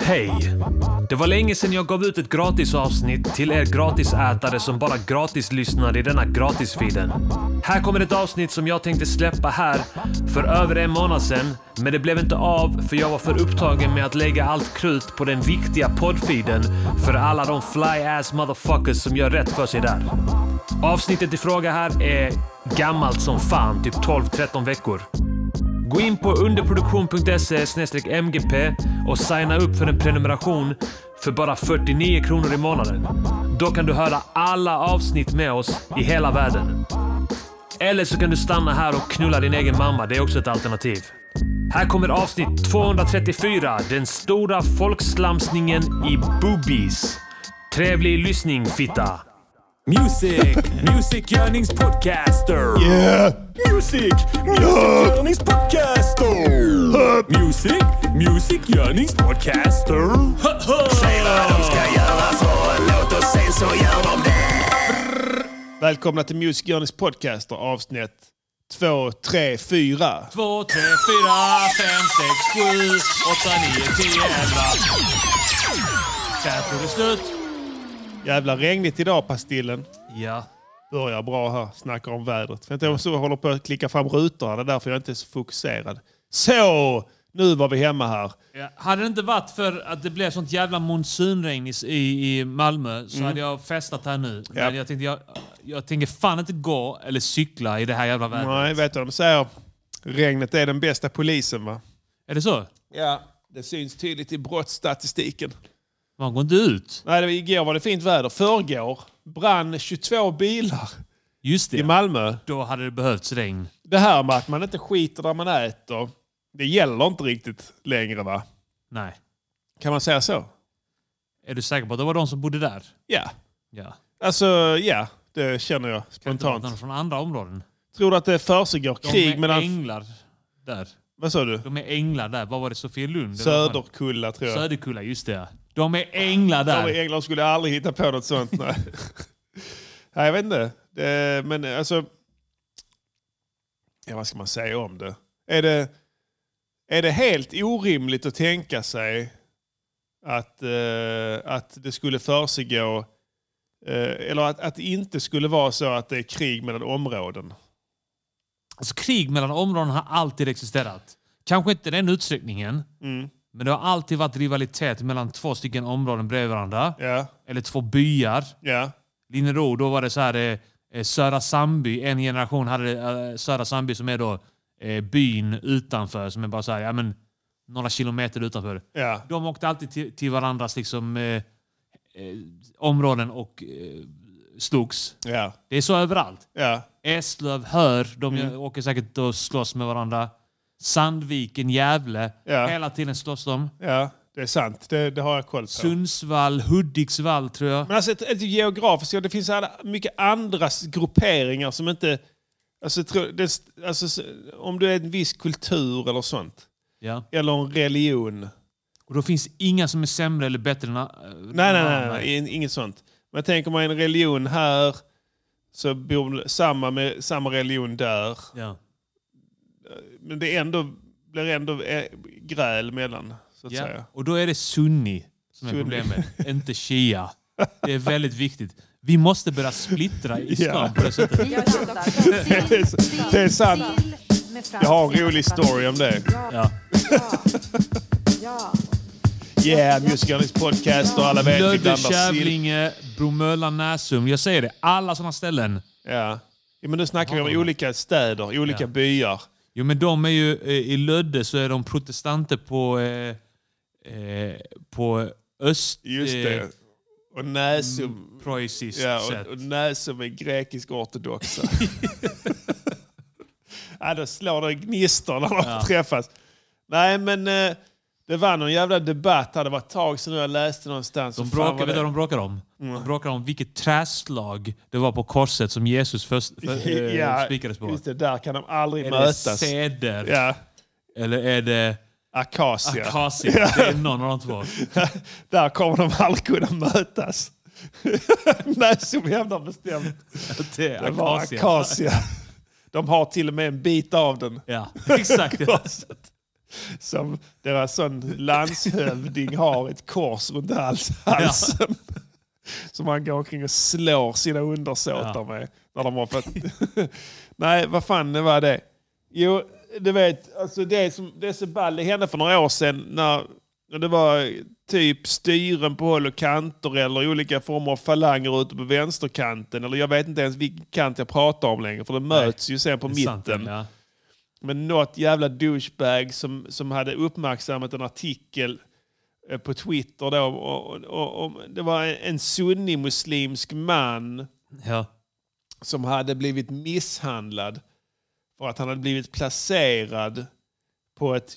Hej! Det var länge sedan jag gav ut ett gratisavsnitt till er gratisätare som bara gratislyssnar i denna gratisfiden. Här kommer ett avsnitt som jag tänkte släppa här för över en månad sedan, men det blev inte av för jag var för upptagen med att lägga allt krut på den viktiga poddfiden för alla de fly-ass motherfuckers som gör rätt för sig där. Avsnittet i fråga här är gammalt som fan, typ 12-13 veckor. Gå in på underproduktion.se mgp och signa upp för en prenumeration för bara 49 kronor i månaden. Då kan du höra alla avsnitt med oss i hela världen. Eller så kan du stanna här och knulla din egen mamma. Det är också ett alternativ. Här kommer avsnitt 234. Den stora folkslamsningen i boobies. Trevlig lyssning, fitta! Music, musikgörningspodcaster. Yeah. Music, musikgörningspodcaster. Music, musikgörningspodcaster. Säg vad de ska göra för en låt och sen så gör de det. Välkomna till Music Journeys podcast avsnitt 2, 3, 4. 2, 3, 4, 5, 6, 7, 8, 9, 10, 11. Där tog det slut. Jävla regnigt idag Pastillen. Ja. Börjar bra här, snackar om vädret. Vänta, jag så håller på att klicka fram rutorna, det är därför jag inte är så fokuserad. Så! Nu var vi hemma här. Ja, hade det inte varit för att det blev sånt jävla monsunregn i, i, i Malmö Mm. så hade jag festat här nu. Men jag tänkte, jag, jag tänker fan inte gå eller cykla i det här jävla vädret. Nej, vet du vad de säger? Regnet är den bästa polisen va? Är det så? Ja, det syns tydligt i brottsstatistiken. Man går inte ut. Nej, det var, igår var det fint väder. Förrgår brann 22 bilar Just i det. Malmö. Då hade det behövts regn. Det här med att man inte skiter där man äter, det gäller inte riktigt längre va? Nej. Kan man säga så? Är du säker på att det var de som bodde där? Ja. Ja. Alltså ja, det känner jag Spontant. De spontant. från andra områden. Tror du att det försiggår De krig är mellan... änglar där. Vad sa du? De är änglar där. Vad var det? Sofielund? eller vad fan? Söderkulla tror jag. Söderkulla, just det. ja. De är änglar där. Söder... England skulle aldrig hitta på något sånt. Nej, nej jag vet inte. Det, men alltså... Ja, vad ska man säga om det? Är det, är det helt orimligt att tänka sig att, eh, att det skulle försiggå... Eh, eller att, att det inte skulle vara så att det är krig mellan områden? Alltså, krig mellan områden har alltid existerat. Kanske inte i den utsträckningen. Men det har alltid varit rivalitet mellan två stycken områden bredvid varandra. Ja, Eller två byar. ja. Linnero, då var det så här, eh, eh, Södra Sandby. En generation hade eh, Södra Sandby som är då eh, byn utanför. Som är bara så här, ja, men, några kilometer utanför. ja. De åkte alltid till, till varandras liksom, eh, eh, områden och eh, slogs. Ja, Det är så överallt. ja, Eslöv, Hör, de gör- Mm. åker säkert och slåss med varandra. Sandviken, Gävle. Ja. Hela tiden slåss de. ja. Det är sant. Det, det har jag koll på. Sundsvall, Hudiksvall tror jag. Men alltså ett, ett geografiskt, ja, det finns alla, mycket andra s- grupperingar som inte... Alltså, tro- det, s- alltså, s- om du är en viss kultur eller sånt, Ja. eller en religion. Och då finns inga som är sämre eller bättre än a- Nej, än nej, nej, andra. nej in- inget sånt. Men tänk om man är en religion här, så bor samma, med, samma religion där. Ja. Men det är ändå, blir ändå eh, gräl mellan, så att Ja. säga. Och då är det sunni som är Sunni. problemet, inte shia. Det är väldigt viktigt. Vi måste börja splittra islam Ja. på det sättet. Jag tjatar. Sill, Det är, s- det är sant. sill med fransk Jag har en rolig story om det. Ja. Ja. Yeah, Music podcast och alla vet vi Lödde, blandar typ sill. Kävlinge, Bromölla, Näsum. Jag säger det, alla sådana ställen. Ja. ja men nu snackar vi om olika städer, olika Ja. byar. Jo, men de är ju, eh, i Lödde så är de protestanter på, eh, eh, på öst... Just eh, det. Och Näsum, preussiskt ja, Mm, sätt. och, och Näsum är grekisk ortodoxa. ja, då slår det gnistor när de träffas. Nej, men eh, det var någon jävla debatt här. Det var ett tag sedan jag läste någonstans. de Och fan bråkar, vad Mm. vet du vad de bråkar om? De bråkar om vilket träslag det var på korset som Jesus först, för, eh, ja, spikades på. Just det, där kan de aldrig Är det mötas. ceder? Ja, Eller är det akacia. akacia? Det är någon av de två. Där kommer de aldrig kunna mötas. Näsum hävdar bestämt. Det är Det var akacia. akacia. De har till och med en bit av den. Ja, exakt. Korset. som deras sån landshövding har ett kors runt hals, halsen. Som han går omkring och slår sina undersåtar Ja. med. När de har fått... Nej, vad fan det var det? Jo, du vet, alltså det som det är så ball, det hände för några år sedan när när det var typ styren på håll och kanter eller olika former av falanger ute på vänsterkanten. Eller jag vet inte ens vilken kant jag pratar om längre för det möts ju sen på Det är sant, mitten. ja. Men något jävla douchebag som, som hade uppmärksammat en artikel eh, på Twitter. Då, och, och, och, om- det var en- en sunnimuslimsk man Ja. som hade blivit misshandlad för att han hade blivit placerad på ett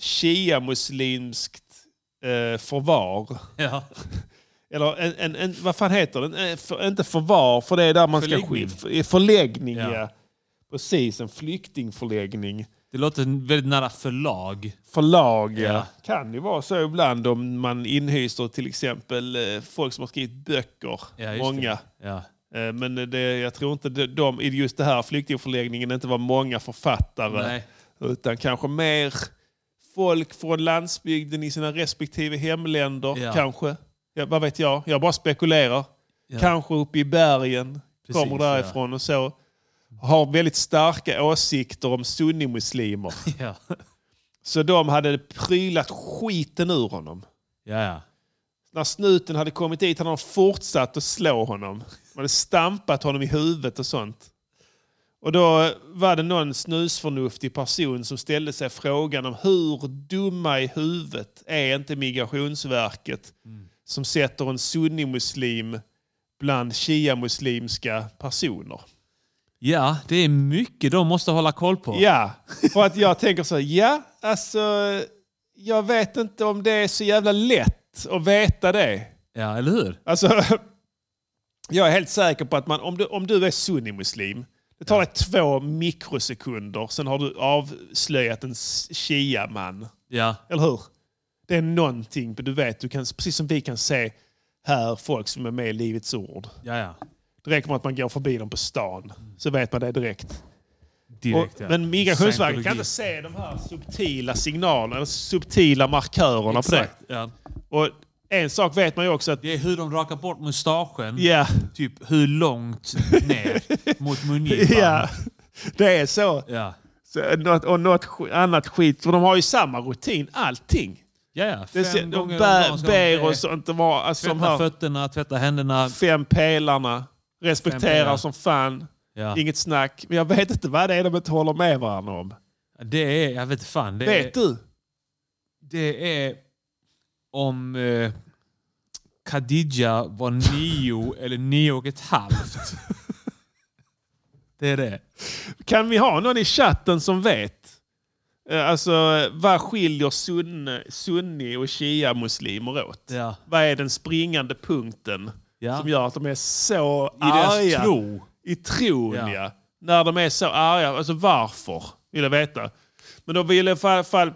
shia-muslimskt eh, förvar. Ja. Eller en, en, en, vad fan heter den? Eh, För, inte förvar, för det är där man Förläggning. ska... Förläggning. Förläggning, ja. Ja. Precis, en flyktingförläggning. Det låter väldigt nära förlag. förlag. Ja. Kan ju vara så ibland om man inhyser till exempel eh, folk som har skrivit böcker. Ja, just många. Det. Ja. Eh, Men det, jag tror inte de, de i just det här flyktingförläggningen inte var många författare. Nej. Utan kanske mer folk från landsbygden i sina respektive hemländer. Ja. Kanske. Ja, vad vet jag? Jag bara spekulerar. Ja. Kanske uppe i bergen. Precis, kommer därifrån och så. Har väldigt starka åsikter om sunnimuslimer. Ja. Så de hade prylat skiten ur honom. Ja, ja. När snuten hade kommit dit hade de fortsatt att slå honom. De hade stampat honom i huvudet och sånt. Och då var det någon snusförnuftig person som ställde sig frågan om hur dumma i huvudet är inte Migrationsverket som sätter en sunnimuslim bland shia-muslimska personer. ja, det är mycket de måste hålla koll på. Ja, för att jag tänker så här, ja, alltså jag vet inte om det är så jävla lätt att veta det. ja eller hur? Alltså, jag är helt säker på att man, om du, om du är sunnimuslim, det tar dig två mikrosekunder, sen har du avslöjat en s- shia-man. Ja. Eller hur? Det är någonting, du vet, du kan, precis som vi kan se här, folk som är med i Livets Ord. Ja, ja. Det räcker med att man går förbi dem på stan, så vet man det direkt. Direkt, Och, ja. men Migrationsverket kan Scientologi. inte se de här subtila signalerna, eller subtila markörerna Exakt, på ja. det. Och en sak vet man ju också att... Det är hur de rakar bort mustaschen. Ja, Typ hur långt ner mot mungipan. ja, det är så. Ja. så eh, något, och något sk- annat skit. För de har ju samma rutin, allting. Ja, ja. Det, Fem ser- de gånger om dagen bär, ska ber be- och sånt. De har, alltså, de Tvätta här fötterna, tvätta händerna. fem pelarna Fem respekterar pelare. som fan. Ja. Eh. Inget snack. Men jag vet inte vad det är de inte håller med varandra om. Det är, jag vet inte fan. Det Vet är, du? det är om eh, Khadija var nio eller nio och ett halvt. Det är det. Kan vi ha någon i chatten som vet? Eh, Alltså, eh, vad skiljer sunni, sunni och shia-muslimer åt? Ja. Vad är den springande punkten Ja. som gör att de är så I deras arga? tro. I tron, ja. Ja. När de är så arga. Alltså varför? Vill jag veta. Men då vill jag i alla fall...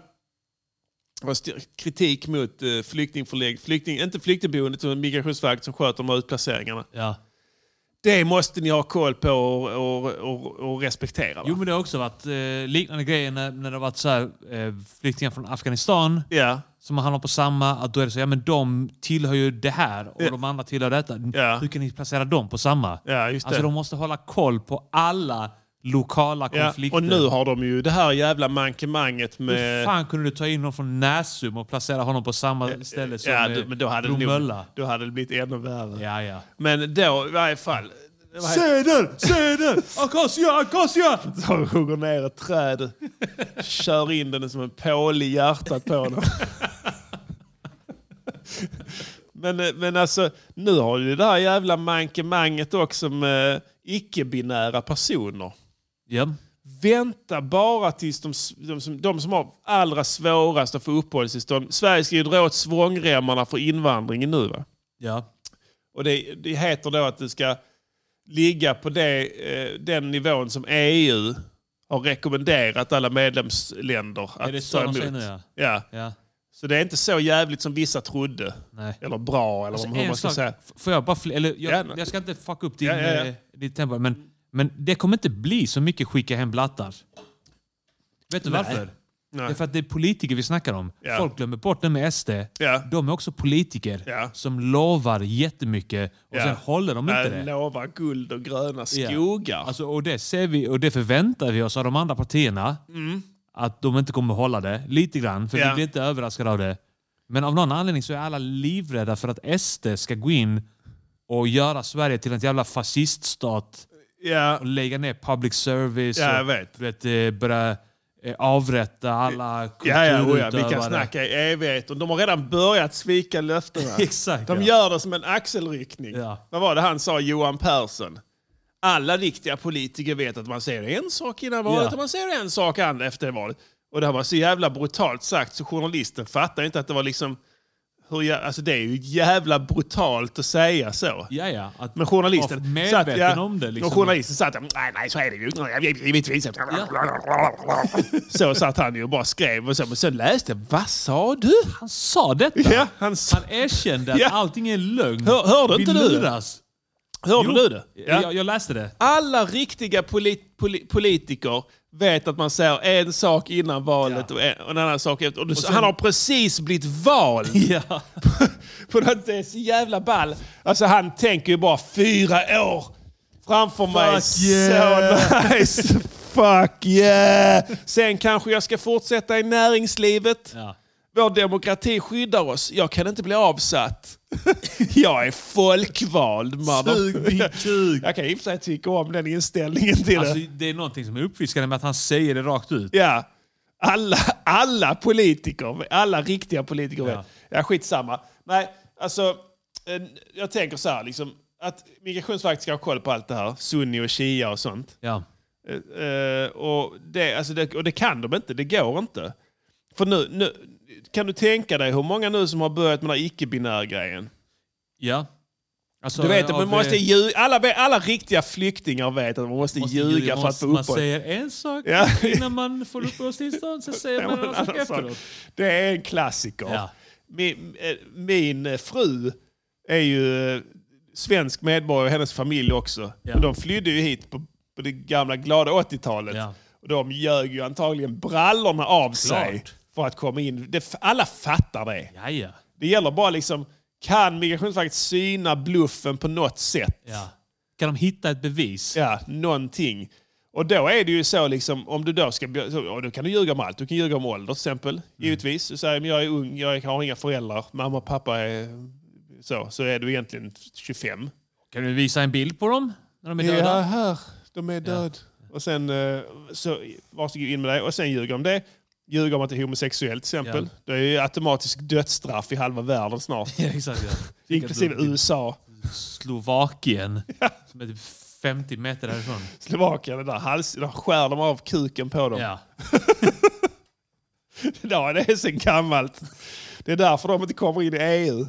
det var st- Kritik mot eh, flyktingförlägg, flykting, inte flyktingboendet utan Migrationsverket som sköter de här utplaceringarna. Ja. Det måste ni ha koll på och, och, och, och respektera. Va? Jo, men det har också varit eh, liknande grejer när, när det har varit så här, eh, flyktingar från Afghanistan Ja. som hamnar på samma. Att då är det så, ja men de tillhör ju det här och Ja. de andra tillhör detta. Ja. Hur kan ni placera dem på samma? Ja, just det. Alltså de måste hålla koll på alla lokala ja. konflikter. Och nu har de ju det här jävla mankemanget Hur med... fan kunde du ta in någon från Näsum och placera honom på samma ställe som ja, eh, du, men då hade, det nog, Bromölla? då hade det blivit ännu värre. Ja, ja. Men då i varje fall... vad heter- Söder! Söder! Akasia! Akasia! som hugger ner ett träd. Kör in den som en pål i hjärtat på honom. Men, eh, men alltså, nu har du det här jävla mankemanget också med eh, icke-binära personer. Ja. Vänta bara tills de, s- de, som, de som har allra svårast att få uppehållstillstånd. Sverige ska ju dra åt svångremmarna för invandringen nu. Va? Ja. Och det, det heter då att det ska ligga på det, eh, den nivån som EU har rekommenderat alla medlemsländer att Är det så ta de emot. säger nu ja? Ja. Ja. Så det är inte så jävligt som vissa trodde. Nej. Eller bra, eller Alltså, hur man en ska sak, säga. f- får jag bara fl- eller, jag, Ja, jag ska inte fucka upp din, Ja, ja, ja. eh, ditt tempo, men, men det kommer inte bli så mycket skicka hem blattar. Vet du varför? Nej. Det är för att det är politiker vi snackar om. Ja. Folk glömmer bort det med SD. Ja. De är också politiker Ja. som lovar jättemycket och Ja. sen håller de inte det. Jag lovar Äh, guld och gröna Ja. skogar. Alltså, och, det ser vi, och det förväntar vi oss av de andra partierna. Att de inte kommer hålla det. Lite grann, för Mm. Ja. vi blir inte överraskade av det. Men av någon anledning så är alla livrädda för att SD ska gå in och göra Sverige till en jävla fasciststat. Ja, Och lägga ner public service. Ja, jag och, vet. du vet eh, börja eh, avrätta alla ja, ja, oh ja, kulturutövare. vi kan snacka i evigheter. De har redan börjat svika löftena. Exakt. De ja. gör det som en axelryckning. Ja. Vad var det han sa, Johan Persson? Alla riktiga politiker vet att man säger en sak innan valet Ja. och man säger en sak an- efter valet. Och det här var så jävla brutalt sagt så journalisten fattar inte att det var liksom... Hur jä- alltså det är ju jävla brutalt att säga så. ja, ja. Att Men journalisten... vara medveten satt, ja, om det. Liksom. Och journalisten satt där, nej, nej, så är det ju. Jag vet- Givetvis. Så satt han ju och bara skrev och så, men så läste jag, vad sa du? Han sa detta! Ja, han sa, Han erkände att Ja. allting är en lögn. Hör- hörde Vi inte du det? luras. hörde Jo, du det? Ja. Jag, jag läste det. Alla riktiga polit, poli, politiker vet att man säger en sak innan valet och, en, och en annan sak efter. Och du- han har precis blivit vald! Ja. På något, det är så jävla ball. Alltså han tänker ju bara fyra år framför mig. yeah. Så nice! Fuck yeah! Sen kanske jag ska fortsätta i näringslivet. ja. Vår demokrati skyddar oss. Jag kan inte bli avsatt. Jag är folkvald, Sug mother- min kuk. Jag kan i och för sig tycka om den inställningen till Alltså, det. det är någonting som är uppfriskande med att han säger det rakt ut. Ja. Alla, alla politiker, alla riktiga politiker Ja. vet. Ja, skitsamma. Nej, alltså, en- jag tänker så här, liksom, att Migrationsverket ska ha koll på allt det här. Sunni och Shia och sånt. Ja. Eh, eh, och, det, alltså det, och det kan de inte, det går inte. För nu, nu, kan du tänka dig hur många nu som har börjat med den här icke-binär grejen? ja. Alltså, Du vet, att av, man måste eh, lju- alla, alla riktiga flyktingar vet att man måste, måste ljuga ljuga. för att få Man uppehåll. säger en sak Ja. innan man får uppehållstillstånd, sen säger man en annan sak efteråt. Det är en klassiker. Ja. Min, eh, min eh, fru är ju eh, svensk medborgare och hennes familj också. Ja. Men de flydde ju hit på, på det gamla glada 80-talet. Ja. Och de ljög ju antagligen brallorna av sig Klart. för att komma in. Det, f- alla fattar det. Ja, ja. Det gäller bara liksom, kan Migrationsverket syna bluffen på något sätt? ja. Kan de hitta ett bevis? Ja, någonting. Och då är det ju så liksom, om du då ska... bli- Så, ja, då kan du ljuga om allt. Du kan ljuga om ålder till exempel. Givetvis. Du säger, men jag är ung, jag har inga föräldrar. Mamma och pappa är... Så, så är du egentligen 25. Kan du visa en bild på dem när de är döda? Ja, här. De är död. Och sen, eh, så varsågod in med dig. Och sen ljuger om det. Ljuger om att det är homosexuellt till exempel. Det är ju automatiskt dödsstraff i halva världen snart. Ja, exakt. Ja. Inklusive USA. Slovakien, som är typ 50 meter därifrån. Slovakien, det där hals, där skär de av kuken på dem. Ja. Ja, det är sen gammalt. Det är därför de inte kommer in i EU.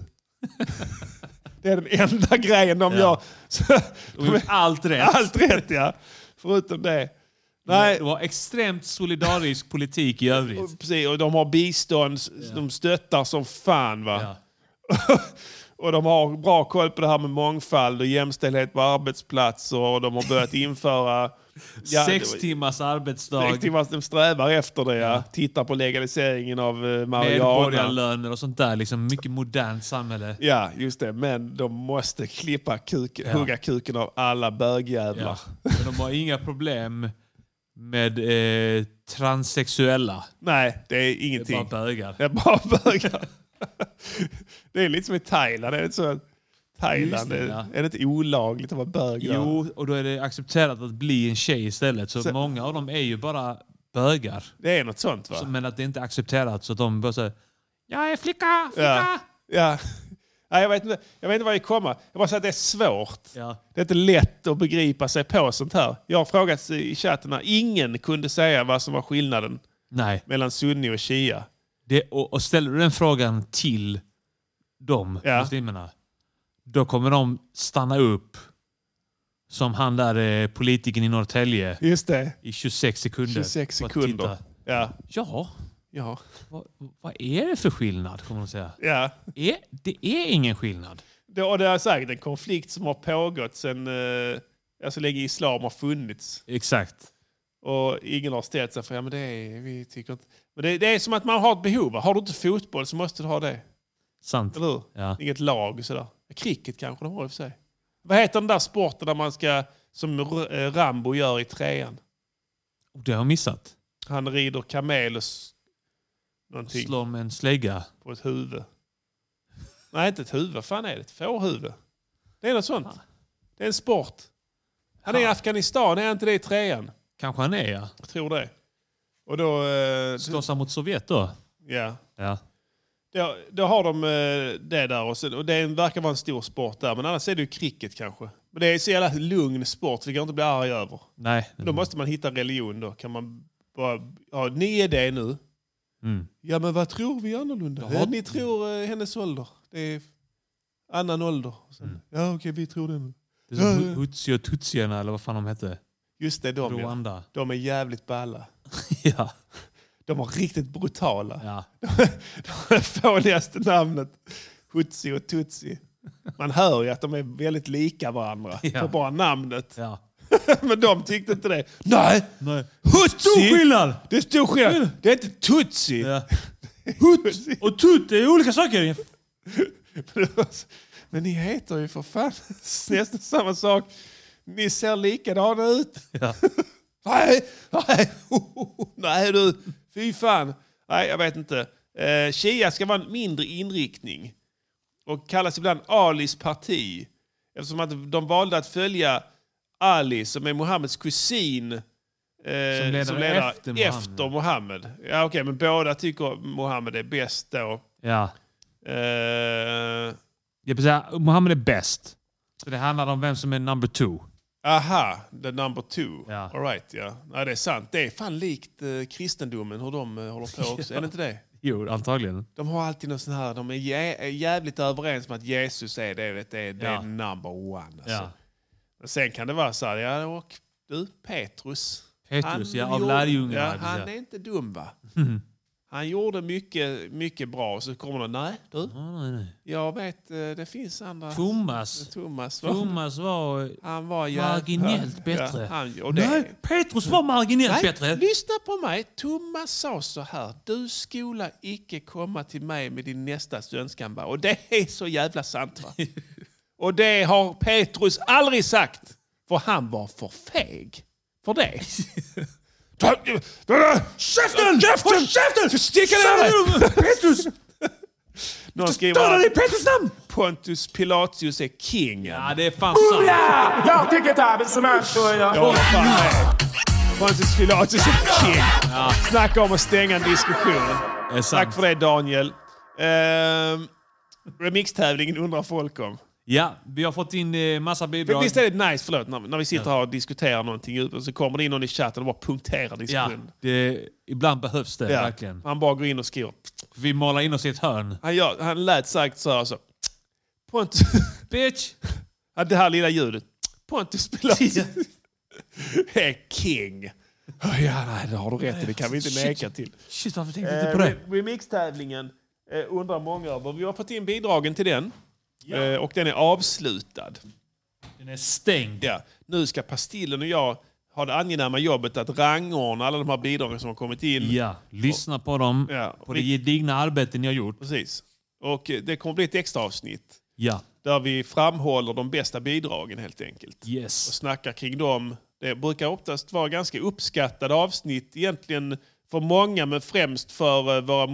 Det är den enda grejen de Ja. Mm. gör. Så, De har gjort allt rätt. allt rätt ja. Förutom det. Det Nej, var extremt solidarisk politik i övrigt. precis. Och de har bistånd. s- De stöttar som fan va. Ja. Och de har bra koll på det här med mångfald och jämställdhet på arbetsplatser. Och de har börjat införa... Ja, Sex det var- timmars arbetsdag, sex timmar. De strävar efter det ja. Tittar på legaliseringen av eh, marijuana. medborgarlöner och sånt där. Liksom mycket modernt samhälle. Ja, just det. Men de måste klippa kuk, hugga kuken av alla Ja. bögjävlar. Men de har inga problem med eh, transsexuella. Nej, det är Det är ingenting. bara bögar. Det är bara bögar. det är lite som i Thailand. Är det inte så att Thailand Just det, är- ja. är det inte olagligt att vara bög? där? Jo, och då är det accepterat att bli en tjej istället. Så, Så- många av dem är ju bara bögar. Det är något sånt va? Så, men att det inte är accepterat så att de bara säger Jag är flicka, ja. flicka! ja. Nej, jag, vet inte, jag vet inte vad jag kommer. Jag bara säger att det är svårt. Ja. Det är inte lätt att begripa sig på sånt här. Jag har frågat i chatten här. Ingen kunde säga vad som var skillnaden Nej. mellan sunni och shia. Det, och, och ställer du den frågan till dem, Ja. muslimerna, då kommer de stanna upp som han där eh, politikern i Norrtälje Just det. i 26 sekunder. 26 för att sekunder. titta. Ja. Ja, Ja. vad, vad är det för skillnad? kommer de säga. ja. Är, det är ingen skillnad. Det, och det är säkert en konflikt som har pågått sen, eh, alltså länge islam har funnits. Exakt. Och ingen har ställt sig för ja, men det är, vi tycker inte. Men det, det är som att man har ett behov. va? Har du inte fotboll så måste du ha det. Sant. Eller hur? Ja. Inget lag och sådär. Cricket kanske de har i och för sig. Vad heter den där sporten där man ska, som R- eh, Rambo gör i trean? Oh, Det har jag missat. Han rider kamel och s- någonting Slå med en slägga. på ett huvud. Nej, inte ett huvud. Vad fan är det? Ett fårhuvud? Det är något sånt. Det är en sport. Han är i Afghanistan, är han inte det i trean? Kanske han är, ja. Jag tror det. Och då... eh, Slåss han mot Sovjet då? Ja. Ja. Då, då har de eh, det där och, sen, och det verkar vara en stor sport där. Men annars är det ju cricket kanske. Men det är så jävla lugn sport så det kan jag inte bli arg över. Nej. Då måste man hitta religion då. Kan man bara, ja ni är det nu. Mm. Ja men vad tror vi annorlunda? Jaha. Ja, ni tror eh, hennes ålder. Det är annan ålder. Och Sen, Mm. Ja okej vi tror det nu. Det är som Hu- Hutsi och Tutsierna, eller vad fan de hette. Just det, de, ja. Rwanda. de är jävligt balla. Ja. De var riktigt brutala. ja. det fånigaste namnet. Hutsi och Tutsi. Man hör ju att de är väldigt lika varandra. Ja. På bara namnet. ja. Men de tyckte inte det. Nej! Nej. Hutsi! Stor skillnad! Det är stor skillnad. Det är inte Tutsi. Ja. Hutsi. Och Tut är olika saker. Men ni heter ju för fan nästan samma sak. Ni ser likadana ut. Ja. Nej, nej, nej du. Fy fan. Nej, jag vet inte. Eh, Shia ska vara en mindre inriktning och kallas ibland Alis parti eftersom att de valde att följa Ali som är Mohammeds kusin eh, som ledare efter Mohammed. efter Mohammed. Ja, okej, men båda tycker Mohammed är bäst då. ja. Eh, Jag vill säga, Mohammed är bäst. Så det handlar om vem som är number two. Aha, the number two. Ja. All right, ja. Nej, det är sant. Det är fan likt eh, kristendomen hur de eh, håller på också. Är det inte det? Jo, antagligen. De har alltid någon sån här, de är jä är jävligt överens om att Jesus är det, vet, det, är- det Ja. är number one. Alltså. Ja. Men Sen kan det vara så här, ja och du Petrus. Petrus, ja, av gjorde- lärjungarna. Ja, vill han säga. Mm. är inte dum va? Han gjorde mycket, mycket bra och så kommer någon, nej du, Ja, nej, nej. jag vet eh, det finns andra. Thomas. Thomas va? Thomas var... Han var ju... Marginellt ja, bättre. han, och det, nej. Petrus var marginellt bättre. lyssna på mig. Thomas sa så här. Du skola icke komma till mig med din nästas önskan. va? Och det är så jävla sant. Va? och det har Petrus aldrig sagt. För han var för feg för det. Käften! Käften! Käften! Sticka ner dig! Petrus! Någon skriver Döda dig i att Petrus namn! Pontus Pilatus är king. Ja, det är fan Oh, sant. Jag tycker inte att det är sån här Jag håller fan med. Pontus Pilatus är king. Snacka om att stänga en diskussion. Det är Tack sant. för det Daniel. Ehm, remixtävlingen undrar folk om. Ja, vi har fått in eh, massa bidrag. Visst är det nice, förlåt, när, när vi sitter här och diskuterar någonting djupt och så kommer det in någon i chatten och bara punkterar Ja, diskussionen. det, ibland behövs det Ja. verkligen. Han bara går in och skriver. Vi målar in oss i ett hörn. Han, gör, han lät sagt så här. Så. Pontus, Bitch! Ja, det här lilla ljudet. Pontus Pilatus är king. Ja, nej, det har du rätt i. Det kan vi inte Shit. neka till. Shit, varför tänkte jag inte Eh, på det? re- remixtävlingen eh, undrar många över. Vi har fått in bidragen till den. Eh, och den är avslutad. Den är stängd. Ja. Nu ska Pastillen och jag ha det angenäma jobbet att rangordna alla de här bidragen som har kommit in. Ja, lyssna på dem. Ja. På det gedigna arbete ni har gjort. Precis. Och eh, det kommer bli ett extra avsnitt Ja. där vi framhåller de bästa bidragen helt enkelt. och Yes. snackar kring dem. Det brukar oftast vara ganska uppskattade avsnitt egentligen för många men främst för eh, våra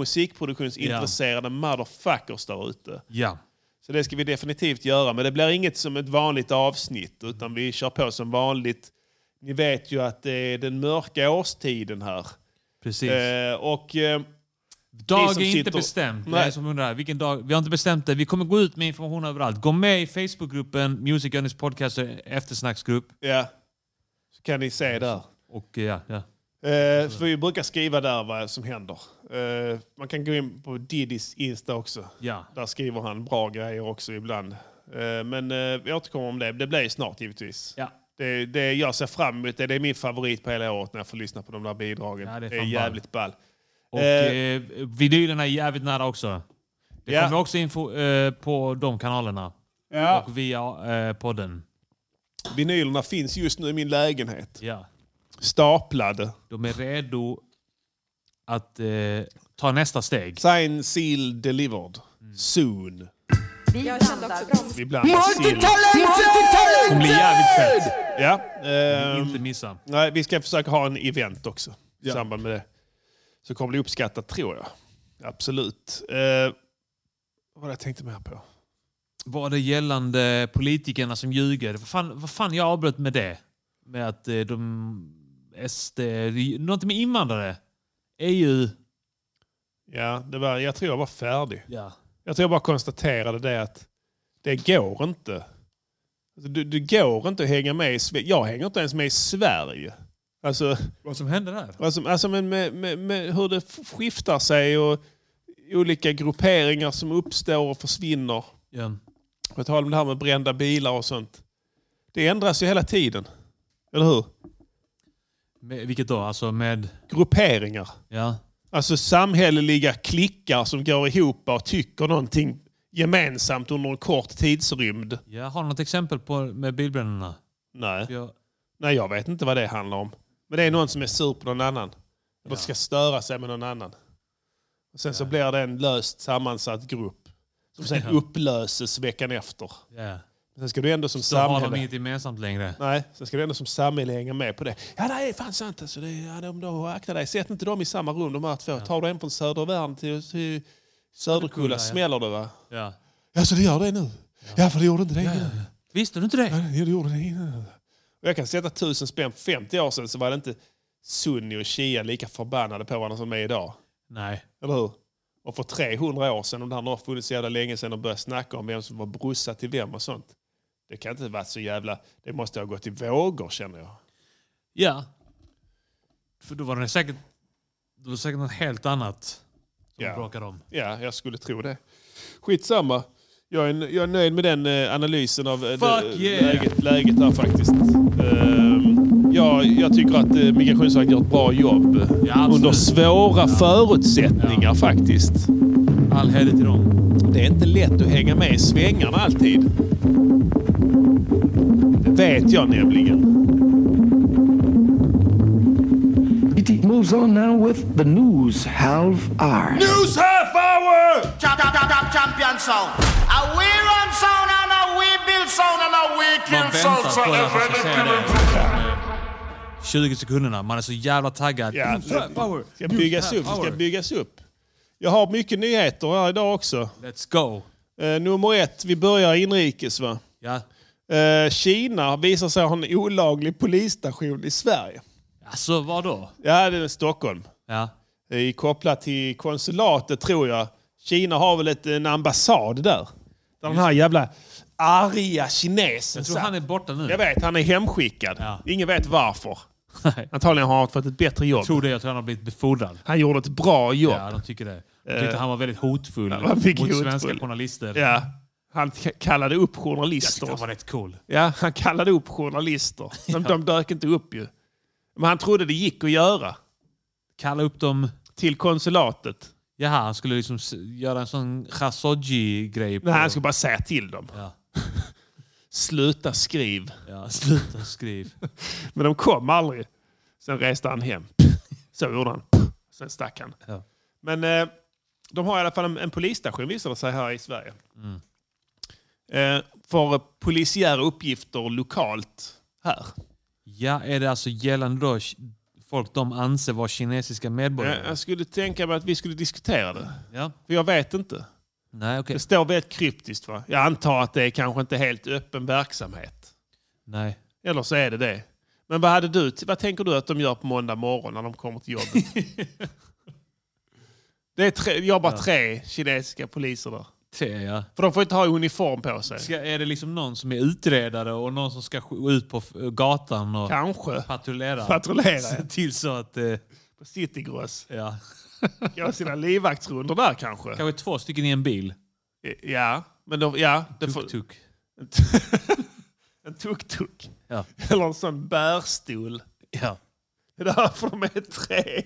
musikproduktionsintresserade motherfuckers där ute. Ja. Så det ska vi definitivt göra men det blir inget som ett vanligt avsnitt utan vi kör på som vanligt. Ni vet ju att det är den mörka årstiden här. Precis. Eh, och eh, ni dag som är inte sitter- bestämt. Det Nej. är som undrar, vilken dag? Vi har inte bestämt det. Vi kommer gå ut med information överallt. Gå med i Facebookgruppen Music Journeys Podcast eh, eftersnacksgrupp. ja, så kan ni se där. Och eh, ja, ja. Eh, för vi brukar skriva där vad som händer. Eh, man kan gå in på Didis Insta också. ja. Där skriver han bra grejer också ibland. Eh, Men eh, vi återkommer om det. Det blir ju snart givetvis. Ja. Det, det jag ser fram emot det. Det är min favorit på hela året när jag får lyssna på de där bidragen. Ja, det är det, är fan jävligt ball. Och Eh, eh, vinylerna är jävligt nära också. Det Ja. kommer också info eh, på de kanalerna. Ja. Och via eh, podden. Vinylerna finns just nu i min lägenhet. Ja. Staplade. De är redo att eh, ta nästa steg. Sign, seal, delivered. Soon. Vi blandar. Vi blandar sill. Hon blir jävligt fett. Ja. ehm, Inte missa. nej, vi ska försöka ha en event också i samband med det. Så kommer det uppskattat tror jag. Absolut. Eh, vad var det jag tänkte mer på? Var det gällande politikerna som ljuger? Vad fan, vad fan jag avbröt med det? Med att eh, de... SD... Något med invandrare? E EU... Ja, det var, jag tror jag var färdig. Ja. Jag tror jag bara konstaterade det att det går inte. Alltså, du, du går inte att hänga med i Sverige. Jag hänger inte ens med i Sverige. Alltså, Vad som hände där? alltså, alltså men med, med, med hur det f- skiftar sig och olika grupperingar som uppstår och försvinner. Ja. På tal om det här med brända bilar och sånt. Det ändras ju hela tiden. Eller hur? Med, vilket då? Alltså med... Grupperingar. Ja. Alltså samhälleliga klickar som går ihop och tycker någonting gemensamt under en kort tidsrymd. Jag har du något exempel på med bilbrännorna? Nej. Jag, Nej, jag vet inte vad det handlar om. Men det Mm. är någon som är sur på någon annan. Eller ska störa sig med någon annan. Och sen så blir det en löst sammansatt grupp. Som sen Ja. upplöses veckan efter. ja. Sen ska du ändå som Så har de samhälle... inget gemensamt längre. Nej, sen ska du ändå som samhälle hänga med på det. Ja, nej, det är fan sant alltså. Det, ja, de, de, akta dig. Sätt inte dem i samma rum de här två. Tar du en från södra världen till, till Söderkulla, Söderkulla ja. smäller det va? Ja. Ja, så det gör det nu? Ja, för det gjorde inte det innan. Visste du inte det? Ja, det gjorde det innan. Och jag kan sätta tusen spänn. För 50 år sedan så var det inte Sunni och Shia lika förbannade på varandra som de är idag. Nej. Eller hur? Och för 300 år sedan, om det här nu har funnits så jävla länge sedan, och börjat snacka om vem som var brorsa till vem och sånt. Det kan inte vara så jävla... Det måste ha gått i vågor känner jag. Ja. För då var det säkert, då var det säkert något helt annat som Ja. de bråkade om. Ja, jag skulle tro det. Skitsamma. Jag är, jag är nöjd med den eh, analysen av eh, Fuck det- yeah. läget, läget här faktiskt. Ehm, ja, jag tycker att eh, Migrationsverket gör ett bra jobb. Ja, absolut. under svåra förutsättningar faktiskt. All heder till dem. Det är inte lätt att hänga med i svängarna alltid. Det vet jag nämligen. It moves on now with the news half hour. News half hour! Champion sound. Are we run sound and are we build sound and are we Man kill sound? väntar på att man ska säga det. 20 sekunderna. Man är så jävla taggad. Ja, det- Power. Ska byggas upp, ska byggas upp. Jag har mycket nyheter här idag också. Let's go. Eh, nummer ett, vi börjar inrikes va? Ja. Eh, Kina visar sig ha en olaglig polisstation i Sverige. Alltså vad då? Ja, det är Stockholm. Ja. Det är kopplat till konsulatet tror jag. Kina har väl ett, en ambassad där. Där den här jävla arga kinesen Jag tror satt. han är borta nu. Jag vet, han är hemskickad. Ja. Ingen vet varför. Nej. Antagligen har han fått ett bättre jobb. Jag tror det. Jag tror han har blivit befordrad. Han gjorde ett bra jobb. Ja, de tycker det. De tyckte han var väldigt hotfull han fick mot hotfull. svenska journalister. Ja. Han k- kallade upp Jag tyckte journalister. han var rätt cool. Ja, han kallade upp journalister. De, de dök inte upp ju. Men han trodde det gick att göra. Kalla upp dem... Till konsulatet. Jaha, han skulle liksom s- göra en sån Khashoggi-grej. på- Nej, han skulle bara säga till dem. Ja. Sluta skriv. Ja, sluta skriv. Men de kom aldrig. Sen reste han hem. Så gjorde han. Sen stack han. Ja. Men eh, de har i alla fall en, en polisstation visar det sig här i Sverige. Mm. Eh, för polisiära uppgifter lokalt här. Ja, är det alltså gällande då ki- folk de anser vara kinesiska Jag, medborgare? Eh, jag skulle tänka mig att vi skulle diskutera det. Ja. För jag vet inte. Nej, okej. Det står väldigt kryptiskt va? Jag antar att det är kanske inte helt öppen verksamhet. Nej. Eller så är det det. Men vad, hade du, vad tänker du att de gör på måndag morgon när de kommer till jobbet? det är tre, jobbar tre kinesiska poliser där. Te, ja. För de får inte ha uniform på sig. Ska, är det liksom någon som är utredare och någon som ska sk- gå ut på f- gatan och Kanske. patrullera? Patrullera Se till så att... Eh, på Citygross. ja. Gör sina livvaktsrundor där kanske. Kanske två stycken i en bil. Ja, men de, ja. Det får, Tuk-tuk. en tuk-tuk. Ja. Eller en sån bärstol. ja. Det är därför de är tre.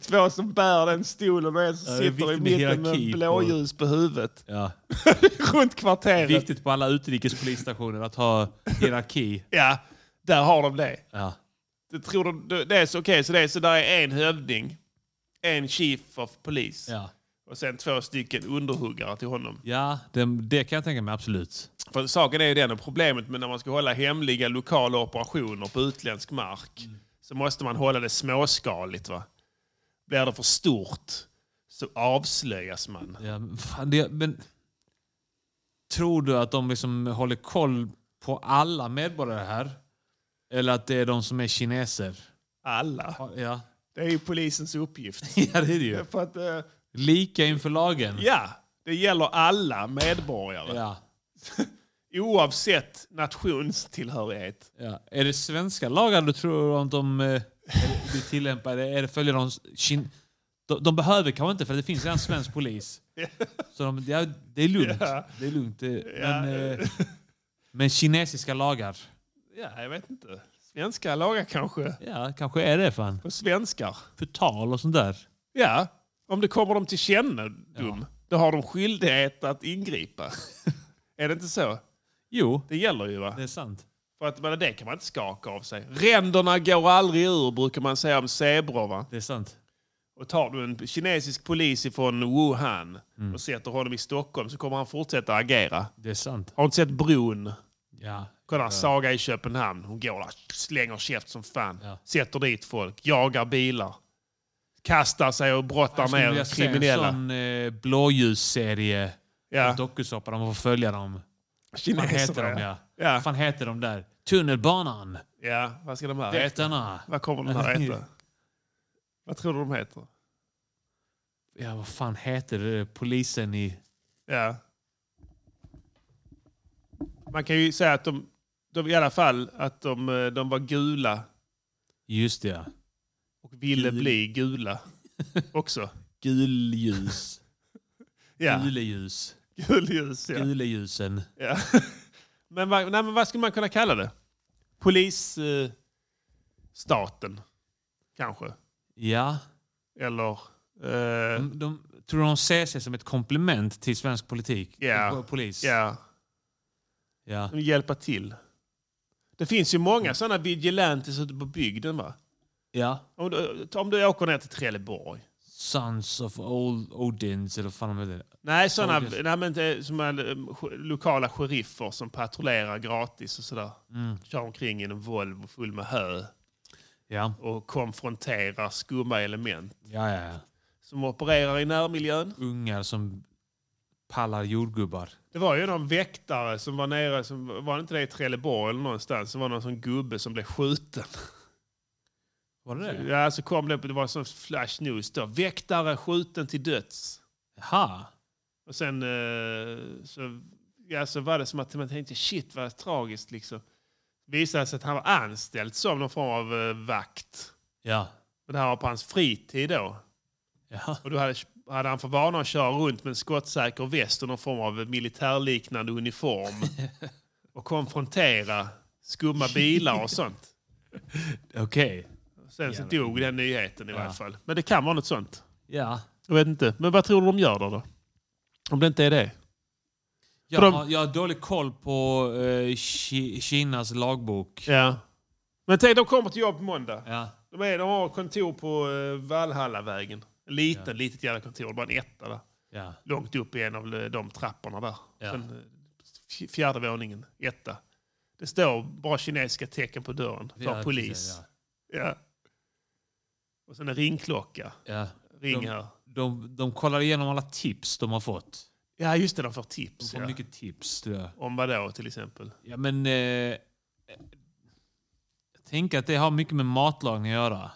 Två som bär den stolen och en som Ja, det är sitter i viktigt med mitten med hierarki på- blåljus på huvudet. ja. Runt kvarteret. Viktigt på alla utrikespolisstationer att ha hierarki. Ja, Där har de det. Ja. Det, tror de, det- det är så okej, så det är så där är en hövding, en chief of police Ja. och sen två stycken underhuggare till honom. Ja, det, det kan jag tänka mig absolut. För saken är ju den, och problemet med när man ska hålla hemliga lokala operationer på utländsk mark så måste man hålla det småskaligt. Va? Blir det för stort så avslöjas man. Ja, men fan, det, men, tror du att de liksom håller koll på alla medborgare här? Eller att det är de som är kineser? Alla. Ja, Det är ju polisens uppgift. ja det är det ju. För att, eh, Lika inför lagen. ja, det gäller alla medborgare. Ja, Oavsett nationstillhörighet. ja. Är det svenska lagar du tror att de eh, är- blir tillämpade? Är det följer de, kin- de... De behöver kanske inte för det finns redan svensk polis. Så de, ja, det är lugnt. Ja. Det är lugnt. det- Ja. Men, eh, men kinesiska lagar? Ja, jag vet inte. Svenska lagar kanske. Ja, kanske är det fan. På svenskar. Förtal och sånt där. Ja, om det kommer dem till kännedom, då har de skyldighet att ingripa. är det inte så? Jo, Det gäller ju va? det är sant. För att, men det kan man inte skaka av sig. Ränderna går aldrig ur, brukar man säga om zebror va? Det är sant. Och tar du en kinesisk polis ifrån Wuhan och sätter honom i Stockholm så kommer han fortsätta agera. Det är sant. Har du inte sett bron? Ja. Kolla, Saga i Köpenhamn. Hon går där, slänger käft som fan. Ja. Sätter dit folk, jagar bilar. Kastar sig och brottar skulle vilja ner se kriminella. en sån eh, blåljusserie. Ja. En dokusåpa där man får följa dem. Vad fan Kineser, heter de ja? Ja. Vad fan heter de där? Tunnelbanan. Ja, vad ska de här heta? Väktarna. Vad kommer de här heta? Vad tror du de heter? Ja, vad fan heter eh, polisen i... Ja. Man kan ju säga att de, de i alla fall att de, eh, de var gula Just det, ja. och ville Gul. bli gula också. Gulljus. Ja, Guleljus. gulljus. Ja. Guleljusen. Ja. men, vad, nej, men vad skulle man kunna kalla det? Polisstaten, eh, staten, kanske. Ja. Eller... Eh, De, de, tror du de ser sig som ett komplement till svensk politik? Ja. Po- Polis? ja. Ja. hjälpa till. Det finns ju många sådana vigilantes ute på bygden. Va? ja. Om, du, om du åker ner till Trelleborg. Sons of old Odins, eller vad fan de heter. Nej, sådana Soldiers. nej, men det, som är, eh, sk- lokala sheriffer som patrullerar gratis och sådär. Kör omkring i en Volvo full med hö Ja. och konfronterar skumma element Ja, ja, ja. som opererar i närmiljön. Ungar som pallar jordgubbar. Det var ju någon väktare som var nere, som, var det inte det i Trelleborg eller någonstans, som var någon sån gubbe som blev skjuten. Var det det? Ja, så kom det, det var en sån flash news då. Väktare skjuten till döds. Jaha. Och sen eh, så, ja, så var det som att man tänkte shit vad tragiskt liksom. Visade sig att han var anställd som någon form av eh, vakt. Ja. Och det här var på hans fritid då. Ja. Och då hade, hade han för vana att köra runt med en skottsäker väst och någon form av militärliknande uniform. och konfrontera skumma bilar och sånt. Okej. Sen så dog den nyheten i varje fall. Men det kan vara något sånt. Ja. Jag vet inte. Men vad tror du de gör där då? Om det inte är det? Jag, För de- har, jag har dålig koll på eh, Ki- Kinas lagbok. Ja. Men tänk, de kommer till jobb på måndag. Ja. De, är, de har kontor på eh, Valhallavägen. En liten, litet jävla kontor. Bara en etta där. Ja. Långt upp i en av eh, de trapporna där. Ja. Sen, eh, f- fjärde våningen, etta. Det står bara kinesiska tecken på dörren för ja, polis. precis, ja. Och sen en ringklocka. Ja. Ja. Ring De- här. De, de kollar igenom alla tips de har fått. Ja, just det. De får De tips. får ja. mycket tips tror jag. Om vad då till exempel? Ja, men... Eh, jag tänker att det har mycket med matlagning att göra.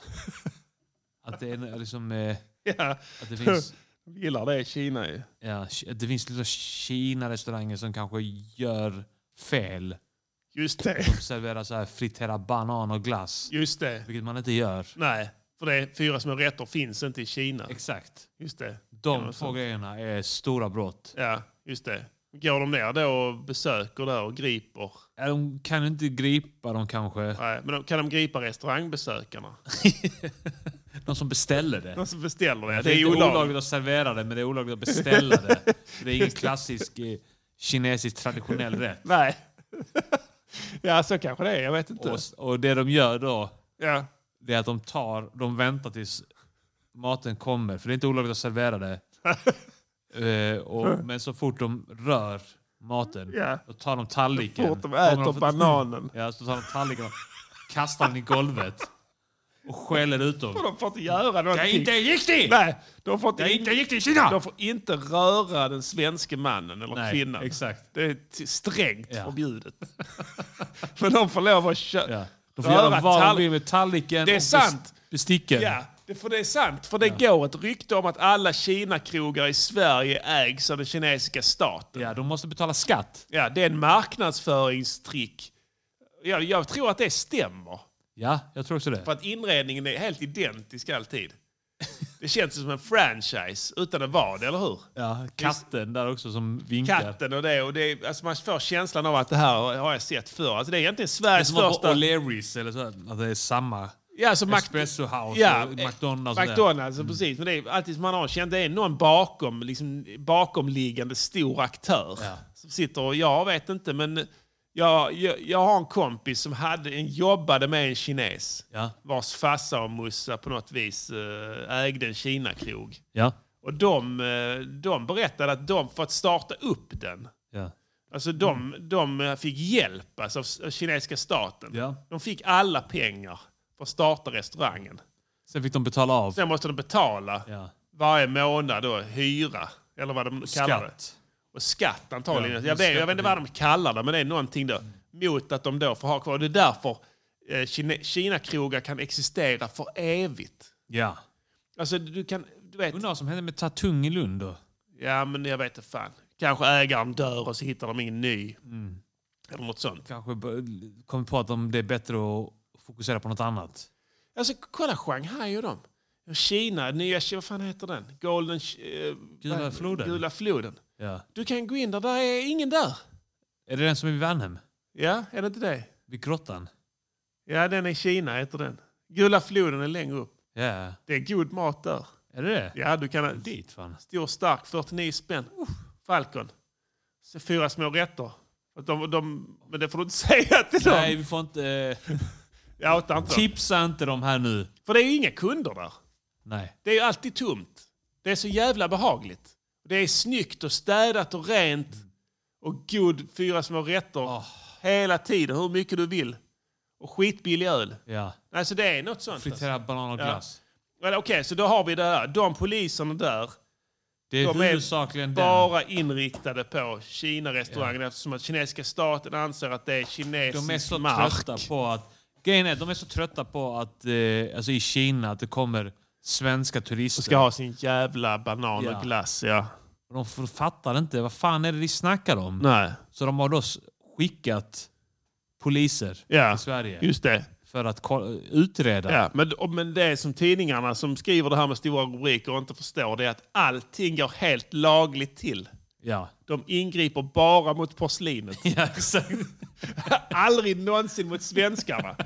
att det är liksom... Eh, Ja, att det finns... de gillar det i Kina ju. Ja, det finns lite Kina-restauranger som kanske gör fel. Just det. De serverar så här fritera banan och glass, Just det. vilket man inte gör. Nej, för det är fyra små rätter finns inte i Kina. Exakt. Just det. De men två så- grejerna är stora brott. Ja, just det. Går de ner då och besöker där och griper? Ja, De kan inte gripa dem kanske. Nej, men de, kan de gripa restaurangbesökarna? De som beställer det. De som beställer det? Det är, inte olagligt att servera det, men det är olagligt att beställa det. Det är ingen klassisk eh, kinesisk traditionell rätt. Nej. Ja, så kanske det är. Jag vet inte. Och, och det de gör då, Ja. det är att de tar, de väntar tills maten kommer. För det är inte olagligt att servera det. Eh, och, men så fort de rör maten, Mm. Ja. då tar de tallriken. Fort de Kommer äter för- bananen. Ja, så tar de tallriken och kastar den i golvet. Och skäller ut dem. De får inte göra någonting. Det är inte riktigt! Nej, de får Det inte, är inte riktigt i Kina! de får inte röra den svenske mannen eller Nej, kvinnan. exakt. Det är t- strängt Ja. förbjudet. För de får lov att kö- Ja. De får göra röra vad tall- de vill med tallriken Det är och bes- sant. besticken. Ja, det, för det är sant. För det går ett rykte om att alla Kina-krogar i Sverige ägs av den kinesiska staten. Ja, de måste betala skatt. Ja, det är en marknadsföringstrick. Ja, jag tror att det stämmer. Ja, jag tror också det. För att inredningen är helt identisk alltid. Det känns som en franchise utan att vara det, eller hur? Ja, katten där också som vinkar. Katten och det. Och det är, alltså man får känslan av att det här har jag sett förr. Alltså det är egentligen Det är Sveriges som att första... på O'Learys eller så. Att det är samma. Ja, alltså Mac- eh, Espresso House och McDonald's Mm. och det. McDonald's, ja, precis. Men det är alltid som man har känt, det är någon bakom, liksom, bakomliggande stor aktör. Ja. Som sitter och, jag vet inte, men jag, jag, jag har en kompis som hade en, jobbade med en kines. Ja. Vars farsa och morsa på något vis eh, ägde en Kina-krog. Ja. Och de, eh, de berättade att de fått starta upp den. Ja. Alltså de, Mm. de fick hjälp alltså, av- av kinesiska staten. Ja. De fick alla pengar för att starta restaurangen. Sen fick de betala av. Sen måste de betala Ja. varje månad då, hyra, eller vad de kallar det. Skatt. Och skatt antagligen. Ja, jag, vet, jag skatt. vet inte vad de kallar det, men det är någonting då, mot att de då får ha kvar. Det är därför eh, Kine- Kina-krogar kan existera för evigt. Ja. Alltså du kan, du vet, Undrar vad som hände med Tatung i Lund då? ja men jag vet inte fan. Kanske ägaren dör och så hittar de ingen ny. Mm. Eller något sånt. Kanske b- kom på att de, det är bättre att fokusera på något annat. Alltså kolla Shanghai och dem. Och Kina, nya, Ki- vad fan heter den? Golden... eh, Gula vad- floden. Gula floden. Ja. Du kan gå in där, där är ingen där. Är det den som är vid Värnhem? Ja, är det inte det? Vid grottan? Ja, den är i Kina heter den. Gula floden är längre upp. Ja. Det är god mat där. Är det det? Ja, du kan... Dit fan. Stor stark, 49 spänn. Falcon. Så Fyra små rätter. Att De, de, men det får du inte säga till dem. Nej, vi får inte... Eh, Jag outar inte dem. tipsa inte dem här nu. För det är ju inga kunder där. Nej. Det är ju alltid tomt. Det är så jävla behagligt. Det är snyggt och städat och rent. Och god fyra små rätter. Ah. Hela tiden, hur mycket du vill. Och skitbillig öl. Ja. Alltså det är något sånt. Alltså. Fritera banan och Ja. glass. Eller, Okej, så då har vi det här. De poliserna där Det är De är huvudsakligen den. bara inriktade på Kina-restaurangen eftersom att kinesiska staten anser att det är kinesisk De är så mark. trötta på att... Grejen är, de är så trötta på att... Eh, alltså i Kina, att det kommer svenska turister. De ska ha sin jävla banan Ja. och glass, ja. Och De f- fattar inte. Vad fan är det de snackar om? Nej. Så de har då s- skickat poliser Ja, till Sverige just det. för att ko- utreda. Ja. Men, och- men det som tidningarna som skriver det här med stora rubriker och inte förstår det är att allting går helt lagligt till. Ja. De ingriper bara mot porslinet. Ja, exakt. Aldrig någonsin mot svenskarna.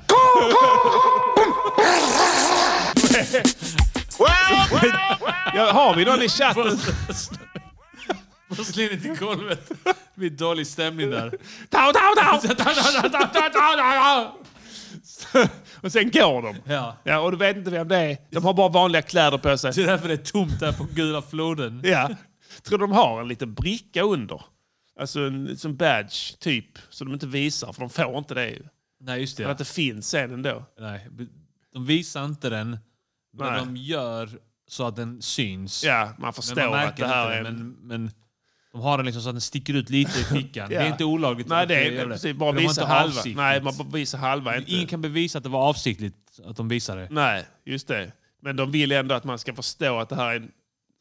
ja, har vi någon i chatten? Porslinet i golvet. Det blir dålig stämning där. Tau, tau, tau! och sen går de. Ja. Ja, och du vet inte vem det är. De har bara vanliga kläder på sig. Det är därför det är tomt där på Gula floden. Ja. Tror de har en liten bricka under? Alltså en som badge, typ. Så de inte visar, för de får inte det ju. Nej, just det. Men att det finns en ändå. Nej, de visar inte den, men Nej. de gör så att den syns. Ja, man förstår men man att märker det här är... inte den, men, men de har den liksom så att den sticker ut lite i fickan. Ja. Det är inte olagligt. Nej, att det de är gör precis. Bara För Typ. visa de har inte halva. avsiktligt. Nej, man bara visar halva. Inte. Ingen kan bevisa att det var avsiktligt att de visade det. Nej, just det. Men de vill ändå att man ska förstå att det här är en...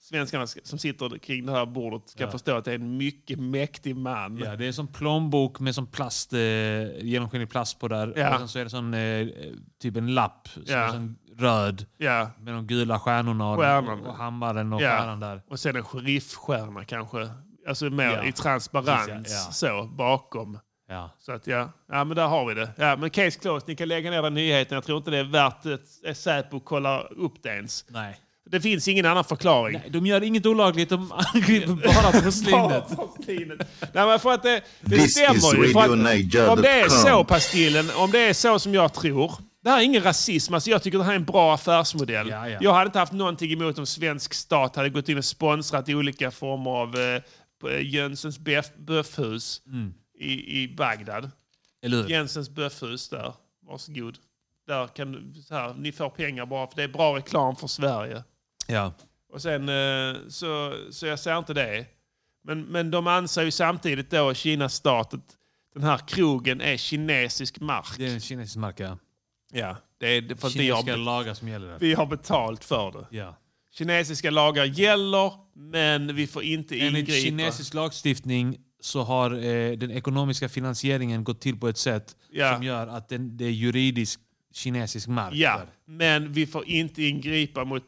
Svenskarna som sitter kring det här bordet ska Ja. förstå att det är en mycket mäktig man. Ja, det är som plånbok med som plast, eh, genomskinlig plast på där. Ja. Och sen så är det sån, eh, typ en lapp, som Ja. är sån röd, Ja. med de gula stjärnorna Stjärnan. och, och hammaren och Ja. stjärnan där. Och sen en sheriffstjärna kanske. Alltså mer Ja. i transparens Precis, ja, ja. så bakom. Ja. Så att ja. ja, men där har vi det. Ja, men case closed. Ni kan lägga ner den nyheten. Jag tror inte det är värt att Säpo kollar upp det ens. Nej. Det finns ingen annan förklaring. Nej, de gör inget olagligt, de angriper bara porslinet. Bara porslinet. Nej, men för att det, det This stämmer is ju. För att, om det är så, radionaja.com. Pastillen, om det är så som jag tror. Det här är ingen rasism. Alltså, jag tycker det här är en bra affärsmodell. Ja, ja. Jag hade inte haft någonting emot om svensk stat hade gått in och sponsrat i olika former av eh, på, eh, Jönssons bäf- böffhus Mm. i, i Bagdad. Eller hur? Jensens böffhus där. Varsågod. Där kan, du- så här, ni får pengar bara för det är bra reklam för Sverige. Ja. Och sen eh, så, så jag ser inte det. Men, men de anser ju samtidigt då, Kinas stat, att den här krogen är kinesisk mark. Det är en kinesisk mark, ja. Ja, det är det- för att vi har, Kinesiska be- lagar som gäller där. vi har betalt för det. Ja. Kinesiska lagar gäller, men vi får inte Enligt ingripa. kinesisk lagstiftning så har eh, den ekonomiska finansieringen gått till på ett sätt Ja. som gör att den, det är juridisk kinesisk mark. Ja, där. men vi får inte ingripa mot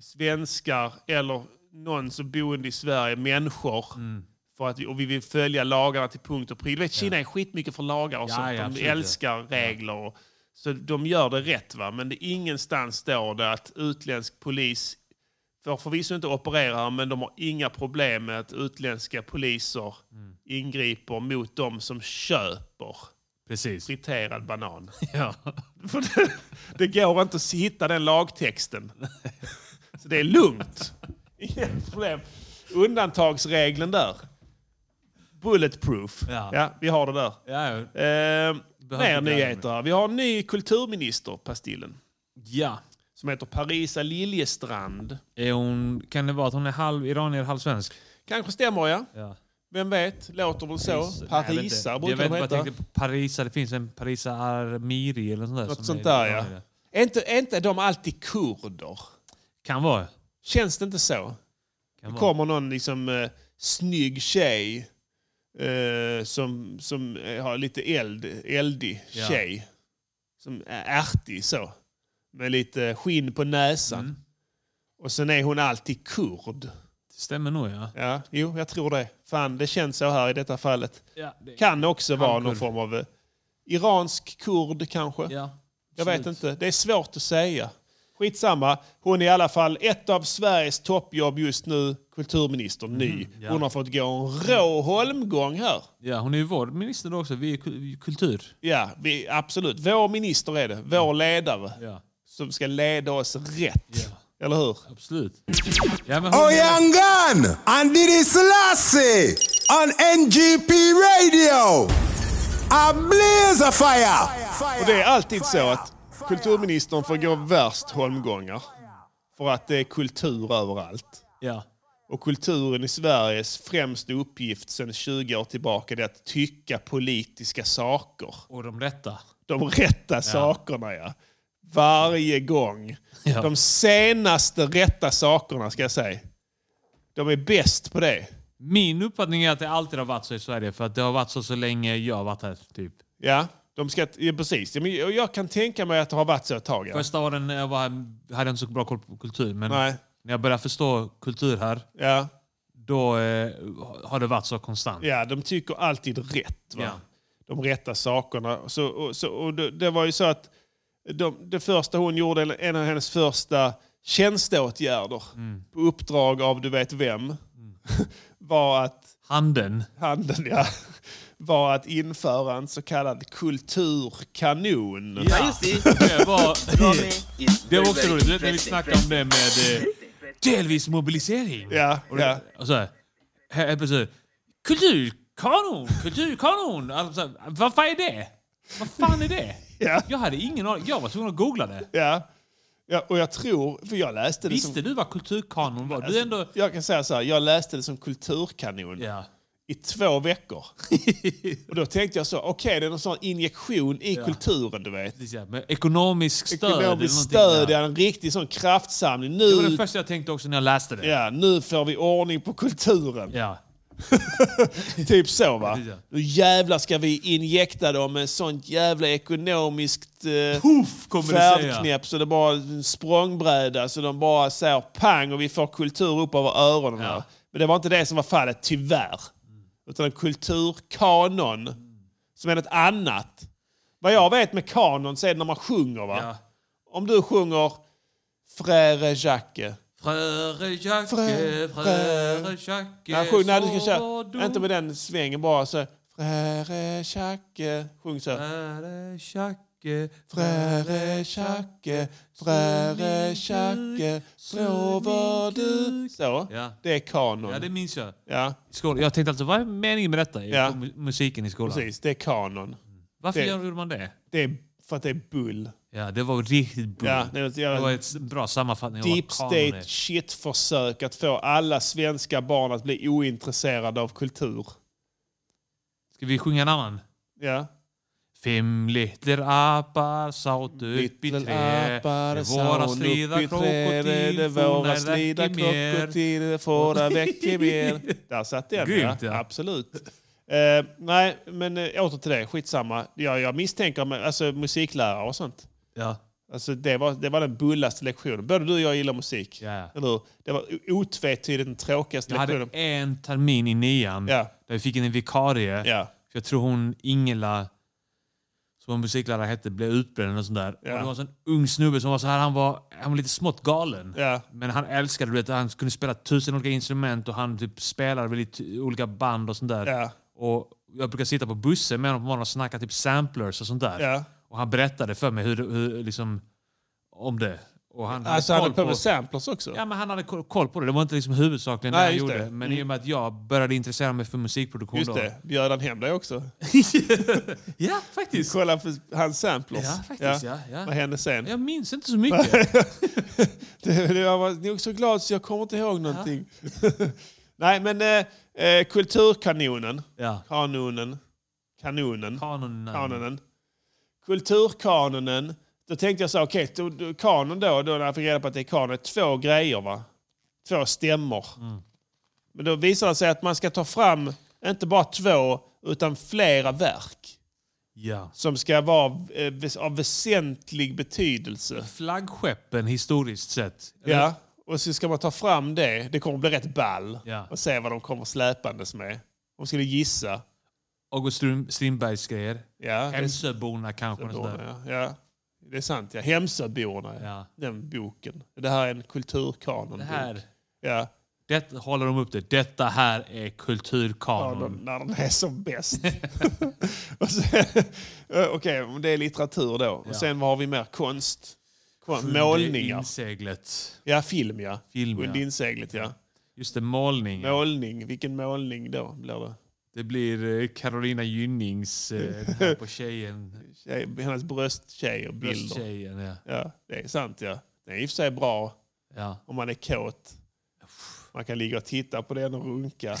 svenskar eller någon som boende i Sverige, människor. Mm. För att vi, och vi vill följa lagarna till punkt och pricka. Du vet, Kina är skitmycket för lagar och Ja, sånt. ja, De absolut, ja. älskar regler. Och, så de gör det rätt. va Men det är ingenstans står det att utländsk polis får förvisso inte operera här, men de har inga problem med att utländska poliser Mm. ingriper mot de som köper Precis. friterad banan. Ja. För det, det går inte att hitta den lagtexten. Så det är lugnt. Inga problem. Undantagsregeln där. Bulletproof. Ja. vi har det där. Ja. ja. Eh, mer inte bli nyheter. här. Vi har en ny kulturminister, Pastillen. ja. Som heter Parisa Liljestrand. Är hon, kan det vara att hon är halv iranier, halv svensk? Kanske stämmer jag. Ja. Vem vet? Låter väl så. Parisar Nej, jag vet brukar de inte. Jag vet inte, bara heta. tänkte på Parisa, det finns en Parisa Armiri eller sånt där. som Något är sånt där ja. iranier. Är inte, är inte de alltid kurder? Kan vara. Känns det inte så? Kan vara. kommer någon liksom, eh, snygg tjej eh, som, som eh, har lite eld, eldig Ja. tjej. Som är ärtig så. Med lite skinn på näsan. Mm. Och sen är hon alltid kurd. Det stämmer nog ja. Ja, jo, jag tror det. Fan, det känns så här i detta fallet. Ja, det, Kan också vara någon Halvkurd. form av eh, iransk kurd kanske. ja. Jag vet inte. Det är svårt att säga. Skitsamma. Hon är i alla fall ett av Sveriges toppjobb just nu. Kulturminister, ny. Mm-hmm. ja. Hon har fått gå en rå holmgång här. Ja, hon är ju vår minister då också. Vi är ku- kultur. Ja, vi, absolut. Vår minister är det. Vår ledare. Mm. Ja, Som ska leda oss rätt. Eller hur? absolut. Ja, men hon, Oh, Oyangan and Didi Selassie on NGP Radio. A blaze of fire. Och det är alltid så att kulturministern får gå värst holmgångar. För att det är kultur överallt. ja. Och kulturen i Sveriges främsta uppgift sedan 20 år tillbaka är att tycka politiska saker. Och de rätta. de rätta sakerna. Ja. Varje gång. Ja. De senaste rätta sakerna ska jag säga. De är bäst på det. Min uppfattning är att det alltid har varit så i Sverige. För att det har varit så så länge jag har varit här. Typ. Ja, de ska, ja precis. Ja, men Jag jag kan tänka mig att det har varit så ett tag. Ja. Första åren när jag var här hade jag inte så bra koll på kultur. Men Nej. när jag började förstå kultur här, Ja, då eh, har det varit så konstant. ja, de tycker alltid rätt. Va? Ja. De rätta sakerna. Så, och, så, och det, det var ju så att de, det första hon gjorde, eller en av hennes första tjänsteåtgärder Mm. på uppdrag av du vet vem, var att Handen. handen ja, var att införa en så kallad kulturkanon. Ja. Det var, det var också roligt. Du vet när vi snackade om det med eh, delvis mobilisering. Ja, Och, det- ja. och så här, här, helt plötsligt. Kulturkanon! Kulturkanon! Alltså, så här, vad fan är det? Vad fan är det? Ja. Jag hade ingen aning. Jag var tvungen att googla det. Ja. Ja, och jag tror, för jag läste det Visste som... du vad kulturkanon var? Alltså- Du är ändå... Jag kan säga så här, jag läste det som kulturkanon Ja. i två veckor. och då tänkte jag så, okej det är någon sån injektion i kulturen du vet. precis, ja. Men ekonomisk stöd. eller Ekonomiskt någonting, stöd, ja. ja. en riktig sån kraftsamling. Det var det Nu, första jag tänkte också när jag läste det. ja, nu får vi ordning på kulturen. Ja. Typ så va? Precis, ja. Nu jävlar ska vi injekta dem med sånt jävla ekonomiskt eh, kommer du säga. färdknäpp så det bara en språngbräda så de bara säger pang och vi får kultur upp över öronen här. Men det var inte det som var fallet, tyvärr. Utan en kulturkanon som är något annat. Vad jag vet med kanon så är det när man sjunger va? Ja. Om du sjunger Frère Jacques Fröre Jacke, Frö- fröre frö- Jacke. Nej, sjung, nej, du ska sover du? köra. Inte med den svängen bara så. här, Fröre Tjacke. Sjung så. här. Fröre Jacke, Fröre Tjacke, Fröre Tjacke, sover du? Så. Ja. Det är kanon. Ja, det minns jag. Ja, I skolan. Jag tänkte alltså, vad är meningen med detta? Ja. Mu- Musiken i skolan. precis. Det är kanon. Varför Det- gjorde man det? Det är för att det är bull. Ja, det var riktigt bra. Ja, det är, det var jag, ett s- bra sammanfattning. av deep vad kanon är. state shit-försök att få alla svenska barn att bli ointresserade av kultur. Ska vi sjunga en annan? Ja. Fem little apar satt upp i Little trä. apar Det sa våra hon upp slida i trädet, krokodil, Det forna våra slida räcker mer. krokodil, det fåra räcker mer. Där satt den, Grymt, ja. ja. Absolut. Eh, nej, men eh, åter till det. Skitsamma. Jag, jag misstänker men, alltså, musiklärare och sånt. Ja. Alltså, det, var, det var den bullaste lektionen. Både du och jag gillar musik. Ja. Eller hur? Det var o- otvetydigt den tråkigaste Jag hade lektionen. en termin i nian Ja. där vi fick in en vikarie. Ja. För jag tror hon Ingela, som en musiklärare hette, blev utbränd och sånt där. Ja. Och det var en sån ung snubbe som var så här, han var, han var lite smått galen. Ja. Men han älskade det. Han kunde spela tusen olika instrument och han typ spelade med lite olika band och sånt där. Ja. Och jag brukar sitta på bussen med honom på morgonen och snacka typ samplers och sånt där. Ja. Och han berättade för mig hur, hur liksom, om det. Och han Alltså, han koll hade på med samplers också. Ja, men han hade ko- koll på det. Det var inte liksom huvudsakligen Nej, det han just gjorde. det. Mm. Men i och med att jag började intressera mig för musikproduktion Just då. det. Bjöd han hem dig också? Ja, faktiskt. Kolla på hans samplers. Ja, faktiskt, ja, ja. Vad hände sen? Jag minns inte så mycket. Det- det- Jag var nog så glad så jag kommer inte ihåg någonting. Nej, men eh, eh, kulturkanonen. Ja. Kanonen. Kanonen. Kanon. Kanonen. Kulturkanonen. Då tänkte jag så här, okej, då- då- kanon då, då när jag fick reda på att det är kanon, är två grejer va? Två stämmor. Men då visar det sig att man ska ta fram inte bara två, utan flera verk. Ja. Som ska vara eh, väs- av väsentlig betydelse. Flaggskeppen historiskt sett. Eller- Ja, och så ska man ta fram det. Det kommer bli rätt ball. Ja. Och se vad de kommer släpandes med. Om skulle gissa. August Strun- Strindbergs grejer. Ja, det, är Hemsöborna kanske. och sånt där. Hemsöborna, ja. ja, det är sant. Ja. Hemsöborna, ja. Ja. den boken. Det här är en kulturkanon. Det här, Ja, det, håller de upp det. Detta här är kulturkanon. kanon, när den är som bäst. Och sen- eh, Okej, men det är litteratur då. Ja. Och sen vad har vi mer? Konst. Kon- Under Målningar. Inseglet. Ja, film ja. Film, ja. Under inseglet ja. Just det, målning. Målning. Vilken målning då blir det? Det blir eh, Carolina Gynnings eh, den här på tjejen. Tjej, hennes brösttjejer, bilder. Brösttjejen, ja. Ja, det är sant. Ja. Det är i och för sig bra ja. om man är kåt. Man kan ligga och titta på den och runka.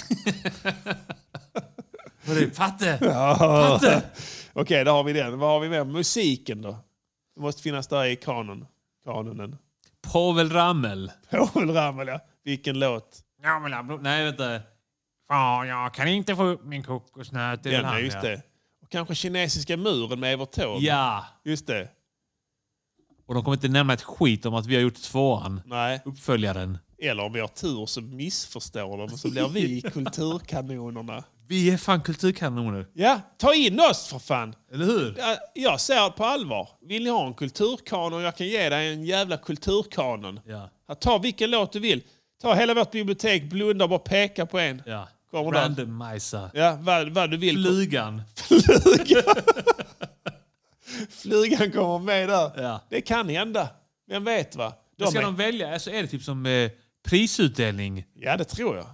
Hörru, Patte! Ah. Ja. Okej, där har vi den. Vad har vi mer? Musiken då? Det måste finnas där i kanon. kanonen. Povel Ramel. Paul Ramel, ja. Vilken låt. Nej, vänta. Fan, jag kan inte få upp min kokosnöt. Det är väl Den, han, ja, just ja. det. Och kanske kinesiska muren med Evert Taube. Ja. Just det. Och de kommer inte nämna ett skit om att vi har gjort tvåan. Nej. Uppföljaren. Eller om vi har tur så missförstår de och så blir vi kulturkanonerna. Vi är fan kulturkanoner. Ja, ta in oss för fan! Eller hur? Ja, Jag ser på allvar. Vill ni ha en kulturkanon? Jag kan ge dig en jävla kulturkanon. Ja. Ja, Ta vilken låt du vill. Ta hela vårt bibliotek, blunda och bara peka på en. ja. Kommer den. Randomisa. Ja, vad, vad du vill. Flugan. Flugan kommer med där. Ja. Det kan hända. Vem vet va? De Ska är- de välja? Alltså är det typ som eh, prisutdelning? Ja, det tror jag.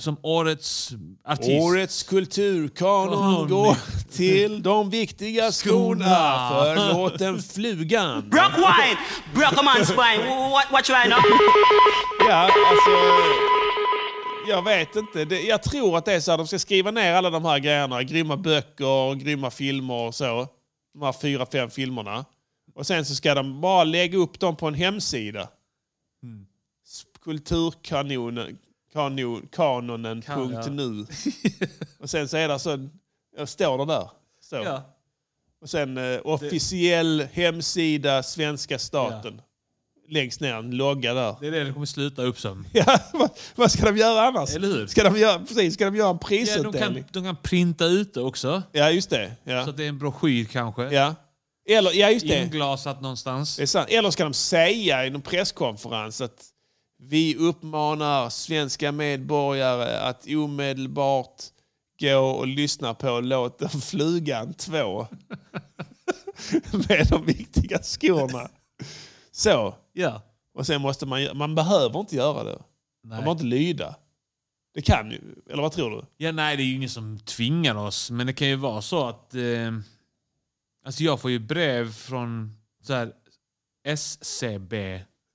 Som årets artist? Årets kulturkanon Kanon. går till de viktiga skorna Skorna. för låten Flugan. Brock wine, brock a man's wine. What, what you right now? Ja, alltså... Jag vet inte. Det, jag tror att det är så här, de ska skriva ner alla de här grejerna. Grymma böcker, grymma filmer och så. De här fyra, fem filmerna. Och sen så ska de bara lägga upp dem på en hemsida. Mm. S- Kulturkanonen... Kanon, kanonen.nu. och sen så är det så... en- jag Står det där? Så. Ja. Och sen eh, officiell hemsida, svenska staten. Längst ner, en logga där. Det är det det kommer sluta upp som. Ja, vad, vad ska de göra annars? Eller hur? Ska de göra, precis, ska de göra en Ja, de, kan, prisutdelning? de kan printa ut det också. Ja, just det. Ja. Så att det är en broschyr kanske. Ja. Eller, ja, just det. Inglasat någonstans. det är sant. Eller ska de säga i någon presskonferens att Vi uppmanar svenska medborgare att omedelbart gå och lyssna på låten Flugan 2 med de viktiga skorna. Så. Ja. Och sen måste man, gö- man behöver inte göra det. Man behöver inte lyda. Det kan ju, eller vad tror du? ja, nej, det är ju ingen som tvingar oss. Men det kan ju vara så att... Eh, alltså jag får ju brev från så här, SCB.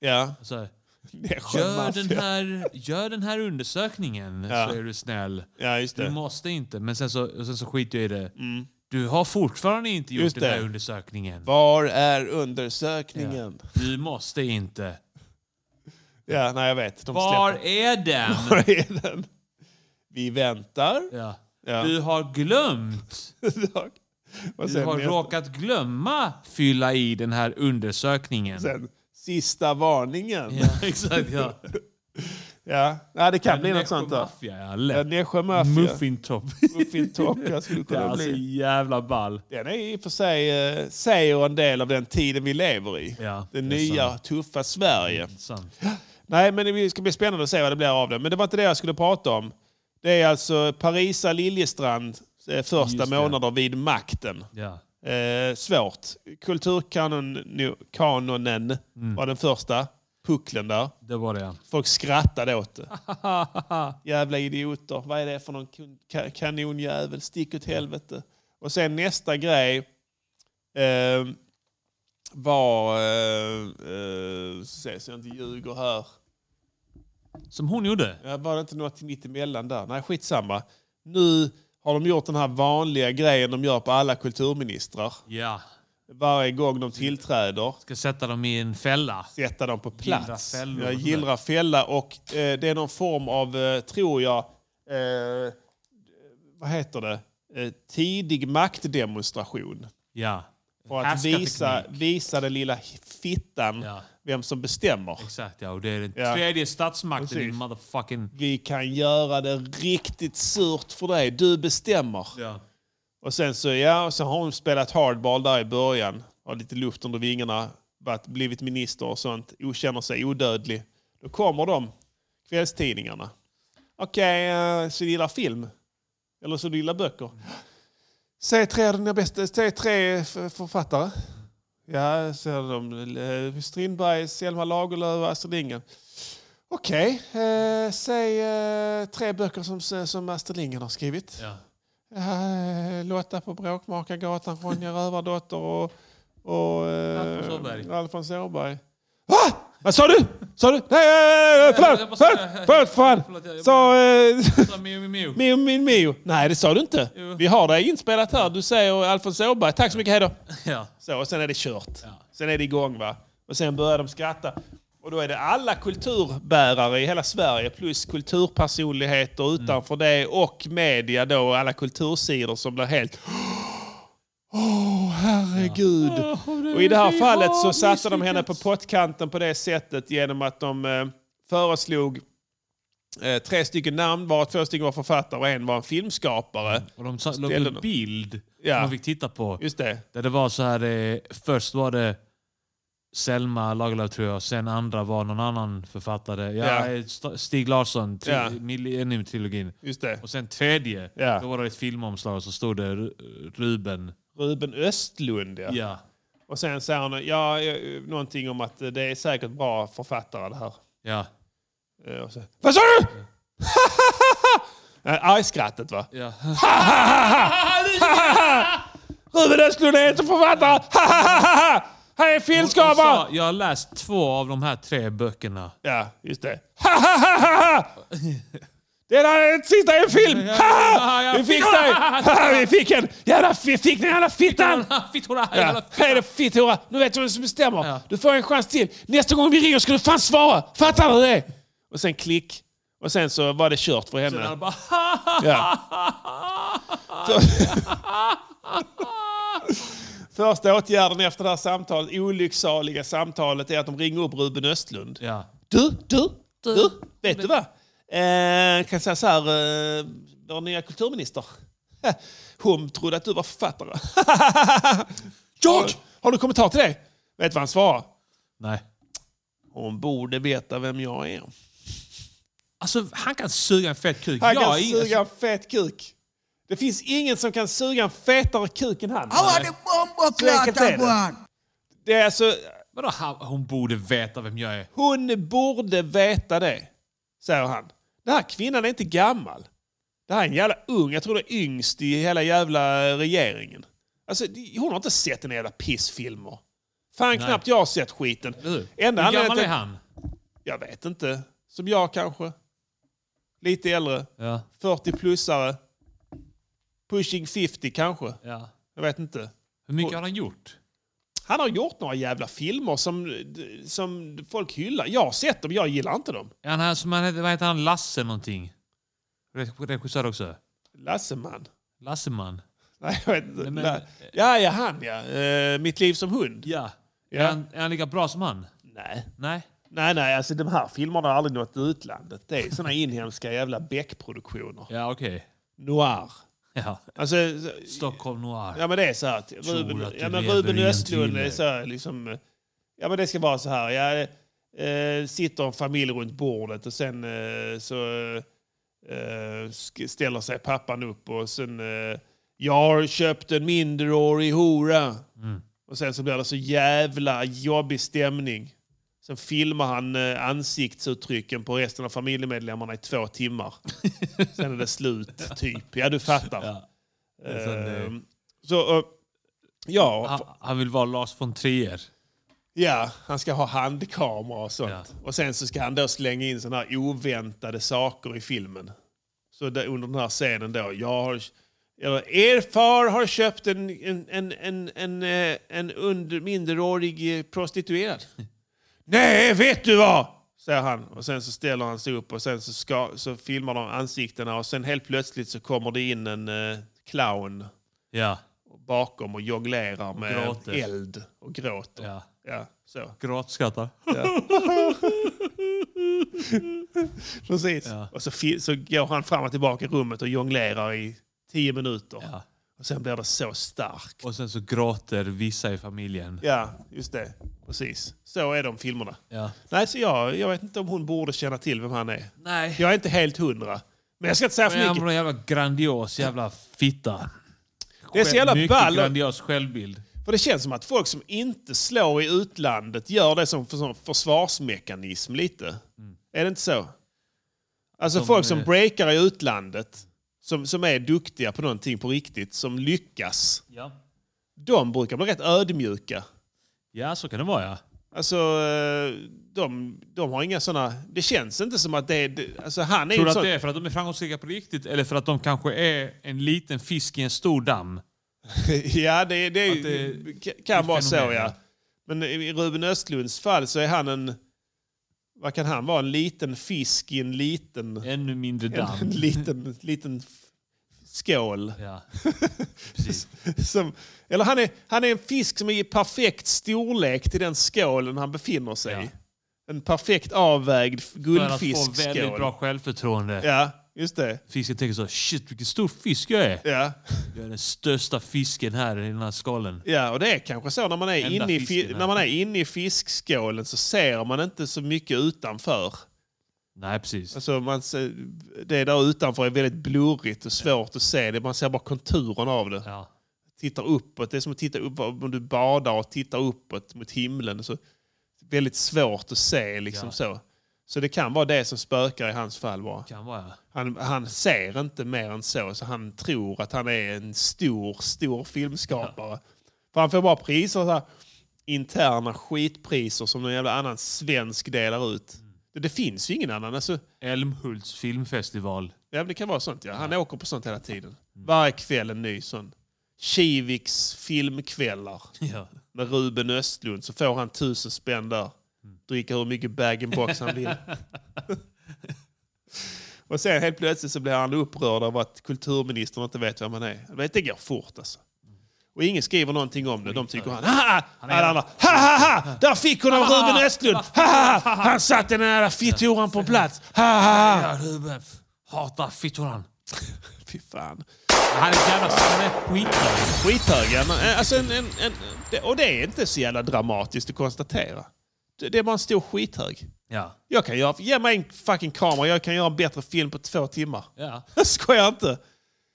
Ja. Så här, Gör Alltså, gör, den här, gör den här undersökningen Ja. så är du snäll. Ja, just Du det. Mm. måste inte. Men sen så, och sen så skiter jag i det. Du har fortfarande inte gjort Just den här det. undersökningen. Var är undersökningen? Ja. Du måste inte. nej jag vet. De Var släpper. är den? Var är den? Vi väntar. Ja. Ja. Du har glömt. Och Du sen har nästa- råkat glömma fylla i den här undersökningen. sen, sista varningen. Ja, exakt. Ja. Ja, nej, det kan bli något sånt där. Nässjömaffia, ja. Ja, lätt. Nässjö Mafia. Muffin Top. Muffin Top, jag skulle Det är kunna alltså bli. jävla ball. Den är i och för sig, eh, säger en del av den tiden vi lever i. Ja, det det är nya tuffa Sverige. Sant. Nej, men det ska bli spännande att se vad det blir av det. Men det var inte det jag skulle prata om. Det är alltså Parisa Liljestrand eh, första Just det. månader vid makten. Ja. Eh, svårt. Kulturkanonen kanonen Mm. var den första. Pucklen där. Det var det, ja. Folk skrattade åt det. Jävla idioter. Vad är det för någon kun- ka- kanonjävel? Stick åt helvete. Och sen nästa grej eh, var... Eh, eh, se så jag inte ljuger här. Som hon gjorde. Ja, var det inte något mitt emellan där? Nej, skitsamma. Nu har de gjort den här vanliga grejen de gör på alla kulturministrar. Ja. Varje gång de tillträder Ska sätta dem i en fälla. sätta dem på plats. Gillra fällor. Ja, gillra fälla och eh, det är någon form av, eh, tror jag, eh, vad heter det? Eh, tidig maktdemonstration. Ja. För att Härskarteknik. visa, visa den lilla fittan Ja. vem som bestämmer. Exakt, ja. Och det är den Ja. tredje statsmakten, Precis. din motherfucking... Vi kan göra det riktigt surt för dig. Du bestämmer. Ja. Och sen så, ja, och så har hon spelat hardball där i början. Har lite luft under vingarna. Varit, blivit minister och sånt. Okänner sig odödlig. Då kommer de, kvällstidningarna. Okej, eh, så du gillar film? Eller så du gillar böcker? Säg tre av dina bästa, säg tre f- författare. Ja, säger de. Eh, Strindberg, Selma Lagerlöf alltså och Astrid Lindgren. Okej, eh, säg eh, tre böcker som, som Astrid Lindgren har skrivit. ja. Eh, Lotta på Bråkmakargatan, Ronja Rövardotter och... och eh, Alfons Åberg. Alfons Åberg. Va? Vad sa du? Sa du? Nej, nej, nej, jag förlåt! måste- Förlåt! Förlåt! Fan. Förlåt, jag- jag- Sa... eh, Så, Mio, Mio, Mio. Mio, min Mio. Nej, det sa du inte. Jo. Vi har det inspelat här. Du säger Alfons Åberg. Tack så mycket, hejdå. Ja. Så, och sen är det kört. Sen är det igång, va? Och sen börjar de skratta. Och då är det alla kulturbärare i hela Sverige plus kulturpersonligheter utanför det och media då och alla kultursidor som blir helt... Åh, herregud! Och i det här fallet så satte de henne på pottkanten på det sättet genom att de eh, föreslog eh, tre stycken namn, var två stycken var författare och en var en filmskapare. Och de sa- la Ställde upp en dem. bild Ja. som de fick titta på. Just det. Där det var så här, eh, först var det Selma Lagerlöf tror jag, sen andra var någon annan författare. Ja, Ja. eh, St- Stig Larsson, tri- Ja. Millennium-trilogin. Just det. Och sen tredje, Ja. då var det ett filmomslag och så stod det Ru- Ruben. Ruben Östlund, ja. Ja. Och sen säger han ja, eh, någonting om att eh, det är säkert bra författare det här. Ja. Eh, Och så, Vad sa du? Eh, Argskrattet va? ja. Ruben Östlund är inte författare! Han är Hon sa, filmskapare! jag har läst två av de här tre böckerna. Ja, just det. Det där är sista är en film! Vi fick dig! Vi fick en! Jävla, vi fick den jävla fittan! Fittora, Ja. jävla f- Hej då fitthora! Nu vet du vem som bestämmer. Ja. Du får en chans till. Nästa gång vi ringer ska du fan svara. Fattar du det? Och sen klick. Och sen så var det kört för henne. alla bara, "Ha, ha, Ja. Så- Första åtgärden efter det här samtalet, olycksaliga samtalet är att de ringer upp Ruben Östlund. Ja. Du, du, du, vet du vad? Eh, kan säga så här, eh, vår nya kulturminister. Hon trodde att du var författare. Jag? Har, har du kommentar till det? Vet du vad han svarar? Nej. Hon borde veta vem jag är. Alltså, han kan suga en fett kuk. Han Jag kan är ingen- suga en fet kuk. Det finns ingen som kan suga en fetare kuk än han. How are the bomb Säkert är det. clotta one? Det är alltså, Vadå, han- hon borde veta vem jag är? hon borde veta det, säger han. Den här kvinnan är inte gammal. Det här är en jävla ung. Jag tror det är yngst i hela jävla regeringen. Alltså, hon har inte sett en jävla pissfilmer. Fan, knappt jag har sett skiten. Du, Enda hur anledningen gammal till- är han? Jag vet inte. Som jag kanske. Lite äldre. Ja, 40-plussare. Pushing 50 kanske. ja. Jag vet inte. Hur mycket har han gjort? Han har gjort några jävla filmer som, som folk hyllar. Jag har sett dem, jag gillar inte dem. Är han, här som han heter, vad heter han? Lasse någonting? Re- Regissör också? Lasseman. Lasseman? Nej, jag vet inte. men- La- ja, ja, han ja. Eh, mitt liv som hund. Ja. Ja. Är, han, är han lika bra som han? Nej. Nej? Nej, nej, alltså de här filmerna har aldrig nått utlandet. Det är såna inhemska jävla Beck-produktioner. Ja, okej. Noir. Ja. Alltså, Stockholm Noir. Ja men det är så här att Ruben, att du ja, men lever Ruben i en Östlund är thriller. så här, liksom, eh, ja men det ska vara så här, ja, eh, sitter en familj runt bordet och sen eh, så eh, sk- ställer sig pappan upp och sen eh, jag har köpt en minderårig hora. Mm. Och sen så blir det så jävla jobbig stämning. Sen filmar han eh, ansiktsuttrycken på resten av familjemedlemmarna i två timmar. sen är det slut, typ. Ja, du fattar. är sån, eh, Mm, Ehm, så, eh, ja, f- Han, han vill vara Lars von Trier. ja, han ska ha handkamera och sånt. Ja. Och sen så ska han då slänga in såna här oväntade saker i filmen. Så där, under den här scenen då, jag har, eller, er far har köpt en, en, en, en, en, eh, en under, minderårig eh, prostituerad. Nej, vet du vad? Säger han. Och sen så ställer han sig upp och sen så, ska, så filmar de ansiktena och sen helt plötsligt så kommer det in en eh, clown Ja. bakom och jonglerar med gråter. eld och gråter. ja. Ja, så. Gråtskrattar. Precis. Ja. Och så, fi- så går han fram och tillbaka i rummet och jonglerar i tio minuter. Ja. Och sen blir det så starkt. Och sen så gråter vissa i familjen. Ja, just det. Precis. Så är de filmerna. Ja. Nej, så jag, jag vet inte om hon borde känna till vem han är. Nej. Jag är inte helt hundra. Men jag ska inte säga för Men han mycket. var en jävla grandios jävla fitta. Det är så jävla Mycket ball. grandios självbild. För det känns som att folk som inte slår i utlandet gör det som, som försvarsmekanism lite. Är det inte så? Alltså Mm. De eh, folk som är- breakar i utlandet, som, som är duktiga på någonting på riktigt, som lyckas. Ja. De brukar bli rätt ödmjuka. ja, så kan det vara ja. Alltså, eh, de, de har inga såna... Det känns inte som att det är... det- Alltså han är ju Tror du en att sån... det är för att de är framgångsrika på riktigt eller för att de kanske är en liten fisk i en stor damm? Ja, det, det, är ju- Att ka- kan vara så fenomen, ja. ja. Men i Ruben Östlunds fall så är han en... Vad kan han vara? En liten fisk i en liten... Ännu mindre en damm. liten, liten f- skål. Ja. Precis. Som, eller han är, han är en fisk som är i perfekt storlek till den skålen han befinner sig i. Ja. En perfekt avvägd f- För att få väldigt guldfiskskål. bra självförtroende. Ja, just det. Fisken tänker så shit vilken stor fisk jag är. Ja. Jag är den största fisken här i den här skalen. ja, och det är kanske så när man är, Enda inne i, fisken fi- här. när man är inne i fiskskålen så ser man inte så mycket utanför. Nej precis. Alltså man ser, det där utanför är väldigt blurrigt och svårt att se. Det. Man ser bara konturen av det. Ja. tittar uppåt. Det är som att titta upp, om du badar och tittar uppåt mot himlen. Så väldigt svårt att se. Liksom Ja. så. så det kan vara det som spökar i hans fall. Bara. Kan vara ja. Han, han ser inte mer än så, så han tror att han är en stor, stor filmskapare. För han får bara priser, så här, interna skitpriser som någon jävla annan svensk delar ut. Mm. Det, det finns ju ingen annan. Alltså, Älmhults filmfestival. Ja, men det kan vara sånt. Ja. Mm. Han åker på sånt hela tiden. Varje kväll en ny sån. Kiviks filmkvällar Ja. med Ruben Östlund så får han tusen spänn där. Dricka hur mycket bag-in-box han vill. och sen helt plötsligt så blir han upprörd över att kulturministern inte vet vem han är. Du Vet, det går fort alltså. Och ingen skriver någonting om det. De tycker han... "Haha!" Alla andra... Ha, ha, ha! Där fick hon av Ruben Östlund! Ha, ha, ha! Han satte den där fittoran på plats! Ha, ha, ha! Ja, Ruben. Hatar fittoran. Fy fan. Han är jävla... Han är skitnödig. Skithöga. men, eh, Alltså en, en, en, det- och det är inte så jävla dramatiskt att konstatera. Det det är bara en stor skithög. Ja. Jag kan göra, ge mig en fucking kamera, jag kan göra en bättre film på två timmar. ja. Jag skojar inte.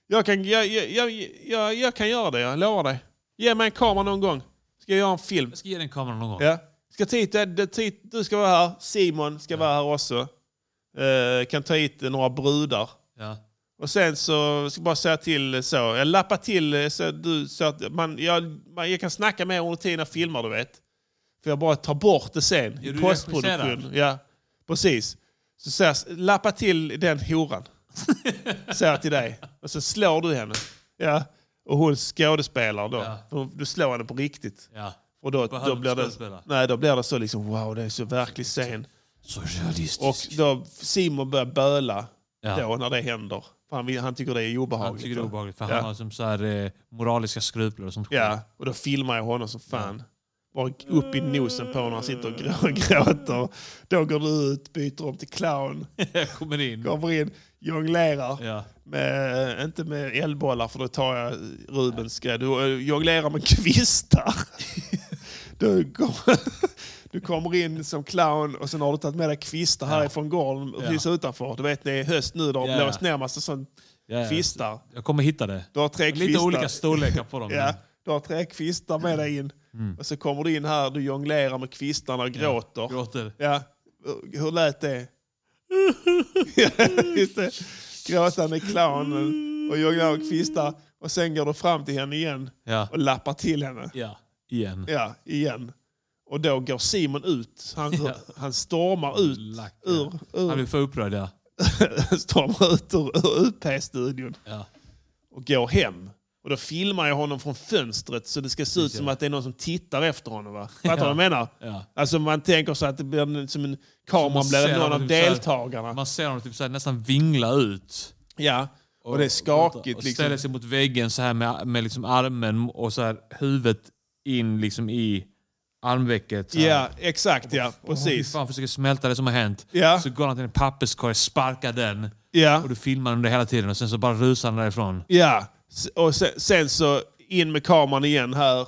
Jag kan, jag, jag, jag, jag, jag kan göra det, jag lovar dig. Ge mig en kamera någon gång. Ska jag göra en film. Jag ska ge den kameran någon gång. Ja. Ska ta hit, eh, det- ta hit, du ska vara här, Simon ska vara här också. Eh, kan ta hit några brudar. Ja. Och sen så ska jag bara säga till så. Jag lappar till eh, så, att du, så att man, jag, man, jag kan snacka med under tiden jag filmar, du vet. För jag bara tar bort det sen du i postproduktion. Ja, precis. Så, så här, lappa till den horan. Säger jag till dig. Och så slår du henne. Ja. Och hon skådespelar då. Ja. För Du slår henne på riktigt. Ja. Och då, Behöver då, inte blir det, skådespelare. nej, då blir det så liksom wow, det är så verklig scen. Så realistiskt. Och då Simon börjar böla Ja. då när det händer. För han, vill- han tycker det är obehagligt. han tycker det är då. obehagligt för Ja. han har som så här, eh, moraliska skrupler och sånt Ja, och då filmar jag honom som fan. Bara upp i nosen på när han sitter och grå- gråter. Då går du ut, byter om till clown, Jag kommer in. kommer in, jonglerar. Ja. Med, inte med elbollar för då tar jag Rubens grej. Du eh, jonglerar med kvistar. Du, kom, du kommer in som clown och sen har du tagit med dig kvistar härifrån gården precis utanför. Du vet det är höst nu, det har Ja. blåst ner massa sån Ja, ja. kvistar. Jag kommer hitta det. Du har tre Lite kvistar. olika storlekar på dem. Ja, du har tre kvistar med dig in. Mm. Och så kommer du in här, du jonglerar med kvistarna och gråter. men Gråter. Ja. Hur lät det? Ja, Just det. Gråtande clownen och jonglerar med kvistar. Och sen går du fram till henne igen Ja. och lappar till henne. ja. Igen. Ja, igen. Och då går Simon ut. Han, han stormar ut Lack, ja. ur, Han ur, blir för upprörd ja. stormar ut ur, ur UP-studion ja. och går hem. Och då filmar jag honom från fönstret så det ska se ut som att det är någon som tittar efter honom. Va? Fattar du vad jag menar? Ja. Alltså man tänker så att det blir en, som en kamera man blir ser någon honom av typ så här- deltagarna. Man ser honom typ så här, nästan vingla ut. ja. och, det är skakigt. Och liksom. ställer sig mot väggen så här med, med liksom armen och så här huvudet in liksom i armvecket. så här. Ja, exakt ja. Fy Precis. Fan försöker smälta det som har hänt. Ja. Så går han till en papperskorg, sparkar den. Ja. Och du filmar under hela tiden och sen så bara rusar han därifrån. Ja, S- och sen, sen så in med kameran igen här.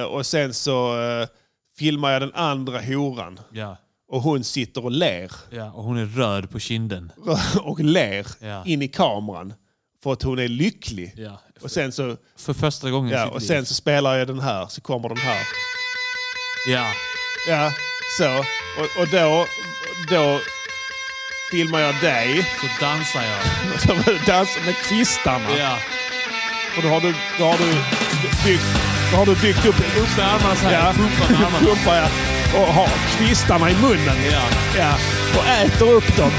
Eh, och sen så eh, filmar jag den andra horan. Ja. Och hon sitter och ler. ja. Och hon är röd på kinden. Och ler Ja. in i kameran. För att hon är lycklig. Ja. Och sen så, För första gången i ja, sitt och liv. sen så spelar jag den här, så kommer den här. Ja. Ja, så. Och, och då, då filmar jag dig Så dansar jag. som dansar med kvistarna. Ja. Och då har du, då har du byggt, då har du byggt upp... Upp med armarna så här, pumpar med armarna. pumpar jag. Och har kvistarna i munnen. Ja. Ja. Och äter upp dem.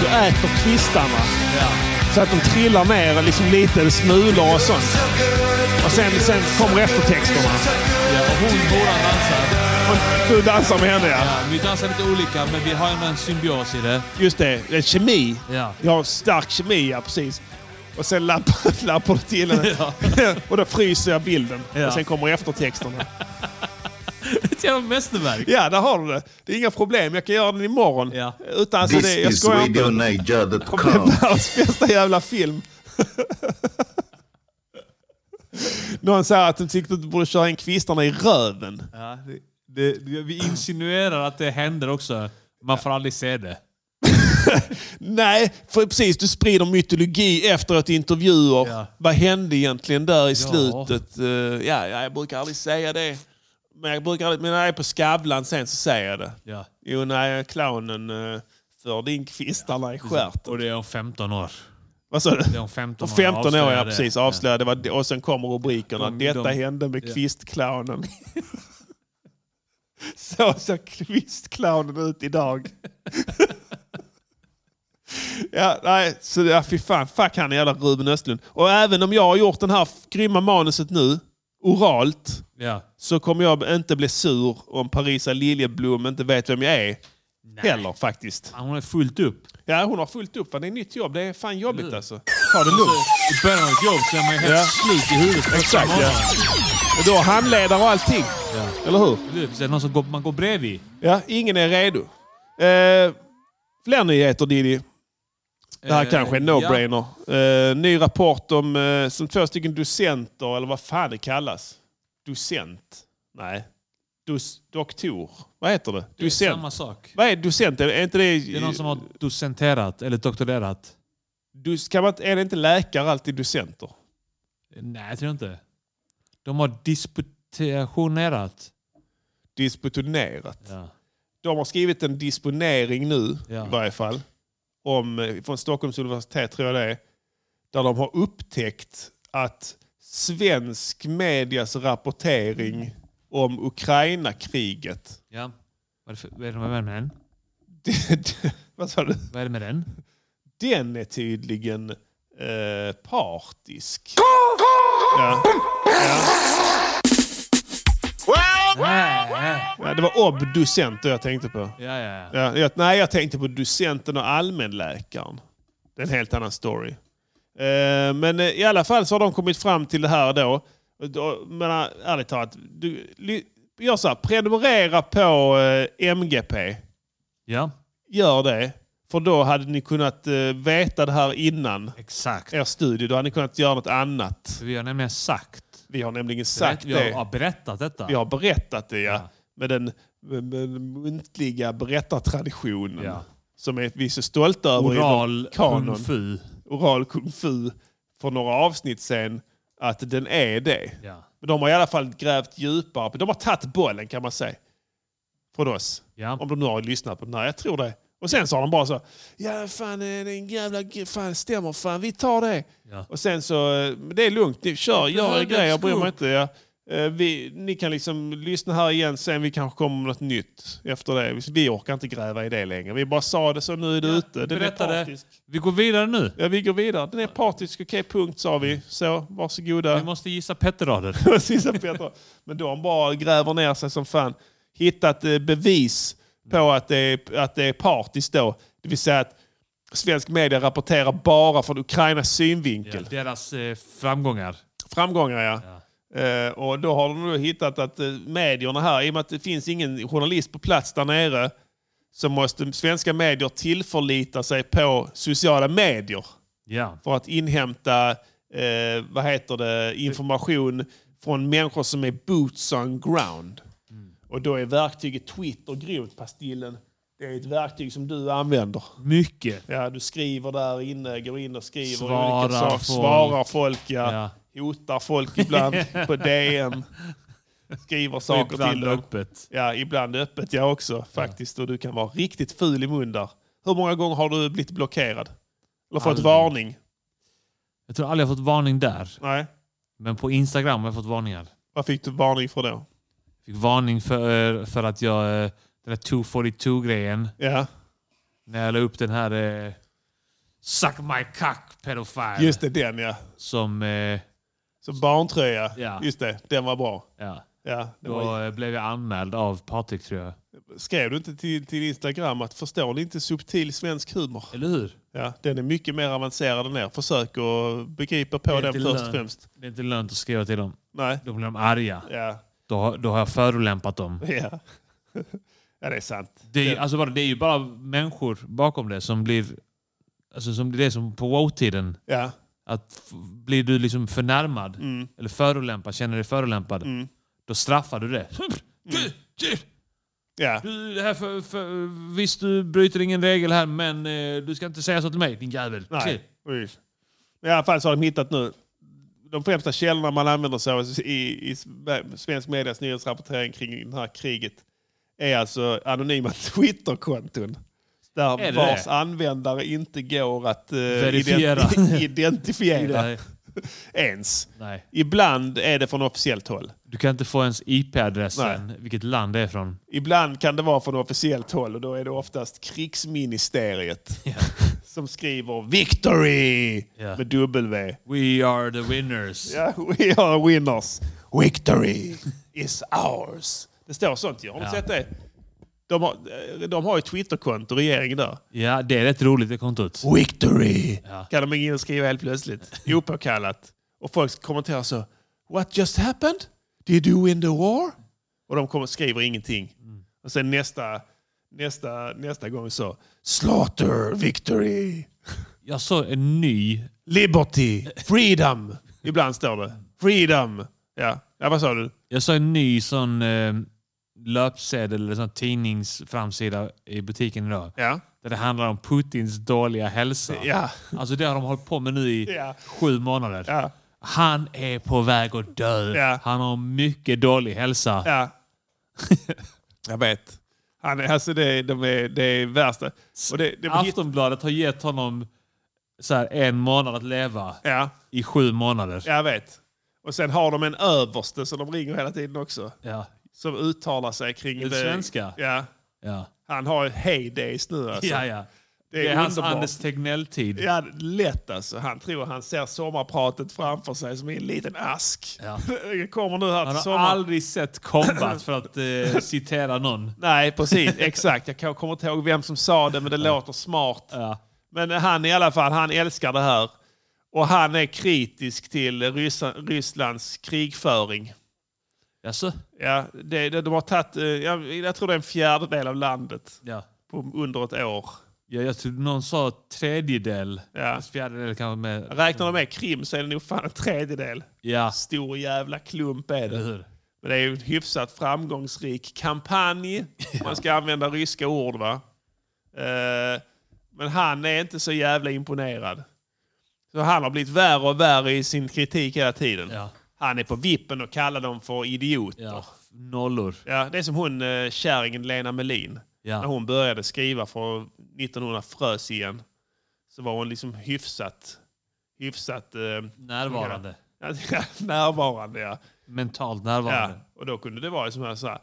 Du äter kvistarna. Ja. Så att de trillar ner liksom lite smulor och sånt. Och sen, sen kommer eftertexterna. ja. Och hon båda dansar. Och du dansar med henne ja. Ja. Vi dansar lite olika men vi har ändå en symbios i det. Just det, det är kemi. Ja. Jag har en stark kemi, ja precis. Och sen lappar, lappar du till den. och då fryser jag bilden. Ja. Och sen kommer eftertexterna. Ett jävla mästerverk. ja, där har du det. Det är inga problem. Jag kan göra den imorgon. Ja. Utan alltså det, jag skojar inte. Det RadioNaja.com. är världens bästa jävla film. Någon säger att de tyckte att du borde köra in kvistarna i röven. Ja, det, det, vi insinuerar att det händer också. Man får aldrig se det. Nej, för precis. Du sprider mytologi efteråt i intervjuer. Ja. Vad hände egentligen där i slutet? Eh, ja, ja, jag brukar aldrig säga det. Men, jag brukar aldrig, men när jag är på Skavlan sen så säger jag det. Ja. Jo, nej, clownen uh, förde in kvistarna i stjärten. Och det är om 15 år. Vad sa du? Det är om 15 Om år. 15 år, avslöjar ja det. precis. Avslöjade. vad det- Och sen kommer rubrikerna. De- Detta de- hände med ja. kvistclownen. så ser kvistclownen ut idag. ja, nej, så ja, fy fan. Fuck han jävla Ruben Östlund. Och även om jag har gjort den här f- grymma manuset nu, oralt, Ja. så kommer jag inte bli sur om Parisa Liljeblom inte vet vem jag är. Heller faktiskt. Hon är fullt upp. Ja, hon har fullt upp. va? Det är nytt jobb. Det är fan jobbigt alltså. Ta det lugnt. I början av ett jobb så är man ju helt Ja. slut i huvudet. första Exakt, ja. morgonen. Och Du har handledare och allting. Eller hur? Det är någon som går, man går bredvid. Ja, ingen är redo. Eh, fler nyheter Diddy. Det här Eh, kanske är en no-brainer. Eh, ny rapport om eh, som två stycken docenter, eller vad fan det kallas. Docent? Nej. dus, doktor. Vad heter det? Docent. Samma sak. Vad är docent? Är inte det... Det är någon som har docenterat eller doktorerat. Dus- kan man, inte- är det inte läkare alltid docenter? Nej, jag tror inte. De har disputationerat. Disputonerat. Ja. De har skrivit en disponering nu Ja. i varje fall. Om, eh, från Stockholms universitet tror jag det är. Där de har upptäckt att svensk medias rapportering om Ukraina-kriget. ja. Vad är det för- vad är det med den? Vad sa du? Vad är det med den? Den är tydligen eh, partisk. Ja. Nej, nej. Ja, det var obducenter jag tänkte på. Ja, ja, ja. Ja, jag, nej, jag tänkte på docenten och allmänläkaren. Det är en helt annan story. Eh, men eh, i alla fall så har de kommit fram till det här då. då men eh, ärligt talat, du, ly- gör så här, prenumerera på eh, MGP. ja. Gör det. För då hade ni kunnat eh, veta det här innan Exakt. er studie. Då hade ni kunnat göra något annat. Vi har nämligen sagt. Vi har nämligen sagt vi har, det. har berättat detta. Vi har berättat det, ja. Ja. Med den med, med den muntliga berättartraditionen. Ja. Som är, vi är så stolta över Oral inom kanon. kung fu. Oral kung fu. För några avsnitt sen. Att den är det. Ja. Men de har i alla fall grävt djupare. De har tagit bollen kan man säga. Från oss. Ja. Om de nu har lyssnat på den här. Jag tror det. Och sen sa de bara så. Ja fan eh, den jävla g- fan stämmer fan. Vi tar det. Ja. Och sen så. eh, men Det är lugnt. Ni Kör. Gör behöver er grejer. Jag bryr mig skog. inte. Ja. Eh, Vi, ni kan liksom lyssna här igen sen. Vi kanske kommer med något nytt efter det. Vi orkar inte gräva i det längre. Vi bara sa det så nu är det ute. Den är Berätta det. partisk. Vi går vidare nu. Ja, vi går vidare. Den är partisk. Okej, punkt sa vi. Så, varsågoda. Vi måste gissa Petterader. Sista Petra. Men de bara gräver ner sig som fan. Hittat eh, bevis på att det, är, att det är partiskt då. Det vill säga att svensk media rapporterar bara från Ukrainas synvinkel. Deras eh, framgångar. Framgångar ja. Eh, och då har de då hittat att eh, medierna här, i och med att det finns ingen journalist på plats där nere, så måste svenska medier tillförlita sig på sociala medier Ja. för att inhämta eh, vad heter det, information från människor som är boots on ground. Och då är verktyget Twitter grymt, Pastillen. Det är ett verktyg som du använder. Mycket. Ja, du skriver där inne, går in och skriver Svarar olika saker. folk. Svarar folk, ja. Ja. Hotar folk ibland på DM. Skriver saker Ibland till dem. öppet. Ja, ibland öppet jag också faktiskt. Och du kan vara riktigt ful i mun där. Hur många gånger har du blivit blockerad? Eller fått Aldrig. varning? Jag tror aldrig jag fått varning där. Nej. Men på Instagram har jag fått varningar. Vad fick du varning för då? Fick varning för, för att jag... eh, Den där 242-grejen. Ja, När jag la upp den här... Eh, Suck my cock pedofile. just det, den ja. Som... Eh, Så barntröja. Ja. Just det, den var bra. ja. Ja, det var... Då eh, blev jag anmäld av Patrik tror jag. Skrev du inte till, till Instagram att förstår ni inte subtil svensk humor? Eller hur? Ja, den är mycket mer avancerad än er. Försök att begripa på är den inte först och lönt. främst. Det är inte lönt att skriva till dem. Nej. Då blir de arga. Ja. Då, har- då har jag förolämpat dem. Ja. ja, det är sant. Det är, ju- alltså bara, det är ju bara människor bakom det som blir... Alltså som blir det som på wow-tiden. Ja. Att f- blir du liksom förnärmad Mm. eller förolämpad, känner dig förolämpad, då straffar du det. Du, du, Ja. du, det här för, för, visst, du bryter ingen regel här, men eh, du ska inte säga så till mig, din jävel. Nej. precis. Men I alla fall så har de hittat nu. De främsta källorna man använder sig av i, i svensk medias nyhetsrapportering kring det här kriget är alltså anonyma Twitterkonton. Där det vars det? användare inte går att eh, Verifiera. ident- identifiera Nej. ens. Nej. Ibland är det från officiellt håll. Du kan inte få ens IP-adressen, vilket land det är från. Ibland kan det vara från officiellt håll och då är det oftast krigsministeriet som skriver “Victory” Ja. med W. We are the winners. Ja, we are winners. Victory is ours. Det står sånt ju. Har du Ja. sett det? De har, eh, de har ju Twitterkonto, regeringen där. Ja, det är rätt roligt det kontot. Victory! Ja. Kan de ingen skriva helt plötsligt. Opåkallat. Och folk kommenterar så. What just happened? Did you win the war? Och de kommer, skriver ingenting. Mm. Och sen nästa, nästa, nästa gång så. Slaughter, victory, Jag såg en ny... liberty, freedom. Ibland står det. Freedom. Ja, ja vad sa du? Jag såg en ny sån eh, löpsedel eller sån tidningsframsida i butiken idag. Ja. Där det handlar om Putins dåliga hälsa. Ja. Alltså det har de hållit på med nu i Ja. sju månader. Ja. Han är på väg att dö. Ja. Han har mycket dålig hälsa. Ja. Jag vet. Han, är- alltså det, är- de är, det är värsta. Och det, det blir, Aftonbladet har gett honom så här, en månad att leva ja, i sju månader. jag vet. Och sen har de en överste som de ringer hela tiden också. Ja. Som uttalar sig kring... Den svenska? Ja. Ja. Han har ju heydays nu alltså. ja, ja. Det är, Det är hans underbart. Anders Tegnell-tid. Ja, lätt alltså. Han tror han ser sommarpratet framför sig som i en liten ask. Ja. Det kommer nu här Han till har sommar. aldrig sett combat för att eh, citera någon. Nej, precis. Exakt. Jag kan- kommer inte ihåg vem som sa det, men det låter smart. Ja. Men han i alla fall, han älskar det här. Och han är kritisk till Ryssa, Rysslands krigföring. Jaså? Ja, det, det, de har tagit, eh, jag, jag tror det är en fjärdedel av landet Ja. på under ett år. Ja, jag tror någon sa tredjedel. Ja. Fjärdedel kanske med... Räknar de med Krim så är det nog fan en tredjedel. Ja. Stor jävla klump är Eller det. hur? Men det är ju en hyfsat framgångsrik kampanj. om Man ska använda ryska ord va. Eh, men han är inte så jävla imponerad. Så han har blivit värre och värre i sin kritik hela tiden. Ja. Han är på vippen och kallar dem för idioter. ja. Ja. Nollor. det är som hon eh, kärringen Lena Melin. Ja. När hon började skriva för 1900 frös igen. Så var hon liksom hyfsat... Hyfsat... eh, Närvarande. Ja, närvarande ja. Mentalt Ja, närvarande. och då kunde det vara som här, så här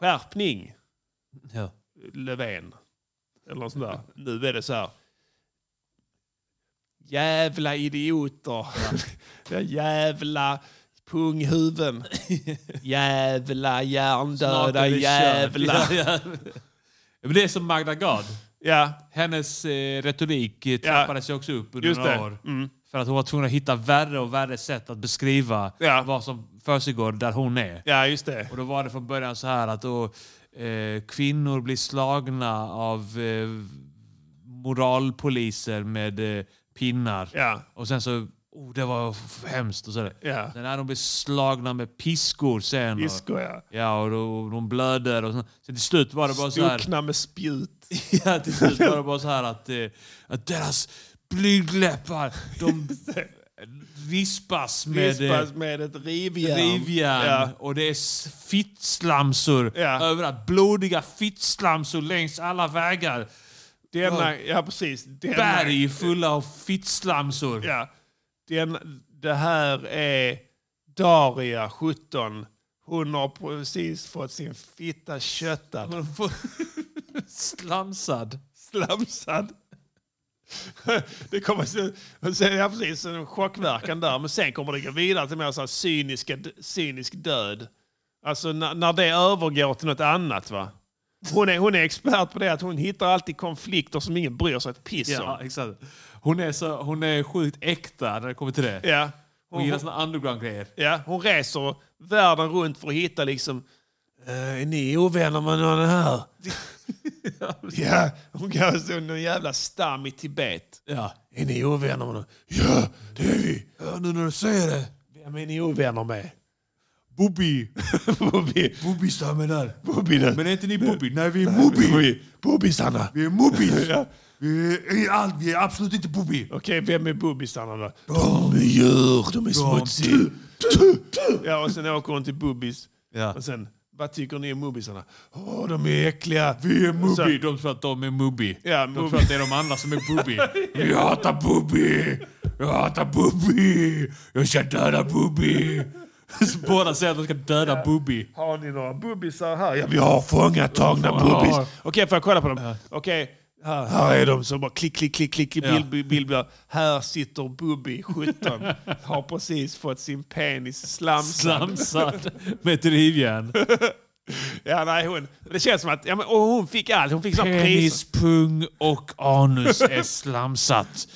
skärpning Ja. Löfven. Eller något sånt där. Nu är det så här. Jävla idioter. Ja. jävla punghuven. jävla Snart hjärndöda är det kört. jävla. Ja, ja. Men det är som Magda Gad. Ja, Hennes eh, retorik eh, trappades ju också upp under Just några det. Mm. år. För att hon var tvungen att hitta värre och värre sätt att beskriva Ja. vad som försiggår där hon är. ja just det. Och då var det från början så här att då, eh, kvinnor blir slagna av eh, moralpoliser med eh, pinnar. Ja. Och sen så, oh det var f- hemskt och sådär. Ja. Sen när de blir slagna med piskor sen. och- Disco ja. Ja, och då, de blöder och så. så till slut var det bara så här... Duckna med spjut. Ja, till slut var det bara så här att, eh, att deras blygdläppar, de vispas med eh, Vispas med ett rivjärn. rivjärn Ja. och det är s- fittslamsor Ja. överallt. Blodiga fittslamsor längs alla vägar. Denna, ja precis. Denna, Berg fulla av fittslamsor. Ja. Den, det här är Daria, 17. Hon har precis fått sin fitta köttad. Man får- Slamsad. Slamsad. Det kommer så, och sen, ja, precis en chockverkan där. Men sen kommer det gå vidare till mer så här cyniska, cynisk död. Alltså när, när det övergår till något annat. va. Hon är, hon är expert på det att hon hittar alltid konflikter som ingen bryr sig ett piss Ja, om. exakt. Hon är, så, hon är sjukt äkta när det kommer till det. Ja. Hon gillar såna underground-grejer. Ja, hon reser världen runt för att hitta liksom... "Eh, är ni ovänner med någon här? ja, hon går så någon jävla stam i Tibet. Ja. Är ni ovänner med någon? Ja, det är vi. Ja, nu när du säger det. Vem är ni ovänner med? Bobby. Bobby. Bobby-stammen där. Bobby. Men är inte ni Bobby? Nej, vi är Bobby. Bobbisarna. Vi är Mobbis. Ja. Vi är, allt, vi är absolut inte Bobby. Okej, vem är Bubbisarna då? De är djur, de är smutsiga. Ja, och sen åker hon till Bubbis. Ja. Och sen, vad tycker ni om Bubbisarna? Åh, de är äckliga. Vi är Bobby, Alltså, de tror att de är Moby. Ja, de Moby. tror att det är de andra som är Bobby. Jag hatar Bobby! Jag hatar Bobby! Jag ska döda Bobby! Så Båda säger att de ska döda Bobby. Har ni några bubbisar här? Ja, vi har fångat tagna bubbis. Okej, får jag kolla på dem? Okej, här, här är de. Så bara klick, klick, klick, klick, bild, bild, bild, bild. Här sitter Bobby, 17. Har precis fått sin penis slamsad. Slamsad med ett rivjärn. Ja, nej, hon. Det känns som att... Ja, men, och hon fick allt. Hon fick sån pris. Penis, pung och anus är slamsat.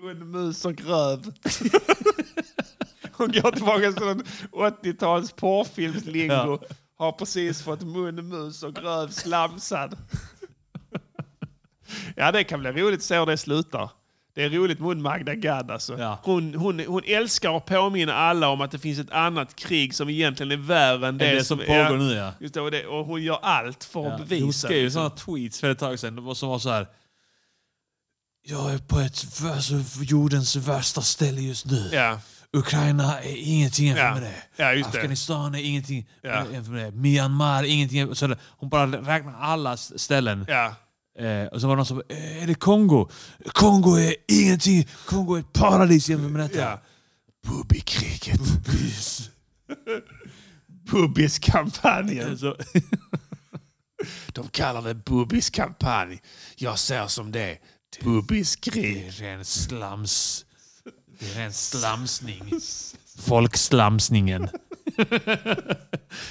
Hon mus och röv. Hon går tillbaka till en 80-tals porrfilmslingo. Har precis fått mun, mus och röv slamsad. Ja, det kan bli roligt att se hur det slutar. Det är roligt med hon Magda Gad alltså. Ja. Hon, hon, hon älskar att påminna alla om att det finns ett annat krig som egentligen är värre än det, det som pågår ja, nu, ja. Just det, och, det, och hon gör allt för att Hon bevisa liksom. skrev ju det. sådana tweets för ett tag sedan det var- som var så här. Jag är på ett värsta- alltså, jordens värsta ställe just nu. Ja. Ukraina är ingenting jämfört Ja. med det. Ja, just det. Afghanistan är ingenting Ja. jämfört med det. Myanmar, ingenting jämfört så det- Hon bara räknar alla s- ställen. Ja. Eh, och så var det någon som eh, är det Kongo? Kongo är ingenting. Kongo är ett paradis jämfört med detta. Ja. Bubikriget. Bubis. Bubbiskampanjen. De kallar det bubbiskampanj. Jag ser som det. Bubbiskrig. ren slams... Det är ren slamsning. Folkslamsningen.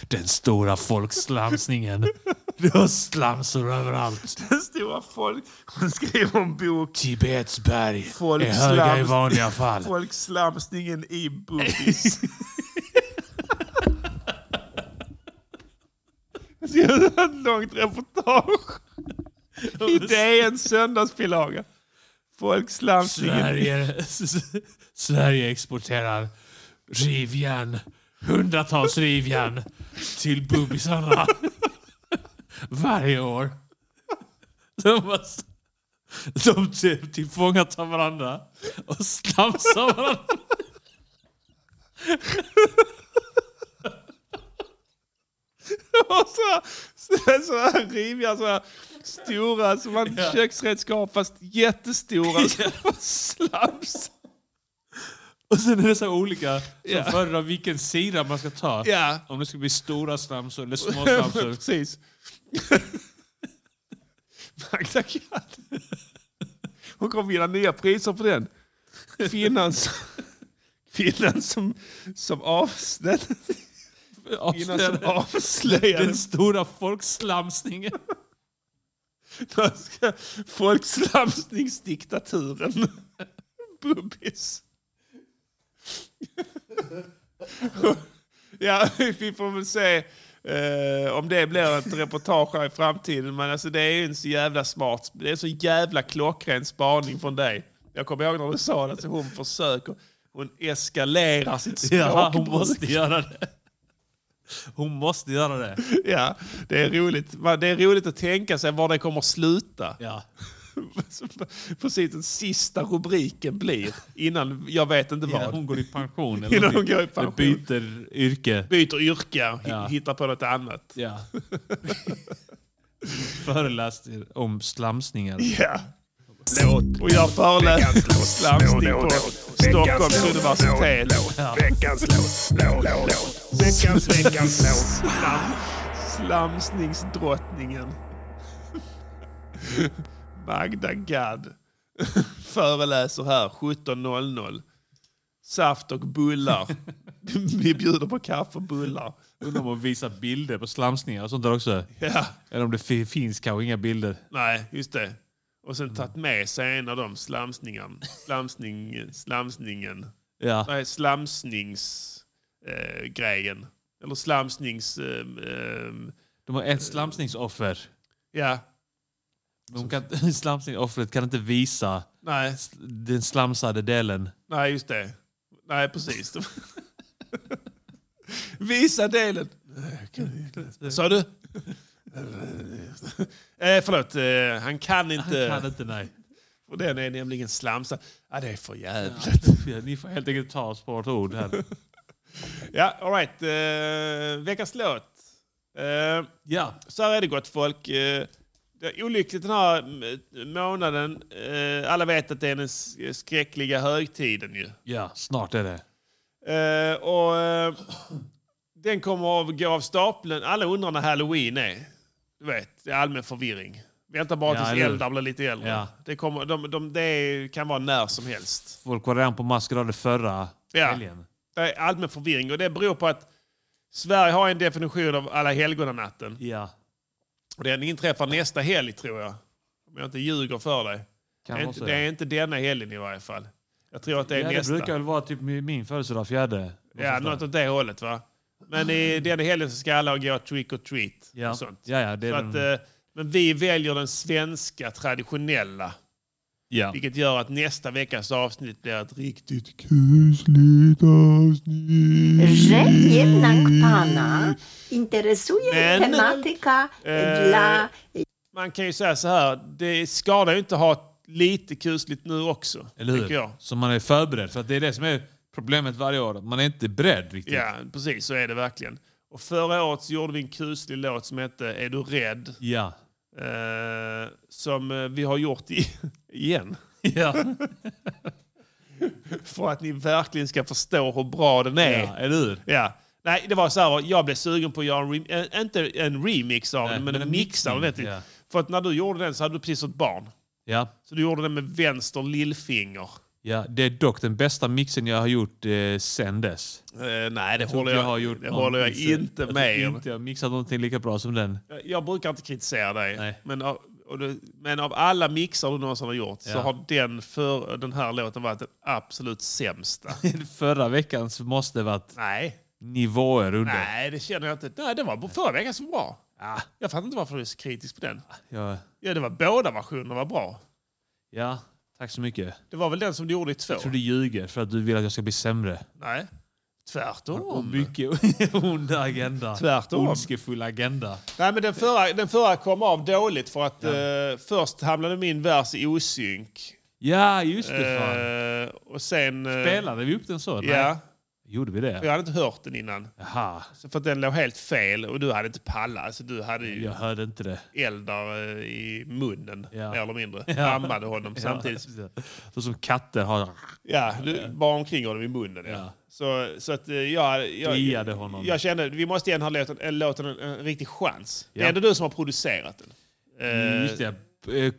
Den stora folkslamsningen. Du har slamsor överallt. Den stora folk... Hon skriver en bok. Tibets berg är Folkslams- höga i vanliga fall. Folkslamsningen i bubbis. Jag ska göra ett långt reportage. I DNs söndagsbilaga. Folkslamsningen. Sverige, Sverige exporterar rivjärn, hundratals rivjärn till bubisarna varje år. De, var, de till- tillfångatar varandra och slamsar varandra. Och så här, så här, så här riviga, så här stora som man köksredskap fast jättestora. Slams. Och sen är det så här olika som Ja. föredrar vilken sida man ska ta. Ja. Om det ska bli stora slamsor eller små slamsor. Precis. Magda Gad. Hon kommer vinna nya priser på den. Kvinnan som, kvinnan som, som, avslö, kvinnan som avslöjade Den stora folkslamsningen. Danska folkslamsningsdiktaturen. Bubbis. ja, vi får väl se eh, om det blir ett reportage här i framtiden. Men alltså, det är ju en så jävla smart, det är en så jävla klockren spaning från dig. Jag kommer ihåg när du sa det, att hon försöker, hon eskalerar sitt Ja, språkbruk. hon måste göra det. Hon måste göra det. Ja, det är roligt. Va, Det är roligt att tänka sig var det kommer sluta. Ja. Precis, den sista rubriken blir innan jag vet inte vad. Innan hon går i pension. Eller Innan hon någonting. går i pension. Eller byter yrke. Byter yrke och hi- Ja. hittar på något annat. Ja. Föreläst om slamsningar. Ja. Och jag föreläser på slamsting på Stockholms universitet. Veckans låt, låt, låt. Veckans, veckans låt. Slamsningsdrottningen. Magda Gad föreläser här 17.00. Saft och bullar. Vi bjuder på kaffe och bullar. Undrar om hon visar bilder på slamsningar och sånt där också. Ja. Eller om det fi- finns kanske inga bilder. Nej, just det. Och sen Mm. tagit med sig en av de slamsningarna. Slamsning, slamsningen. Ja. Nej, slamsningsgrejen. Eh, grejen. Eller slamsnings... ehm, ehm, De har ett slamsningsoffer. ja, De kan, slamsningsoffret kan inte visa nej, den slamsade delen. nej, just det. Nej, precis. Visa delen. Sa du? Eh, förlåt, eh, han kan inte. Kan inte, nej. Och den är nämligen slamsad. Ja, det är för jävligt. Ni får helt enkelt ta oss på vårt ord här. Ja, all right. Eh, veckans låt. Eh, Ja. så här är det gott folk. Eh, det är olyckligt den här m- månaden. Eh, alla vet att det är den s- skräckliga högtiden ju. Ja, snart är det. Eh, och eh, den kommer att gå av stapeln. Alla undrar när halloween är. Du vet, det är allmän förvirring. Vänta bara Ja, tills eller hur? eldar blir lite äldre. Ja. Det, kommer, de, de, det kan vara när som helst. Folk var redan på maskerader förra Ja. helgen. Det är allmän förvirring och det beror på att Sverige har en definition av alla helgonanatten. Ja. Och den inträffar nästa helg tror jag. Om jag inte ljuger för dig. Kan Det är vara inte, så. det är inte denna helgen i varje fall. Jag tror att det är ja, det nästa. brukar väl vara typ min min födelsedag, fjärde. ja, något åt det hållet va. Men i denna helgen så ska alla gå trick or treat. ja. Och sånt. ja, ja, det Så är att, den, eh, men vi väljer den svenska traditionella. Ja. Vilket gör att nästa veckas avsnitt blir ett riktigt kusligt avsnitt. Że jednak pana interesuje Men- tematyka dla... Man kan ju säga så här, det skadar ju inte att ha lite kusligt nu också. Eller hur? tycker jag. Så man är förberedd. För att det är det som är problemet varje år. att Man är inte beredd riktigt. Ja, precis. Så är det verkligen. Och förra året så gjorde vi en kuslig låt som hette Är du rädd? Ja. Eh, som eh, vi har gjort i, igen. ja. För att ni verkligen ska förstå hur bra den är. ja. Eller hur? Ja. Nej, det var så här, jag blev sugen på att göra en, rem- eh, inte en remix av Nej, den, men, men en en mix av den. vet mixning, ni. ja. För att när du gjorde den så hade du precis ett barn. Ja. Så du gjorde den med vänster lillfinger. ja. Det är dock den bästa mixen jag har gjort eh, sen dess. Eh, nej, det tror håller inte jag, har gjort det någon håller jag mix. inte jag med Jag om. inte jag har mixat någonting lika bra som den. Jag, jag brukar inte kritisera dig. Nej. Men av, och du, men av alla mixar du någonsin har gjort så Ja. har den för den här låten varit den absolut sämsta. Förra veckans måste varit nej. nivåer under. nej, det känner jag inte. Nej, det var förra veckan som var bra. Jag fattar inte varför du är så kritisk på den. Ja. Ja, det var båda versionerna var bra. ja. Tack så mycket. Det var väl den som du gjorde i två? Jag tror du ljuger för att du vill att jag ska bli sämre. Nej. Och Tvärtom. mycket onda agenda. Tvärtom. Ondskefull agenda. Nej, men den, förra, den förra kom av dåligt för att eh, först hamnade min vers i osynk. Ja, just det. fan. Eh, och sen... eh, Spelade vi upp den så? Nej. Ja, Gjorde vi jag det? hade inte hört den innan. Jaha, Så För att den låg helt fel och du hade inte pallat. Alltså, du hade ju jag hörde inte det. eldar eh, i munnen, Ja. mer eller mindre. Ammade honom samtidigt. Så som katter har... Ja, du bar omkring honom i munnen. Ja. Ja. Så, så att eh, jag, jag, Kliade honom. jag kände vi måste igen ha låten, eller låten en, en riktig chans. Det Ja. är ändå du som har producerat den. Eh, Just det. Eh,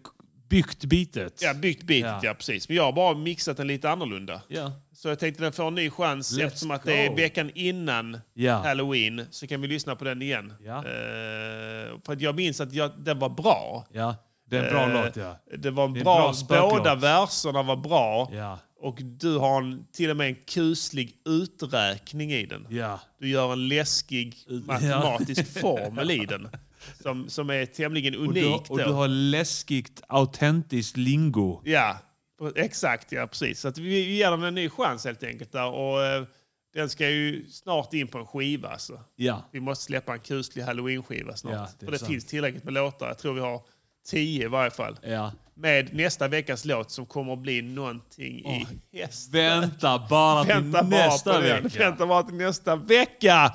Byggt bitet. Ja, byggt beatet, ja. Ja. precis. Men jag har bara mixat den lite annorlunda. Ja. Så jag tänkte den får en ny chans Let's eftersom att det är go. veckan innan Ja. halloween så kan vi lyssna på den igen. Ja. Eh, för att jag minns att jag, den var bra. ja. Det är en bra Eh, låt, ja. Det var en Det är en bra, bra spöklåt. båda verserna var bra. Ja. Och du har en, till och med en kuslig uträkning i den. Ja. Du gör en läskig matematisk formel i den. Som, som är tämligen Och du, unik. och då. du har läskigt, autentiskt lingo. Ja, exakt. Ja, precis. Så att vi, vi ger den en ny chans helt enkelt. Där. Och, eh, den ska ju snart in på en skiva. Alltså. Ja. Vi måste släppa en kuslig halloween-skiva snart. Ja, det är För det sant. finns tillräckligt med låtar. Jag tror vi har tio i varje fall. ja. Med nästa veckas låt som kommer att bli någonting i Åh, häst. Vänta bara till Vänta bara nästa på det. vecka. Vänta bara till nästa vecka!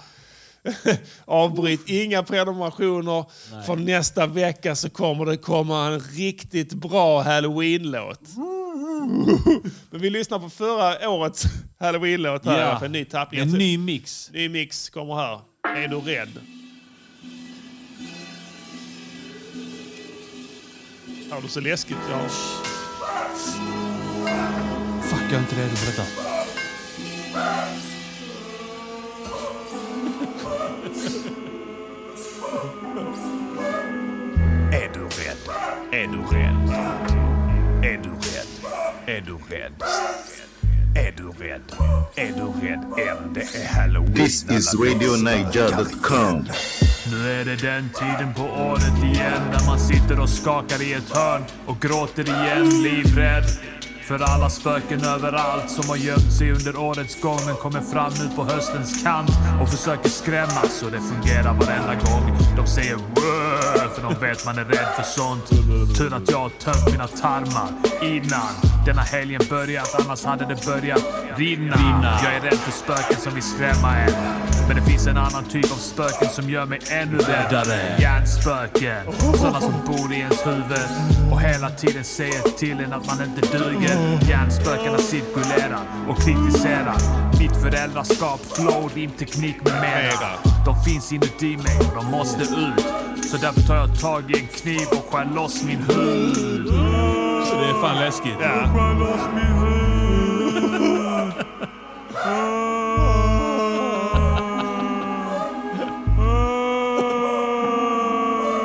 Avbryt inga prenumerationer. För nästa vecka så kommer det komma en riktigt bra halloween-låt. Mm-hmm. Men vi lyssnar på förra årets halloween-låt här. Ja. För en ny tappning. En ny mix. ny mix kommer här. Är du rädd? Har du så läskigt? Ja. Fuck, jag är inte redo för detta. Är du rädd? Är du rädd? Är du rädd? Är du rädd? Är du rädd? Är du rädd? Än det är halloween. This is RadioNiger.com. Nu är det den tiden på året igen när man sitter och skakar i ett hörn och gråter igen livrädd. För alla spöken överallt som har gömt sig under årets gång men kommer fram nu på höstens kant och försöker skrämmas och det fungerar varenda gång. De säger "Wah", för de vet man är rädd för sånt. Tur att jag har tömt mina tarmar innan denna helgen börjat annars hade det börjat rinna. Jag är rädd för spöken som vill skrämma en. Men det finns en annan typ av spöken som gör mig ännu räddare. Hjärnspöken. Sådana som bor i ens huvud och hela tiden säger till en att man inte duger. Hjärnspökena cirkulerar och kritiserar mitt föräldraskap, flow, rimteknik med mera. De finns inuti mig och de måste ut. Så därför tar jag tag i en kniv och skär loss min hud. Det är fan läskigt.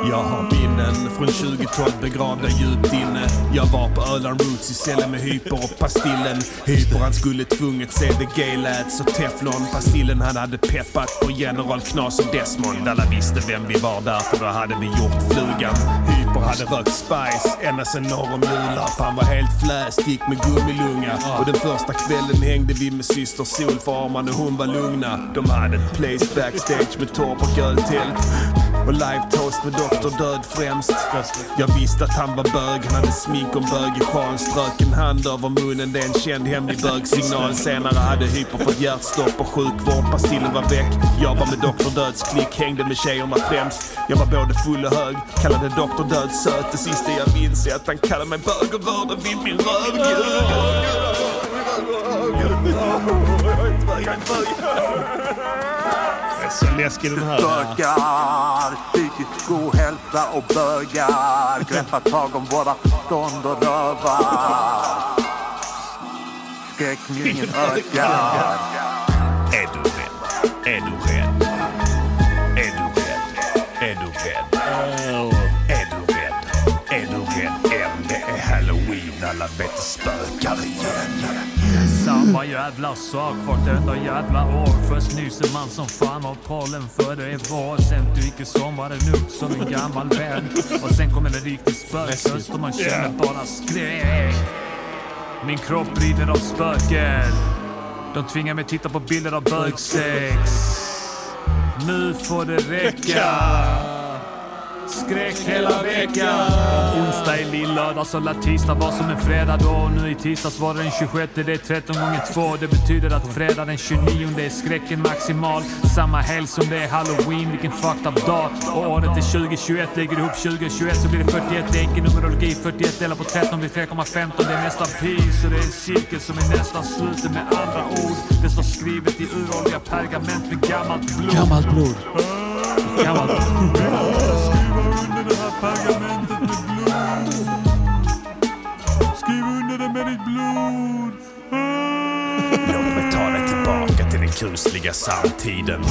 Jag har minnen från 2012 begravda djupt inne. Jag var på Öland Roots i cellen med hyper och pastillen. Hyper han skulle tvunget se det gay lads och teflon. Pastillen han hade peppat på general Knas och Desmond. Alla visste vem vi var därför då hade vi gjort flugan. Hyper Piper hade rökt spice ända sen norr om Nulapp. Han var helt fläst, gick med gummilunga. Och den första kvällen hängde vi med syster Sol för Arman och hon var lugna. De hade ett place backstage med torp och öltält. Och live toast med Dr. Död främst. Jag visste att han var bög. Han hade smink och bög i sjal. Strök en hand över munnen. Det är en känd hemlig bögsignal. Senare hade hyper fått hjärtstopp och sjukvård. Pastillen var väck. Jag var med Dr. Döds klick. Hängde med tjejerna främst. Jag var både full och hög. Kallade Dr. Död söt. Det sista jag minns är att han kallade mig bög och rörde vid min Det är så läskig den här. Bögar, psykisk ohälsa och bögar Greppar tag om våra stånd och rövar Skräckmyngen ökar Är du rädd? Är du rädd? Är du rädd? Är du rädd? Är du rädd? Är du rädd? Än det är halloween, alla vet det spökar igen. Samma jävla sak vartenda jävla år. Först nyser man som fan av pollen för det är vår. Sen dyker sommaren upp som en gammal vän. Och sen kommer en riktig spökhöst och man känner bara skräck. Min kropp rider av spöken. De tvingar mig titta på bilder av bögsex. Nu får det räcka. Skräck hela veckan. Onsdag är lill-lördag, så lär tisdag vara som en fredag då. Nu i tisdags var det den 26, det är 13 gånger 2. Det betyder att fredag den 29 är skräcken maximal. Samma helg som det är halloween, vilken fucked up dag. Och året är 2021, lägger ihop 2021 så blir det 41. Det är enkel numerologi, 41 delar på 13 blir 3,15. Det är nästan pi, så det är en cirkel som är nästan sluten. Med andra ord, det står skrivet i uråldriga pergament med gammalt blod. Gammalt blod. Gammalt blod. Skriv under det med ditt blod. Låt mig ta dig tillbaka till den kusliga samtiden.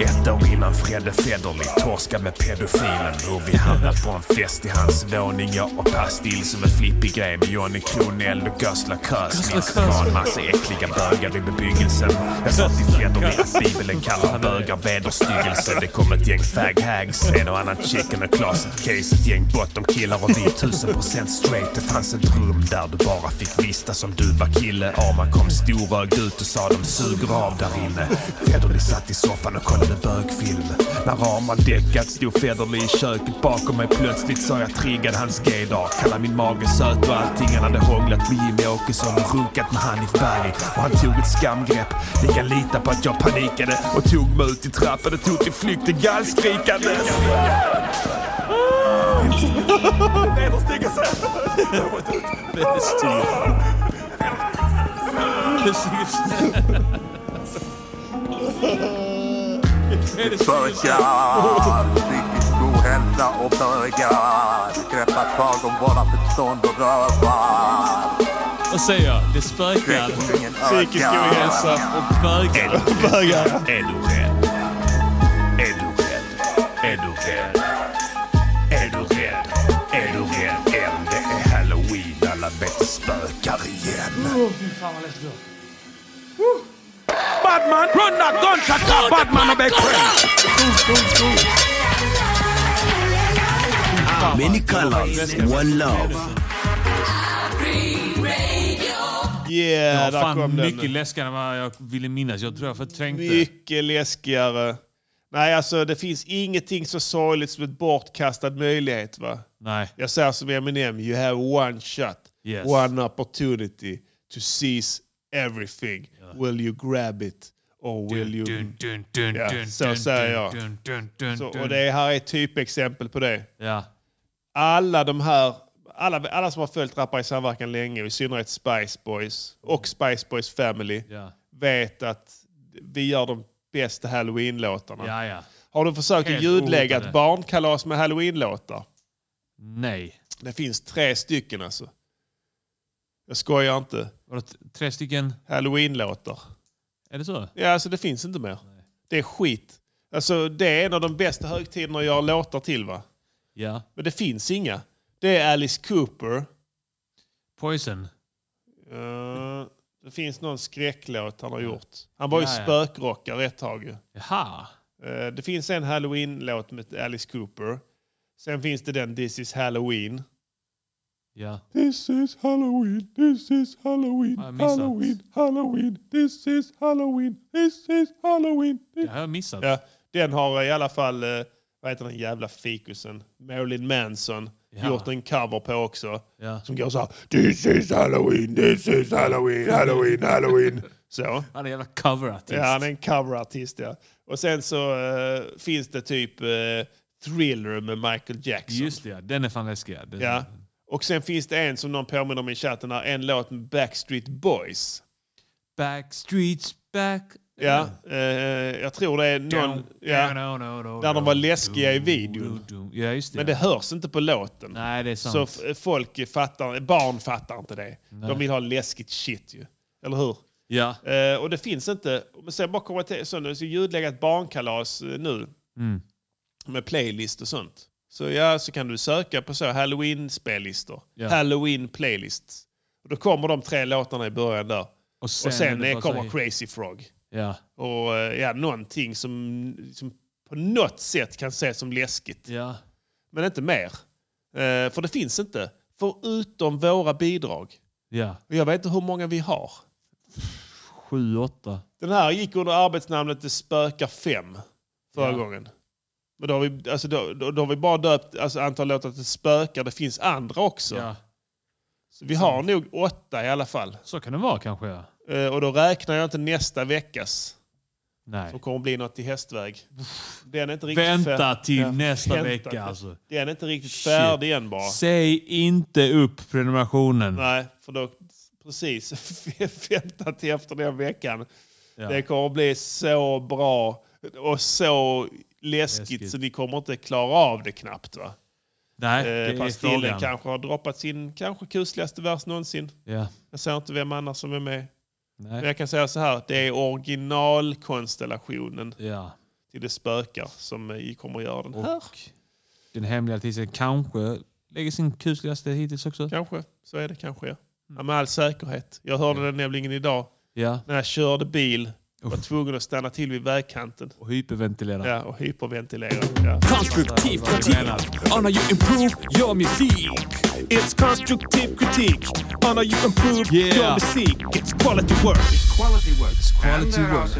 Ett år innan Fredde Federley torskade med pedofilen. Hur vi hamnade på en fest i hans våning. Jag och Pastill som en flippig grej med Johnny Kronell och Gösla Kösnitz. Det var en massa äckliga bögar i bebyggelsen. Jag sa till Federley att Bibeln kallar bögar vederstyggelse. Det kom ett gäng fag-hags, en och annan chicken och closet case. Ett gäng bottom-killar och vi är 1000% straight. Det fanns ett rum där du bara fick vistas som du var kille. Arman kom storögd ut och sa de suger av där inne. Federley satt i soffan och kollade bögfilm. När Arman däckat stod Federley i köket bakom mig. Plötsligt sa jag triggad hans gaydar. Kallade min mage söt och allting. Han hade hånglat med Jimmy Åkesson och runkat med Hanif Bali. Och han tog ett skamgrepp. Ni kan lita på att jag panikade och tog mig ut i trappan och tog till flykt i gallskrikandes. Bögar, psykisk ohälsa och bögar Greppar tag om våra förstånd och rövar Vad säger jag? Det spökar. Psykisk ohälsa och bögar. Bögar. Är du rädd? Är du rädd? Är du rädd? Är du rädd? Är du rädd? Än det är halloween, alla vet det spökar igen. Badman, run that gunshot, that Badman a big friend. Many colors, one love. Yeah, det var där fan kom den. mycket läskigare än vad jag ville minnas. Jag tror jag förträngde. Mycket läskigare. Nej, alltså det finns ingenting så sorgligt som ett bortkastad möjlighet. va? Nej. Jag säger som Eminem, you have one shot, Yes. one opportunity to seize everything. Will you grab it? Or will you... ja, så säger jag. Så, och det här är ett typexempel på det. Ja. Alla de här, alla, alla som har följt Rappare i samverkan länge, i synnerhet Spice Boys och Spice Boys Family, Ja. vet att vi gör de bästa halloween-låtarna. Ja, ja. Har du försökt att Helt ljudlägga ohotade. ett barnkalas med halloween-låtar? Nej. Det finns tre stycken alltså. Jag skojar inte. Var det tre stycken? Halloween-låtar. Är det så? Ja, alltså det finns inte mer. Det är skit. Alltså det är en av de bästa högtiderna jag har låtar till va? Ja. Men det finns inga. Det är Alice Cooper. Poison. Eh, det finns någon skräcklåt han har gjort. Han var ju Ja, ja. spökrockare ett tag ju. Jaha. Eh, Det finns en halloween-låt med Alice Cooper. Sen finns det den This is Halloween. Ja. This is halloween, this is halloween, jag missat? halloween, halloween, this is halloween, this is halloween. Det har jag missat. Ja, den har i alla fall, eh, vad heter den jävla fikusen, Marilyn Manson, Ja. gjort en cover på också. Ja. Som går så här, this is halloween, this is halloween, halloween, halloween. Så. Han är en jävla coverartist. Ja, han är en coverartist. Ja. Och sen så eh, finns det typ eh, Thriller med Michael Jackson. Just det, ja. den är fan läskig. ja. Den- Ja. Och sen finns det en som någon påminner om i chatten här, en låt med Backstreet Boys. Backstreets back. Ja, eh, jag tror det är någon... Ja, no, no, no, där de no. var läskiga i videon. Ja, just det. Men det hörs inte på låten. Nej, det är sant. Så f- folk fattar, barn fattar inte det. Nej. De vill ha läskigt shit ju. Eller hur? Ja. Eh, och det finns inte. Men sen bara kommer jag till, så nu så ljudlägga ett barnkalas eh, nu. Mm. Med playlist och sånt. Så ja, så kan du söka på så halloween-spellistor. Ja. Halloween-playlists. Och då kommer de tre låtarna i början där. Och Och sen sen, är det eh, bara kommer så här- Crazy Frog. Ja. Och eh, ja, någonting som, som på något sätt kan ses som läskigt. Men inte mer. Eh, för det finns inte. Förutom våra bidrag. Ja. Och jag vet inte hur många vi har. Sju, åtta. Den här gick under arbetsnamnet Det spökar fem förra Ja. gången. Men då har, vi, alltså då, då, då har vi bara döpt alltså, antal låtar till spökar. Det finns andra också. Så vi har nog åtta i alla fall. Så kan det vara kanske. Ja. Eh, och då räknar jag inte nästa veckas. Nej. Som kommer bli något i hästväg. Den är inte riktigt Vänta fär- till Ja, nästa vänta vecka till- alltså. Den är inte riktigt färdig än bara. Säg inte upp prenumerationen. Nej, för då... Precis. Vänta till efter den veckan. Ja. Det kommer bli så bra och så läskigt, Läskigt. så ni kommer inte klara av det knappt. va? Nej, det är fast killen frågan. eh, kanske har droppat sin kanske kusligaste vers någonsin. Ja. Jag säger inte vem annars som är med. Nej. Men jag kan säga så här, det är originalkonstellationen Ja. till det spökar som eh, kommer att göra den här. Den hemliga artisten kanske lägger sin kusligaste hittills också. Kanske. Så är det kanske. Mm. Ja. Ja, med all säkerhet. Jag hörde den nämligen idag Ja. när jag körde bil. Var tvungen att stanna till vid vägkanten. Och hyperventilera. Ja, och hyperventilera. Ja. Konstruktiv kritik on how you improve your music. It's constructive critique on how you improve your music. It's quality work. Quality work. Quality work.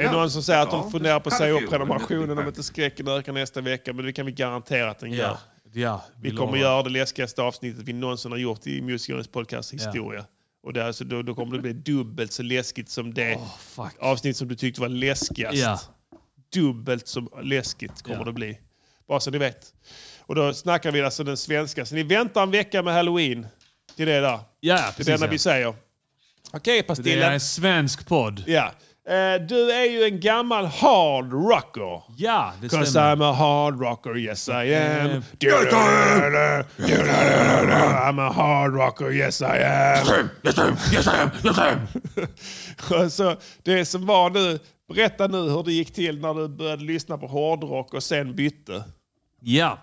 Är det någon som säger att de funderar på att säga upp Battlefield, prenumerationen om inte skräcken ökar nästa vecka? Men det kan vi garantera att den gör. Ja, Vi vi kommer lovar. göra det läskigaste avsnittet vi någonsin har gjort i Musikernas podcast historia. Och det, är alltså, då, då kommer det bli dubbelt så läskigt som det avsnitt som du tyckte var läskigast. Ja. Dubbelt så läskigt kommer Ja. det bli. Bara så ni vet. Och då snackar vi alltså den svenska. Så ni väntar en vecka med halloween. Till det där. Ja, Till precis, det enda ja. vi säger. Okej, Det Pastillen. är en svensk podd. Ja. Eh, du är ju en gammal hard rocker. Ja, det Cause stämmer. I'm Eh, a hard rocker, yes I am. Yes, I am. I'm a hard rocker, yes I am. Yes I am, yes I am, yes I am. Så det som var nu, berätta nu hur det gick till när du började lyssna på hårdrock och sen bytte. Ja.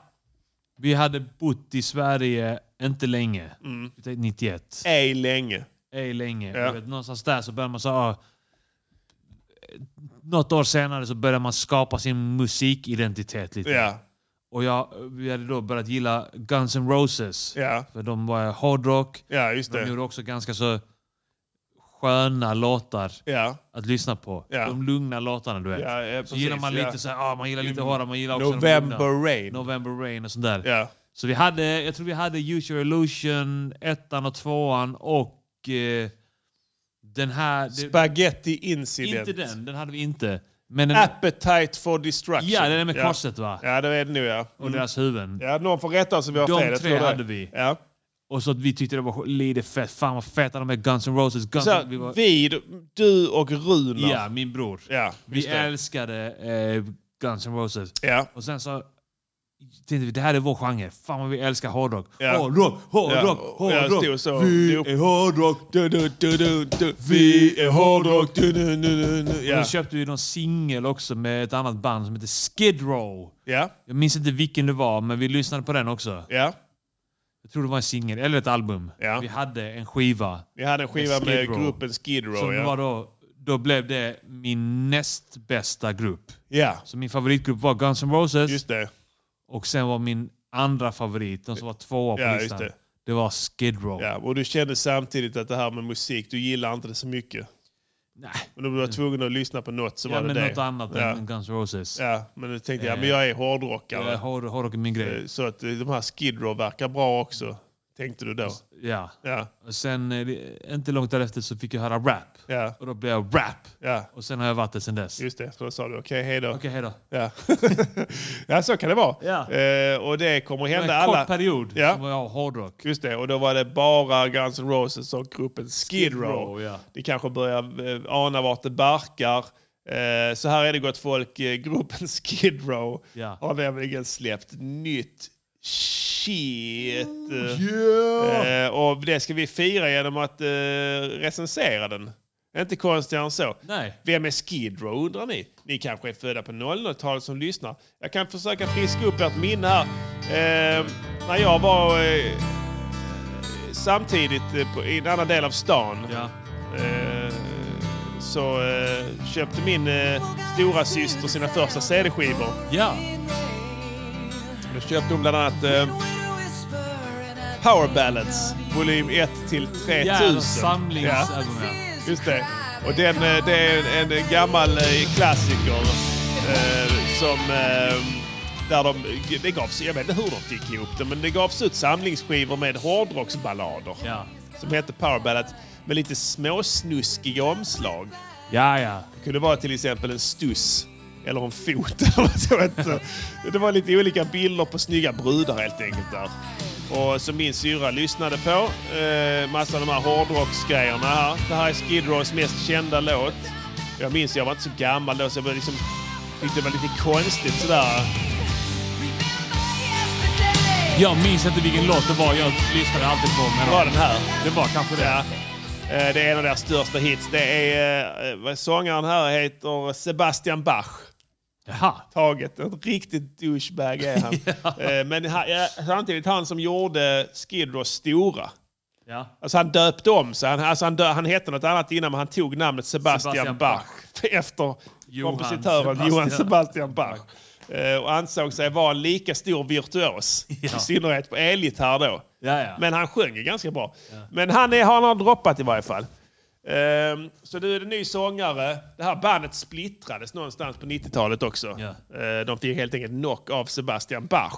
Vi hade bott i Sverige inte länge. Mm. Vi tänkte 91. Ej länge. Ej länge. Ja. Du Vet, någonstans där så börjar man så ah, Något år senare så börjar man skapa sin musikidentitet lite. Ja. Och jag, vi hade då börjat gilla Guns N' Roses. Ja. För de var hårdrock. Ja, just De det. gjorde också ganska så sköna låtar Ja. att lyssna på. Ja. De lugna låtarna du vet. Ja, ja, så precis, gillar man ja. Mm. lite så här, ah, man gillar lite hårdare, man gillar också de November lugna. Rain. November Rain och sånt där. Ja. Så vi hade, jag tror vi hade Use Your Illusion, ettan och tvåan och eh, den här... det- Spaghetti Incident. Inte den, den hade vi inte. Men den, Appetite for Destruction. Ja, den är med korset, va? Ja, det är det nu ja. Och deras huvuden. Ja, någon får rätta oss om vi har De fel. jag tre tror det. hade vi. Ja. Och så att vi tyckte det var lite fett. Fan vad feta de är, Guns N' Roses. Guns Så här, N' vi var- vi, Alltså, du och Runar. Ja, min bror. Ja, vi just det. älskade eh, Guns N' Roses. Ja. Och sen så tänkte vi, det här är vår genre. Fan vad vi älskar hårdrock. Ja. Hårdrock, hårdrock, Ja, jag hårdrock. stod så. vi Jo. är hårdrock. Du, du, du, du, du. Vi är hårdrock. Du, du, du, du, du. Ja. Och då köpte vi någon singel också med ett annat band som heter Skid Row. Ja. Jag minns inte vilken det var, men vi lyssnade på den också. Ja. Jag tror det var en singel, eller ett album. Vi hade en skiva. Vi hade en skiva Skid med Row. gruppen Skid Row, Som ja. var då, då blev det min näst bästa grupp. Ja. Så min favoritgrupp var Guns N' Roses. Just det. Och sen var min andra favorit, de som var tvåa på Ja, just listan. det. Det. var Skid Row. Ja, och du kände samtidigt att det här med musik, du gillar inte det så mycket. Nej. Men du var tvungen att lyssna på något så Ja, var det men det. något annat ja. än Guns N' Roses. Ja, men du tänkte ja, Eh, men jag är hårdrockare. jag är hård- hårdrock är min grej. Eh, Så att eh, de här Skid Row verkar bra också, tänkte du då. Ja. Ja. Och sen eh, det- inte långt därefter så fick jag höra rap. Ja. Och då blev jag rap. Ja. Och sen har jag varit det sen dess. Just det, så sa du okej, hej då. Okej, hej då. Ja. ja, så kan det vara. Ja. Eh, och det kommer Det var hända en kort alla... period ja. som var jag hårdrock. Just det, och då var det bara Guns N' Roses och gruppen Skid Skid Row. Row, ja. Ni kanske börjar eh, ana vart det barkar. Eh, så här är det gott folk, eh, gruppen Skid Row Ja. har nämligen släppt nytt shit. Oh, Yeah! Eh, och det ska vi fira genom att eh, recensera den. Inte konstigare än så. Nej. Vem är Skid Row undrar ni? Ni kanske är födda på 00-talet som lyssnar. Jag kan försöka friska upp ert minne här. Eh, när jag var eh, samtidigt eh, på, i en annan del av stan eh, så eh, köpte min eh, stora syster sina första CD-skivor. Ja. Då köpte hon bland annat eh, Power Ballads volym 1 till 3000. Jävla samlingsalbum, ja. Just det. Och den, eh, det är en, en gammal eh, klassiker eh, som... Eh, där de, det gavs, jag vet inte hur de fick ihop det, men det gavs ut samlingsskivor med hårdrocksballader. Som hette Power Ballads med lite småsnuskiga omslag. Ja, ja. Det kunde vara till exempel en stuss eller en fot. eller något sånt. det var lite olika bilder på snygga brudar helt enkelt där. Och som min syrra lyssnade på. Eh, massa av de här hårdrocksgrejerna här. Det här är Skid Rows mest kända låt. Jag minns, jag var inte så gammal då så jag var liksom, tyckte det var lite konstigt sådär. Jag minns inte vilken låt det var jag lyssnade alltid på. Men Det var den här. Det var kanske det. Ja. Eh, Det är en av deras största hits. Det är, eh, vad sångaren här heter Sebastian Bach. Jaha. Taget. En riktigt douchebag är han. Eh, Men ha- ja, samtidigt han som gjorde Skid Row stora. Ja. Alltså han döpte om sig. Han, alltså han, dö, han hette något annat innan men han tog namnet Sebastian, Sebastian Bach. Efter Johann kompositören Sebastian. Johann Sebastian Bach. Eh, Och ansåg sig vara en lika stor virtuos. I Ja. synnerhet på elgitarr då. Ja, ja. Men han sjöng ju ganska bra. Men han, är, han har droppat i varje fall. Ehm, så nu är det ny sångare. Det här bandet splittrades någonstans på 90-talet också. Eh, de fick helt enkelt knock av Sebastian Bach.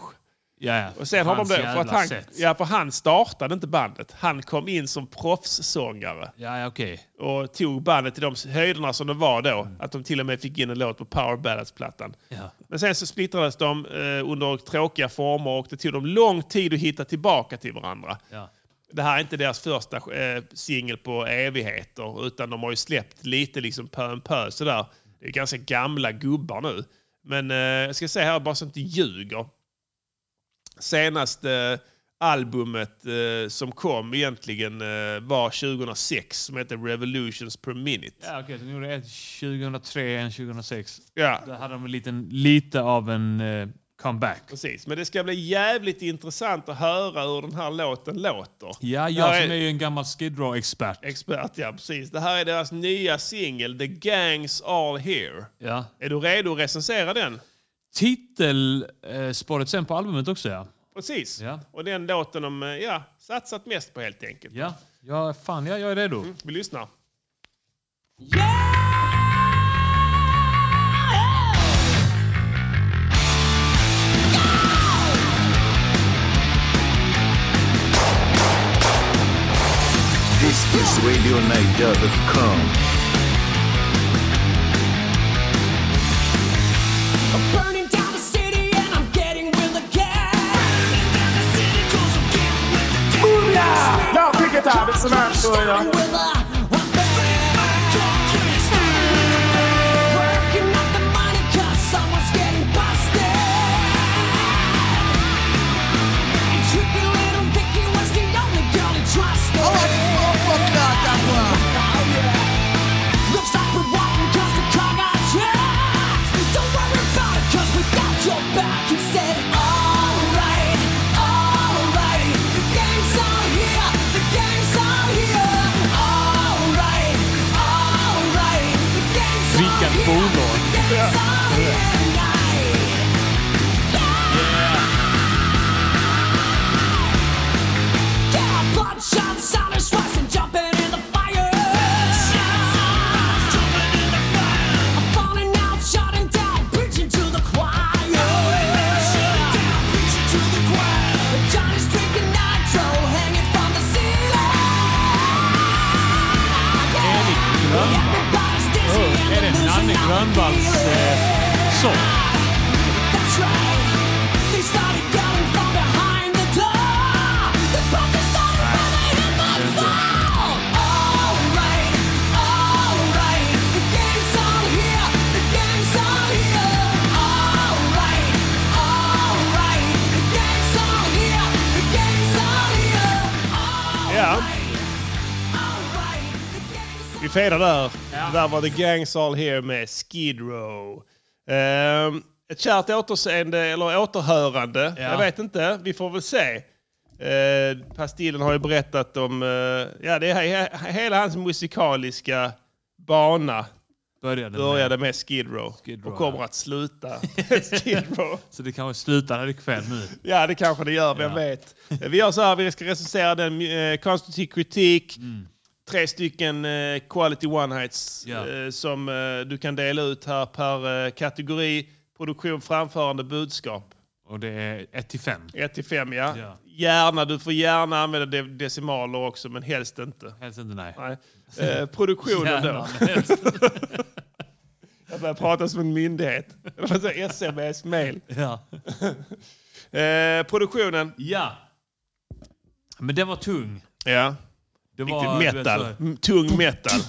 Ja, ja. Och sen har de Hans det, för att jävla han, sätt. ja, för han startade inte bandet. Han kom in som proffssångare Ja, ja okej. och tog bandet till de höjderna som de var då. Att de till och med fick in en låt på Power Ballads-plattan. Mm. Ja. Men sen så splittrades de eh, under tråkiga former och det tog dem lång tid att hitta tillbaka till varandra. Ja. Det här är inte deras första eh, singel på evigheter utan de har ju släppt lite liksom pö om pö sådär. Det är ganska gamla gubbar nu. Men eh, jag ska säga här bara så att jag inte ljuger. Senaste eh, albumet eh, som kom egentligen eh, var 2006 som heter Revolutions per Minute. Ja, okej. Så de gjorde ett 2003, en 2006. Ja. Där hade de en liten, lite av en eh, comeback. Precis, men det ska bli jävligt intressant att höra hur den här låten låter. Ja, Det här jag som är ju en gammal Skid Row-expert. Expert, ja precis. Det här är deras nya singel, The Gangs All Here. Ja. Är du redo att recensera den? Titelspåret eh, sen på albumet också, ja. Precis. Och den låten de eh, ja, satsat mest på helt enkelt. Ja, ja fan ja, jag är redo. Vi lyssnar. This is RadioNiger.com. I'm burning down the city and I'm getting with the gang. Booyah! Y'all kick it out. It's an absolute. Working up the money 'cause someone's getting busted. And tricky little Vicky was the only girl he trusted. Oh, yeah. Looks like we're walking 'cause the car got jacked. Don't worry about it 'cause we got your back. He said, all right, all right. The gang's out here, the gang's out here. All right, all right. The gang's out Vilken fordon! Yeah. Lindvalls eh, sång. Ja. Vi fejdar där. Det där var The Gangs All Here med Skid Row. Ehm, ett kärt återseende, eller återhörande. Jag vet inte. Vi får väl se. Eh, Pastillen har ju berättat om... eh, ja, det är he- hela hans musikaliska bana. Började, Började med Skid Row. och kommer att sluta med Skid Row. Så det kanske slutar ikväll nu. Ja, det kanske det gör. Vem Ja. vet? Vi gör så här, vi ska recensera den. Eh, konstruktiv kritik. Tre stycken eh, quality one-hits Ja. eh, som eh, du kan dela ut här per eh, kategori. Produktion, framförande, budskap. Och det är 1 till 5. 1 till 5, ja. Ja. Gärna, du får gärna använda de- decimaler också, men helst inte. Helst inte, nej. Eh, produktionen Gärna, då. men helst. Jag börjar prata som en myndighet. Det var så här SMS-mail. Ja. eh, produktionen. Ja. Men den var tung. Ja. Det var, Riktigt metal. Mm, du vet, så- Tung metal.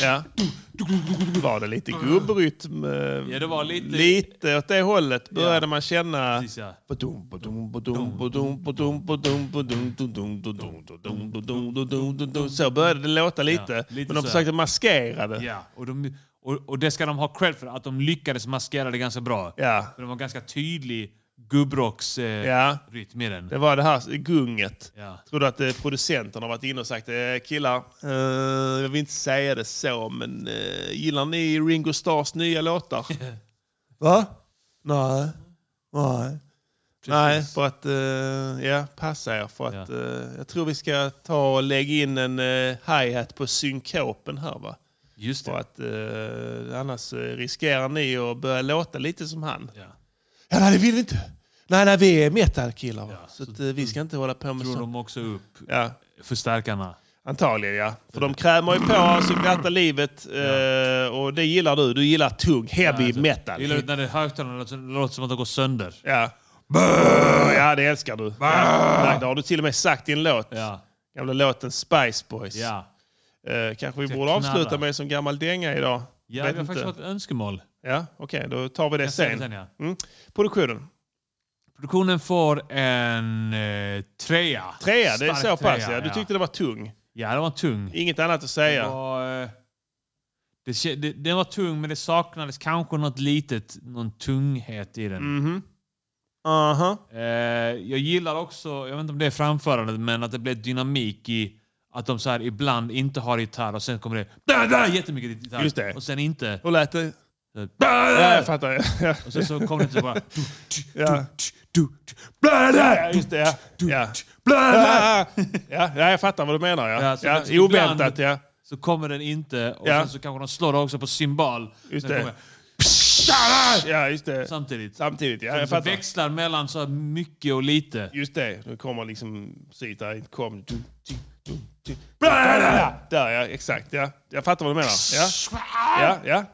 Ja. Var det lite gubbrytm? eh, Ja, det var lite- lite åt det hållet började man känna. Precis, ja. Badum, badum, badum, badum, badum, badum, badum, dum, dum, dum, dum, dum, dum, dum, dum, dum, dum, dum, dum. Så började det låta lite. lite Men de så. försökte maskera det. Ja, och, de, och, och det ska de ha cred för, att de lyckades maskera det ganska bra. Ja. För de var ganska tydlig gubbrocksrytm eh, Ja. rytm i den. Det var det här gunget. Ja. Tror du att eh, producenten har varit inne och sagt eh, killar, eh, jag vill inte säga det så, men eh, gillar ni Ringo Starrs nya låtar? Va? Nej. Nej. Nej, för att eh, ja, passa er. För att, eh, jag tror vi ska ta och lägga in en eh, hi-hat på synkopen här. Va? Just det. För att, eh, annars eh, riskerar ni att börja låta lite som han. Ja. Ja, nej, det vill vi inte. Nej, nej, vi är metalkillar. va? så att, eh, vi ska inte hålla på med Drog sånt. de också upp Ja. förstärkarna. Antagligen ja. För de krämar ju på så glatta livet. eh, Och det gillar du. Du gillar tung, heavy metal. Gillar du när det är högtalarna låter- låter som att de går sönder? Ja. Ja, det älskar du. Ja. Det har du till och med sagt i en låt. Ja. Gamla låten Spice Boys. Ja. Eh, kanske vi Ska borde avsluta knarra. med som gammal dänga idag. Ja, Vet det har faktiskt varit ett önskemål. Ja, okej. då tar vi det Jag ser det sen. sen, ja. mm. Produktionen. Produktionen får en eh, trea. Trea, det är så Stark pass trea, ja. Du tyckte det var tung. Ja, den var tung. Inget annat att säga. Det var, eh, det, kä- det, den var tung, men det saknades kanske något litet, någon tunghet i den. Mhm. Aha. Eh, jag gillar också, jag vet inte om det är framförandet, men att det blev dynamik i att de så här ibland inte har gitarr och sen kommer det där, där, jättemycket gitarr. Just det. Och sen inte. Hur lät det? Så, där, Ja, jag fattar. Ja. Och sen så kommer det inte bara... Ja. Ja, just det. Ja. Ja. Ja, ja, ja, jag fattar vad du menar. Ja. Ja, så Ja, faktiskt oväntat, ibland- ja. Så kommer den inte och Ja. sen så kanske de slår också på cymbal. Just Sen det. kommer- Ja, just det. Samtidigt. Samtidigt, ja. Jag Så fattar. växlar mellan så här mycket och lite. Just det. Nu kommer liksom precis där det kom. Du, du, du, du. Där, ja. Exakt, ja. Jag fattar vad du menar. Ja, ja. ja.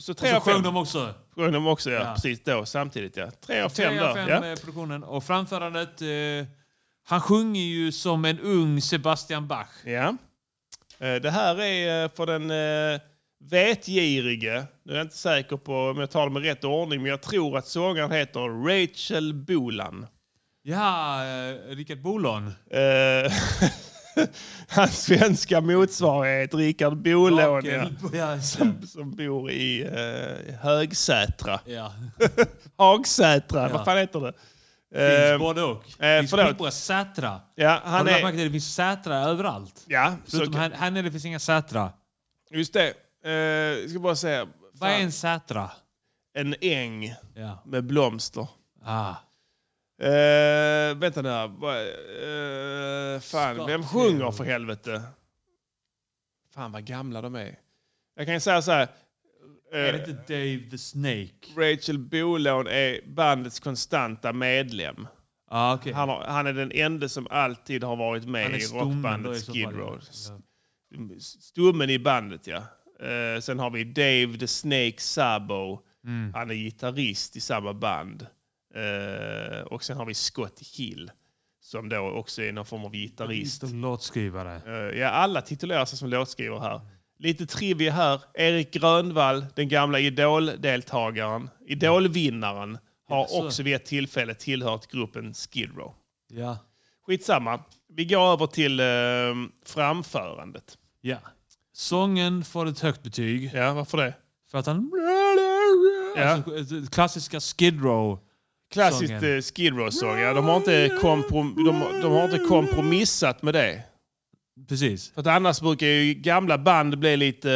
Så Och tre så av sjöng fem. de också. Sjöng de också, ja. Ja. Precis då, samtidigt, ja. Tre av fem Tre av där. fem Ja. eh, produktionen. Och framförandet. Eh, han sjunger ju som en ung Sebastian Bach. Ja. Eh, Det här är eh, för den eh, vetgirige. Nu är jag inte säker på om jag talar med rätt ordning, men jag tror att sångaren heter Rachel Bolan. Ja, eh, Rickard Bolon. Eh, Hans svenska motsvarighet, Rickard Bolån, ja, Rakel. eh, Ja, just det. som, som bor i eh, Högsätra. ja. Eh, Hagsätra, Ja. vad fan heter det? Finns Eh, både och. eh, finns förlåt. Pippa Sätra. ja, Har han du lagt är... märke till att det finns Sätra överallt? Ja, så, Förutom här, här nere finns inga Sätra. just det. Eh, jag ska bara säga. Vad är fan, en Sätra? en äng Ja. med blomster. Ah. Eh, vänta nu. här. Vad- eh, fan, vem sjunger för helvete? Fan vad gamla de är. Jag kan ju säga så här. eh, Är det inte Dave the Snake? Rachel Bolån är bandets konstanta medlem. Ah, okay. Han, har, han är den enda som alltid har varit med Han är i stummen då i rockbandet så Skid fall, ja. Row. Stummen i bandet, ja. Eh, sen har vi Dave the Snake Sabo. Mm. Han är gitarrist i samma band. Eh, och sen har vi Scott Hill som då också är någon form av gitarrist. Och låtskrivare. Eh, ja, alla titulerar sig som låtskrivare här. Lite trivia här. Erik Grönvall, den gamla Idol-deltagaren, Mm. Idolvinnaren, har Jaså. också vid ett tillfälle tillhört gruppen Skid Row. Ja. Skitsamma. Vi går över till eh, framförandet. ja. Sången får ett högt betyg. Ja, varför det? För att han... Alltså, klassiska Skid Row. Klassiskt eh, Skid Row-sång. Ja. De, har inte komprom- de, de har inte kompromissat med det. Precis. För att annars brukar ju gamla band bli lite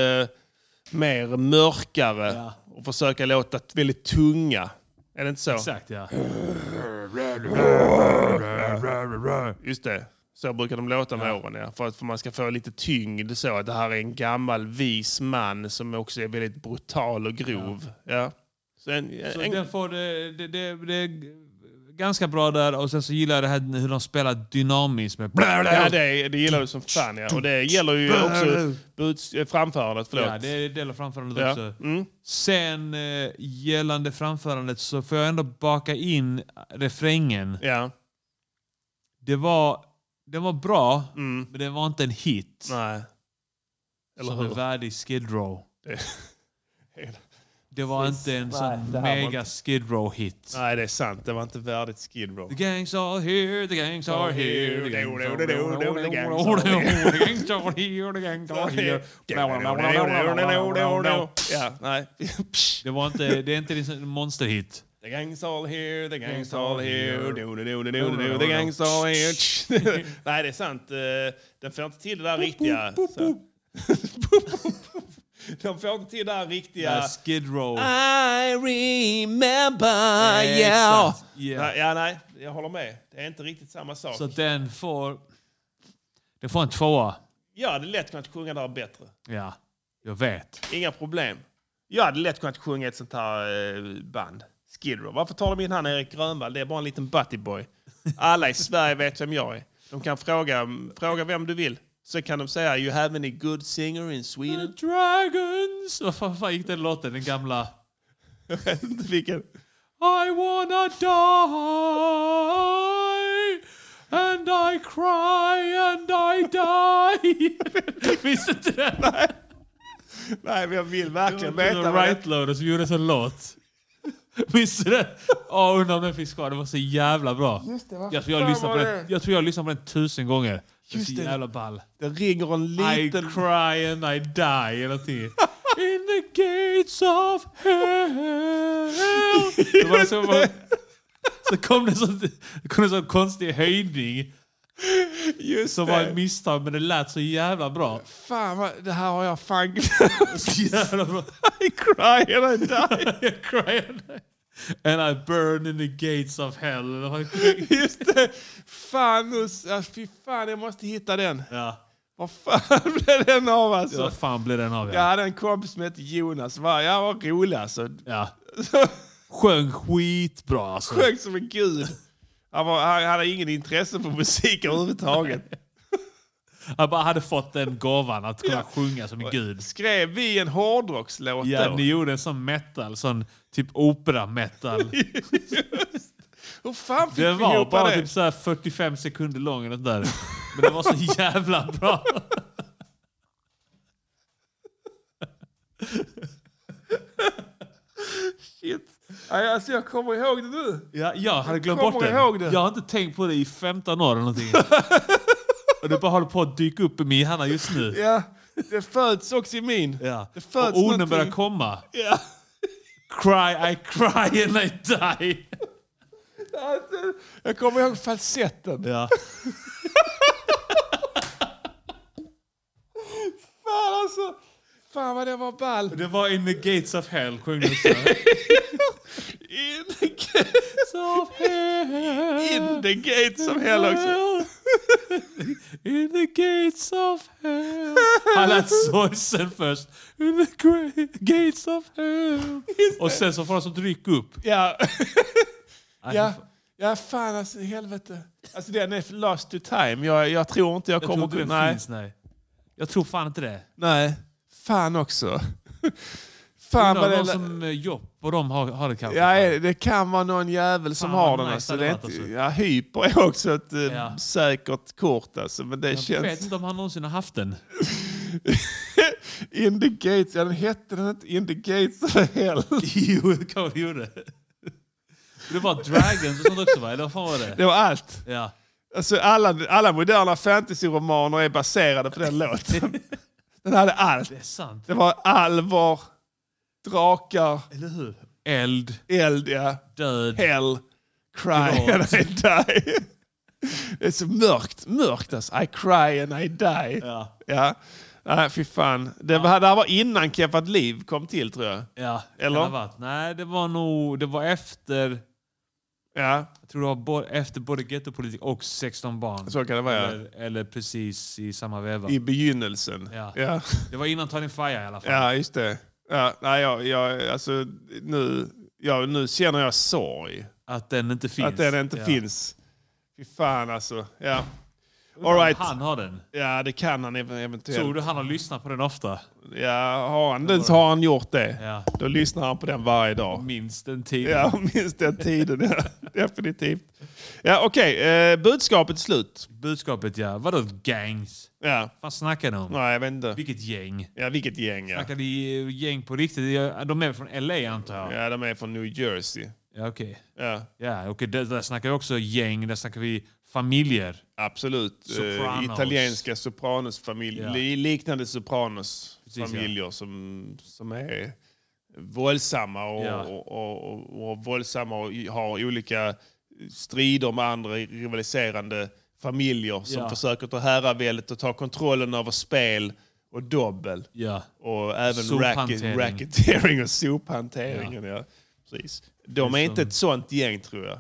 eh, mer mörkare och försöka låta t- väldigt tunga. Är det inte så? Exakt, ja. Just det. Så brukar de låta med åren, ja. För att för man ska få lite tyngd så. Att det här är en gammal vis man som också är väldigt brutal och grov. Ja. Så en, Så en, den får det, det, det, det är ganska bra där och sen så gillar jag det här hur de spelar dynamiskt med... Ja, det, det gillar du som fan. Ja. Och det gäller ju också buds, eh, framförandet. Förlåt. Ja, Mm. det är del av framförandet Ja. också. Sen eh, gällande framförandet så får jag ändå baka in refrängen. Ja. Det var, den var bra, men det var inte en hit. Mm. Nej. Eller som hur? är värdig Skid Row. Det, Det var inte en Nej, sån det här var mega inte- Skid Row-hit. Nej, det är sant. Det var inte värdigt Skid Row. The gangs are here, the gangs are here, the gangs are here, the gangs are here, the gangs are here, the gangs are here. Ja, nej. Det, var inte, det är inte en monsterhit. The gang's all here, the gang's all here, do, do, do, do, do, do, the gang's all here. Nej, det är sant. Eh, Den får inte till det där riktiga. så. De får inte till det där riktiga... Ja. Skid Row. I remember Exakt. Yeah. Nej, ja, nej, jag håller med. Det är inte riktigt samma sak. Så den får... Den får en tvåa. Jag hade lätt kunnat sjunga det här bättre. Ja, jag vet. Inga problem. Jag hade lätt kunnat sjunga ett sånt här eh, band. Skid Row. Varför tar de in han Erik Grönvall? Det är bara en liten buttyboy. Alla i Sverige vet vem jag är. De kan fråga, fråga vem du vill. Så kan de säga “You have any good singer in Sweden?” Dragons! Vad fan, fan gick den låten? Den gamla... Jag vet inte vilken. I wanna die and I cry and I die. Visst inte den? Nej. Nej, men jag vill verkligen Det veta. var vad det- Right Loader som gjorde en sån låt. Minns du den? Åh, undrar om den finns kvar. Den var så jävla bra. Just det, vad jag, tror jag, fan lyssnade på var den, det? jag tror jag lyssnade på den tusen gånger. Den är Just så det. jävla ball. Det ringer en liten... I cry and I die hela tiden. In the gates of hell. Det var så, man, så kom det så, det kom en sån konstig höjning Just som det. var ett misstag men det lät så jävla bra. Fan, vad, det här har jag fan Så jävla bra. I cry and I die. I cry and I, and I burn in the gates of hell. Det var- Just det. Fan, nu, alltså, fy fan, jag måste hitta den. Ja, Vad fan blev den av det var alltså? fan blev den av Jag ja. hade en kompis som hette Jonas. Va? Jag var rolig alltså. ja. Sjöng skitbra alltså. Sjöng som en gud. Han, var, han hade ingen intresse för musik överhuvudtaget. Han bara hade fått den gåvan att kunna sjunga som en gud. Skrev vi en hårdrockslåt Ja, då? ni gjorde en sån metal, sån typ opera-metal. Hur fan fick Den vi var ihop bara det? typ så här 45 sekunder lång eller nåt där. Men den var så jävla bra. Shit. Nej, alltså, jag kommer ihåg det nu. Ja, jag hade glömt Kommer bort den. ihåg det. Jag har inte tänkt på det i 15 år eller någonting. Och det bara håller på att dyka upp i min hjärna just nu. Ja, det föds också i min. Ja. Det föds Och orden någonting. börjar komma. Ja. Cry, I cry and I die. Alltså, jag kommer ihåg falsetten. Ja. Fan alltså. Fan vad det var ball. Det var In the gates of hell, sjöng de så. In the gates of hell. In the gates of hell också. In the gates of hell. Han lät sorgsen först. In the gra- gates of hell. Och sen så får han så dryck upp. Ja. Nej, ja. fan. Ja, fan alltså helvete. Alltså den är för lost to time. Jag, jag tror inte jag Jag kommer... tror inte den nej. finns, nej. Jag tror fan inte det. nej. Fan också. Fan Fan vad det... som eh, Jopp och de har, har det kanske. Ja, det kan vara någon jävel som Fan, har vad den. Alltså. nice hade Det är varit inte, ja, hyper är också ett eh, säkert kort alltså, men det Jag känns... vet inte om han någonsin har haft den. In the Gates, ja den hette den inte In the Gates of Hell. jo, det kanske det gjorde. Det var Dragons och sånt också va? Eller vad fan var det? Det var allt. Ja. Alltså, alla, alla moderna fantasyromaner är baserade på den låten. Den hade allt. Det är sant. Det var alvar, drakar, Eller hur? eld, eld ja. död, hell, cry and Gråt. I die. Det är så mörkt, mörkt alltså. I cry and I die. Ja. ja. Nej, fy fan. Det, var, det här var innan Keppat liv kom till tror jag. Ja, Eller? Kan det ha varit. Nej, det var nog... Det var efter... Ja. Jag tror det var bo, efter både gettopolitik och 16 barn. Så kan det vara, ja. eller, eller precis i samma veva. I begynnelsen. ja. Ja. Det var innan Turning Fire i alla fall. Ja, just det. Ja, nej, jag, jag, alltså, nu, ja, nu känner jag sorg. Att den inte finns. Att den inte Ja. finns. Fy fan alltså. Ja. All Om right. Han har den. Ja, det kan han ev- eventuellt. Tror du han har lyssnat på den ofta? Ja, har han, det, så har han gjort det. Ja. Då lyssnar han på den varje dag. Minst den tiden. Ja, minst den tiden. Ja, definitivt. Ja, okej. Eh, budskapet är slut. Budskapet ja. Vadå gangs? Ja. Vad snackar de om? Nej, jag vet inte. Vilket gäng? Ja, vilket gäng. Ja. Snackar de gäng på riktigt? De är från LA antar jag? ja, de är från New Jersey. Ja, okej. Ja. Ja, okej. Där, där snackar vi också gäng. Där snackar vi familjer. Absolut. Eh, Sopranos. italienska Sopranos-familjer. Ja. li- Liknande Sopranos-familjer Precis, som, som är våldsamma och, Ja. och, och, och, och våldsamma och i- har olika strider med andra rivaliserande familjer som Ja. försöker ta herraväldet och ta kontrollen över spel och dobbel. Ja. Och även Sophantering. racket, racketeering och sophanteringen. Ja. Precis. De är Precis inte som- ett sånt gäng tror jag.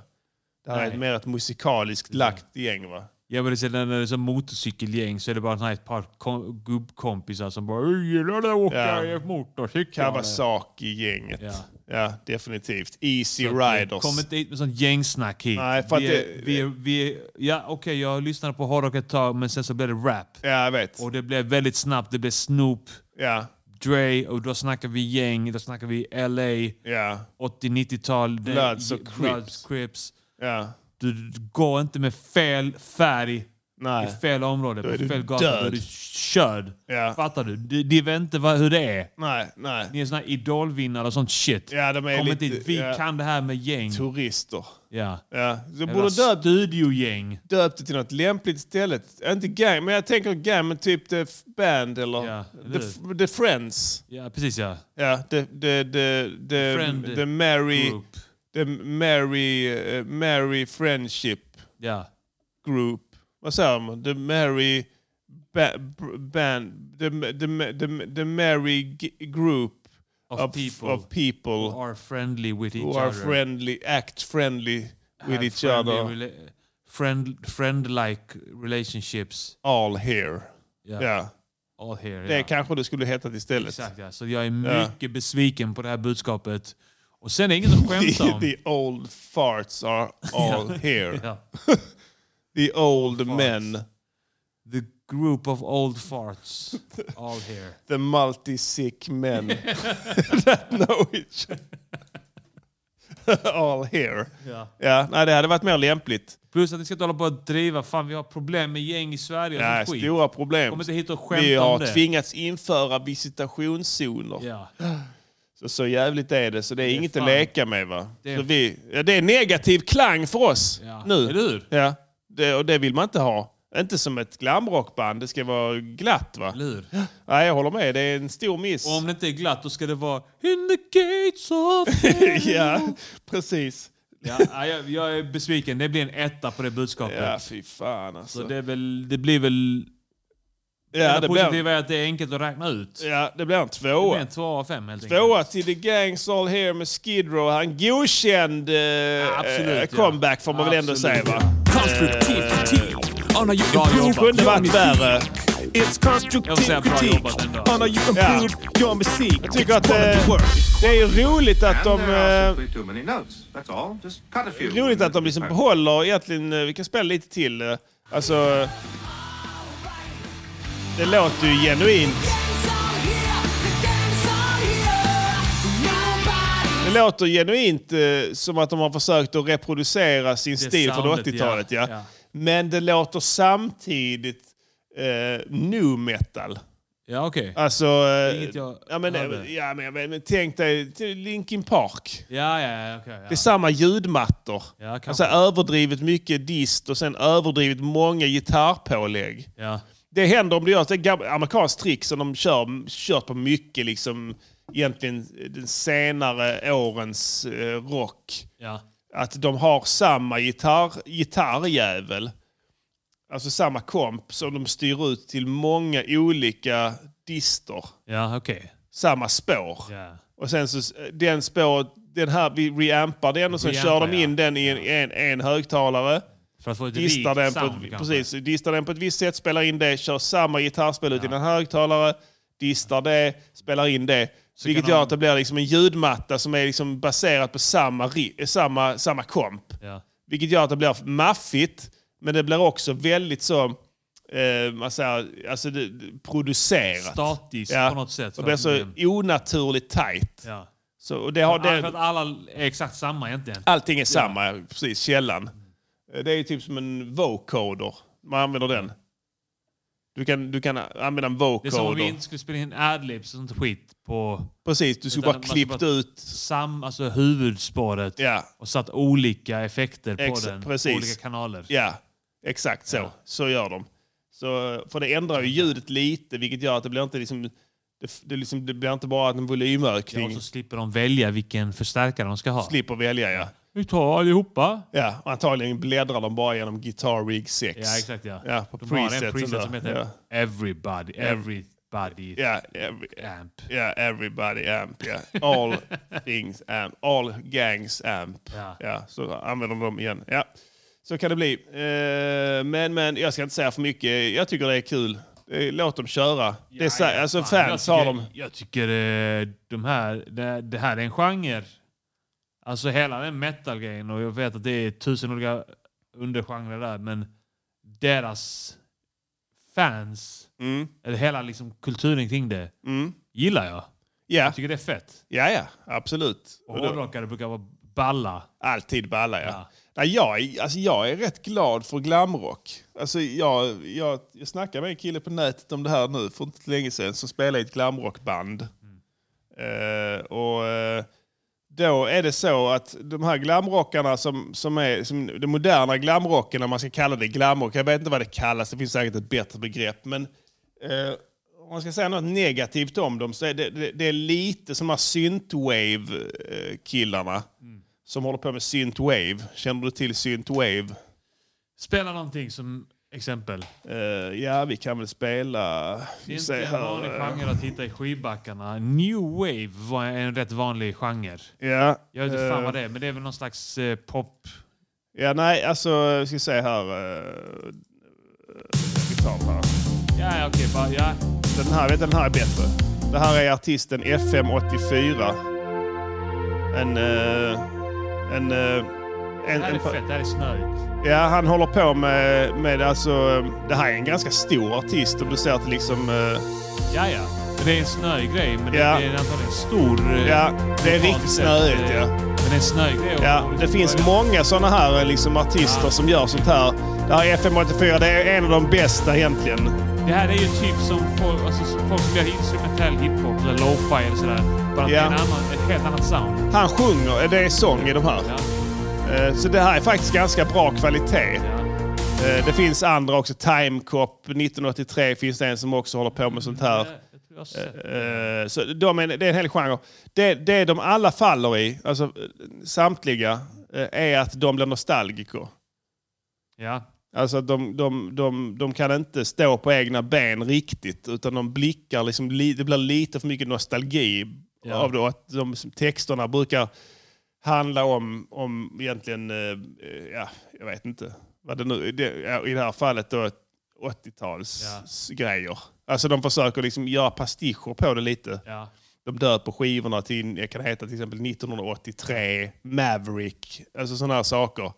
Det här är Nej. ett mer ett musikaliskt lagt gäng va? Ja, men det är så- när det är så motorcykelgäng så är det bara såna här ett par kom- gubbkompisar som bara "Jag “Gillar det att åka Ja. motorcykel?” Kawasaki-gänget. Ja. Ja. definitivt. Easy Så att, eh, Riders. Kom inte hit med sånt gängsnack hit. Nej, för att vi, det- är, vi, är, vi är, Ja, okej, jag lyssnade på hårdrock ett tag, men sen så blev det rap. Ja, jag vet. Och det blev väldigt snabbt. Det blev Snoop, Ja, Dre och då snackar vi gäng, då snackar vi LA, ja, 80-90-tal. det- Bloods och Crips. Bloods, Crips. ja. Du, du går inte med fel färg Nej. i fel område, Då är på du fel gata. Då är död. du körd. Ja. Fattar du? De, de vet inte vad, hur det är. Nej, nej. Ni är såna här idolvinnare och sånt shit. Ja, de är Kom lite- inte hit. Vi ja. kan det här med gäng. Turister. Ja. Ja. Så Jävla borde döpt, studiogäng. döpt det till något lämpligt ställe. Inte gang, men jag tänker gang, men typ The F- Band eller Ja, the, eller F- the Friends. Ja, precis ja. Ja, the, the, the, the, Friend the Mary... group. The Mary, eh, Mary Friendship Ja. Group. Vad säger man? The Mary... Ba- br- band, the, the, the, the Mary G- Group Of people. of people Who are friendly with each who are other. friendly, act friendly with Have each friendly other. rela- friend, friend-like relationships. All here. Ja. Ja. All here. Det ja. kanske det skulle heta istället. Exakt ja. Så jag är Ja. mycket besviken på det här budskapet. Och sen är det inget att skämta The, om. the old farts are all here. Ja. The old, men. The group of old farts. All here. The multi-sick men that know each All here. Ja. Ja, nej, det hade varit mer lämpligt. Plus att ni ska inte hålla på att driva. Fan, vi har problem med gäng i Sverige och Ja, sånt skit. stora problem. Kom inte hit och skämta Vi om har det. tvingats införa visitationszoner. Ja. Så, så jävligt är det, så det är, inget fan- att leka med. va? det är- så vi, ja, det är negativ klang för oss Ja. nu. Eller hur? Ja, det, och det vill man inte ha. Inte som ett glamrockband, det ska vara glatt. va? Eller hur? Nej, jag håller med. Det är en stor miss. Och om det inte är glatt, då ska det vara In the gates of ja, precis. ja, ja, jag, jag är besviken. Det blir en etta på det budskapet. Ja, fy fan alltså. så det, är väl, det blir väl... ja, det det blir, positiva är att det är enkelt att räkna ut. Det ja, det blir en blir tvåa. en tvåa av fem helt enkelt. Tvåa till The Gangs All Here med Skid Row. Han godkänd eh, eh, absolut, ja. comeback får man väl ändå säga Absolut. va? Constructive critique on how you Bra improve jobbat. Kunde varit värre. It's Jag vill constructive säga bra critique jobbat ändå. on how you improve your music. Jag tycker att eh, det är ju roligt att de... Eh, too many notes. That's all. Just cut a few. roligt att de liksom behåller egentligen... eh, Vi kan spela lite till. eh, Alltså... eh, Det låter ju genuint. It's all here. Det låter genuint eh, som att de har försökt att reproducera sin stil från soundet, 80-talet. ja, Ja. ja. Men det låter samtidigt eh, nu metal. Ja, okej. Alltså, eh, Inget jag ja, men, eh, hörde. ja, men, men, men tänk dig till Linkin Park. Ja, ja, ja, okej, ja. Det är samma ljudmattor. Ja, alltså, kanske. överdrivet mycket dist och sen överdrivet många gitarrpålägg. Ja. Det händer om du gör ett gammalt amerikanskt trick som de kör, kört på mycket. Liksom, egentligen den senare årens eh, rock. Ja. Att de har samma gitarr, gitarrjävel. Alltså samma komp som de styr ut till många olika dister. Ja, okej. Samma spår. Ja. Och sen så den spåret, den här, vi reampar den och sen Reampar, kör de in den i en, en, en högtalare. För att få ett Distar rikt den, på, sound, ett- kanske. precis, distar den på ett visst sätt, spelar in det, kör samma gitarrspel ut i en högtalare, distar det, spelar in det. Så vilket kan gör de- att det blir liksom en ljudmatta som är liksom baserad på samma, ri- samma, samma komp. Ja. Vilket gör att det blir maffigt, men det blir också väldigt så... Eh, man säger, alltså det, det- producerat. Statiskt på något sätt. Det blir så onaturligt tajt. Ja. Så, och det har, Ja, det, För att alla är exakt samma egentligen. Allting är samma, ja. precis. Källan. Eh, Det är ju typ som en vocoder. Man använder den. Du kan, du kan använda en Det är som om vi vocoder. inte skulle spela in adlibs och sånt skit på... Precis, du skulle Utan bara man ska klippt bara ut... Sam, alltså huvudspåret och satt olika effekter på Exa- den. precis. På olika kanaler. Ja, exakt så. Så gör de. Så, eh, för det ändrar ju ljudet lite, vilket gör att det blir inte liksom... Det, det, liksom, det blir inte bara en volymökning. Ja, och så slipper de välja vilken förstärkare de ska ha. Slipper välja, ja. Vi tar allihopa. Ja, och antagligen bläddrar de bara genom Guitar Rig 6. Ja, exakt ja. ja på de har en presets preset ändå. som heter Ja. Everybody. Everybody. Yeah, every, amp. Yeah, everybody amp. Yeah. All things amp. All gangs amp. Ja. så använder de dem igen. Ja. Så kan det bli. Eh, men, men jag ska inte säga för mycket. Jag tycker det är kul. Eh, Låt dem köra. det är, så- alltså Fan, fans jag har tycker, de. Jag tycker eh, de här, det, det här är en genre. Alltså hela den metal-grejen och jag vet att det är tusen olika undergenrer där men deras fans, Mm. eller hela liksom kulturen kring det, gillar jag. Ja. Jag tycker det är fett. Ja, ja. Absolut. Och hårdrockare brukar vara balla. Alltid balla, ja. Nej, jag, är, alltså, jag är rätt glad för glamrock. Alltså, jag, jag, jag snackade med en kille på nätet om det här nu för inte länge sedan som spelar i ett glamrockband. Eh, och, eh, då är det så att de här glamrockarna som, som är som den moderna glamrocken, om man ska kalla det glamrock, jag vet inte vad det kallas, det finns säkert ett bättre begrepp. Men eh, om man ska säga något negativt om dem så är det, det, det är lite som de här eh, synthwave-killarna som håller på med synthwave. Känner du till synthwave? Spela någonting som exempel. Eh, ja, vi kan väl spela... Det är se inte en här, vanlig eh, genre att hitta i skivbackarna. New wave var en rätt vanlig genre. Ja, Jag vet inte fan eh, vad det är, men det är väl någon slags eh, pop... Ja, nej, alltså, jag ska se här. eh, Vi tar den här. Ja, ja, okej. bara, ja. Den här, vet du, den här är bättre. Det här är artisten FM84. En... eh, en, eh, en, det här är fett, det här är snöigt. Ja, han håller på med, med alltså, det här är en ganska stor artist om du ser till liksom... eh, Ja, ja. Det är en snöig grej, men Ja. det är antagligen stor... eh, Ja, det är lokalt riktigt sett, snöigt, eh, ja. Men det är en snöig grej. och- Ja, det finns många sådana här eh, liksom, artister som gör sånt här. Det här är FM84, det är en av de bästa egentligen. Det här är ju typ som folk, alltså, som folk som gör instrumentell hiphop eller lo-fi eller sådär. Bara att det är Ja. en annan, ett helt annat sound. Han sjunger, eh, det är sång i de här. Eh, Så det här är faktiskt ganska bra kvalitet. Eh, Det finns andra också, Timecop 1983 finns det en som också håller på med sånt här. Eh, Så de är, det är en hel genre. Det, det de alla faller i, alltså eh, samtliga, eh, är att de blir nostalgiker. Ja. Alltså att de, de, de, de kan inte stå på egna ben riktigt utan de blickar, liksom, li- det blir lite för mycket nostalgi Ja. av det. och Att de, texterna brukar handla om, om egentligen, eh, ja, jag vet inte, vad det nu, det, ja, i det här fallet då 80-talsgrejer. Alltså de försöker liksom göra pastischer på det lite. Ja. De döper skivorna till, jag kan heta till exempel 1983, Maverick, alltså sådana här saker.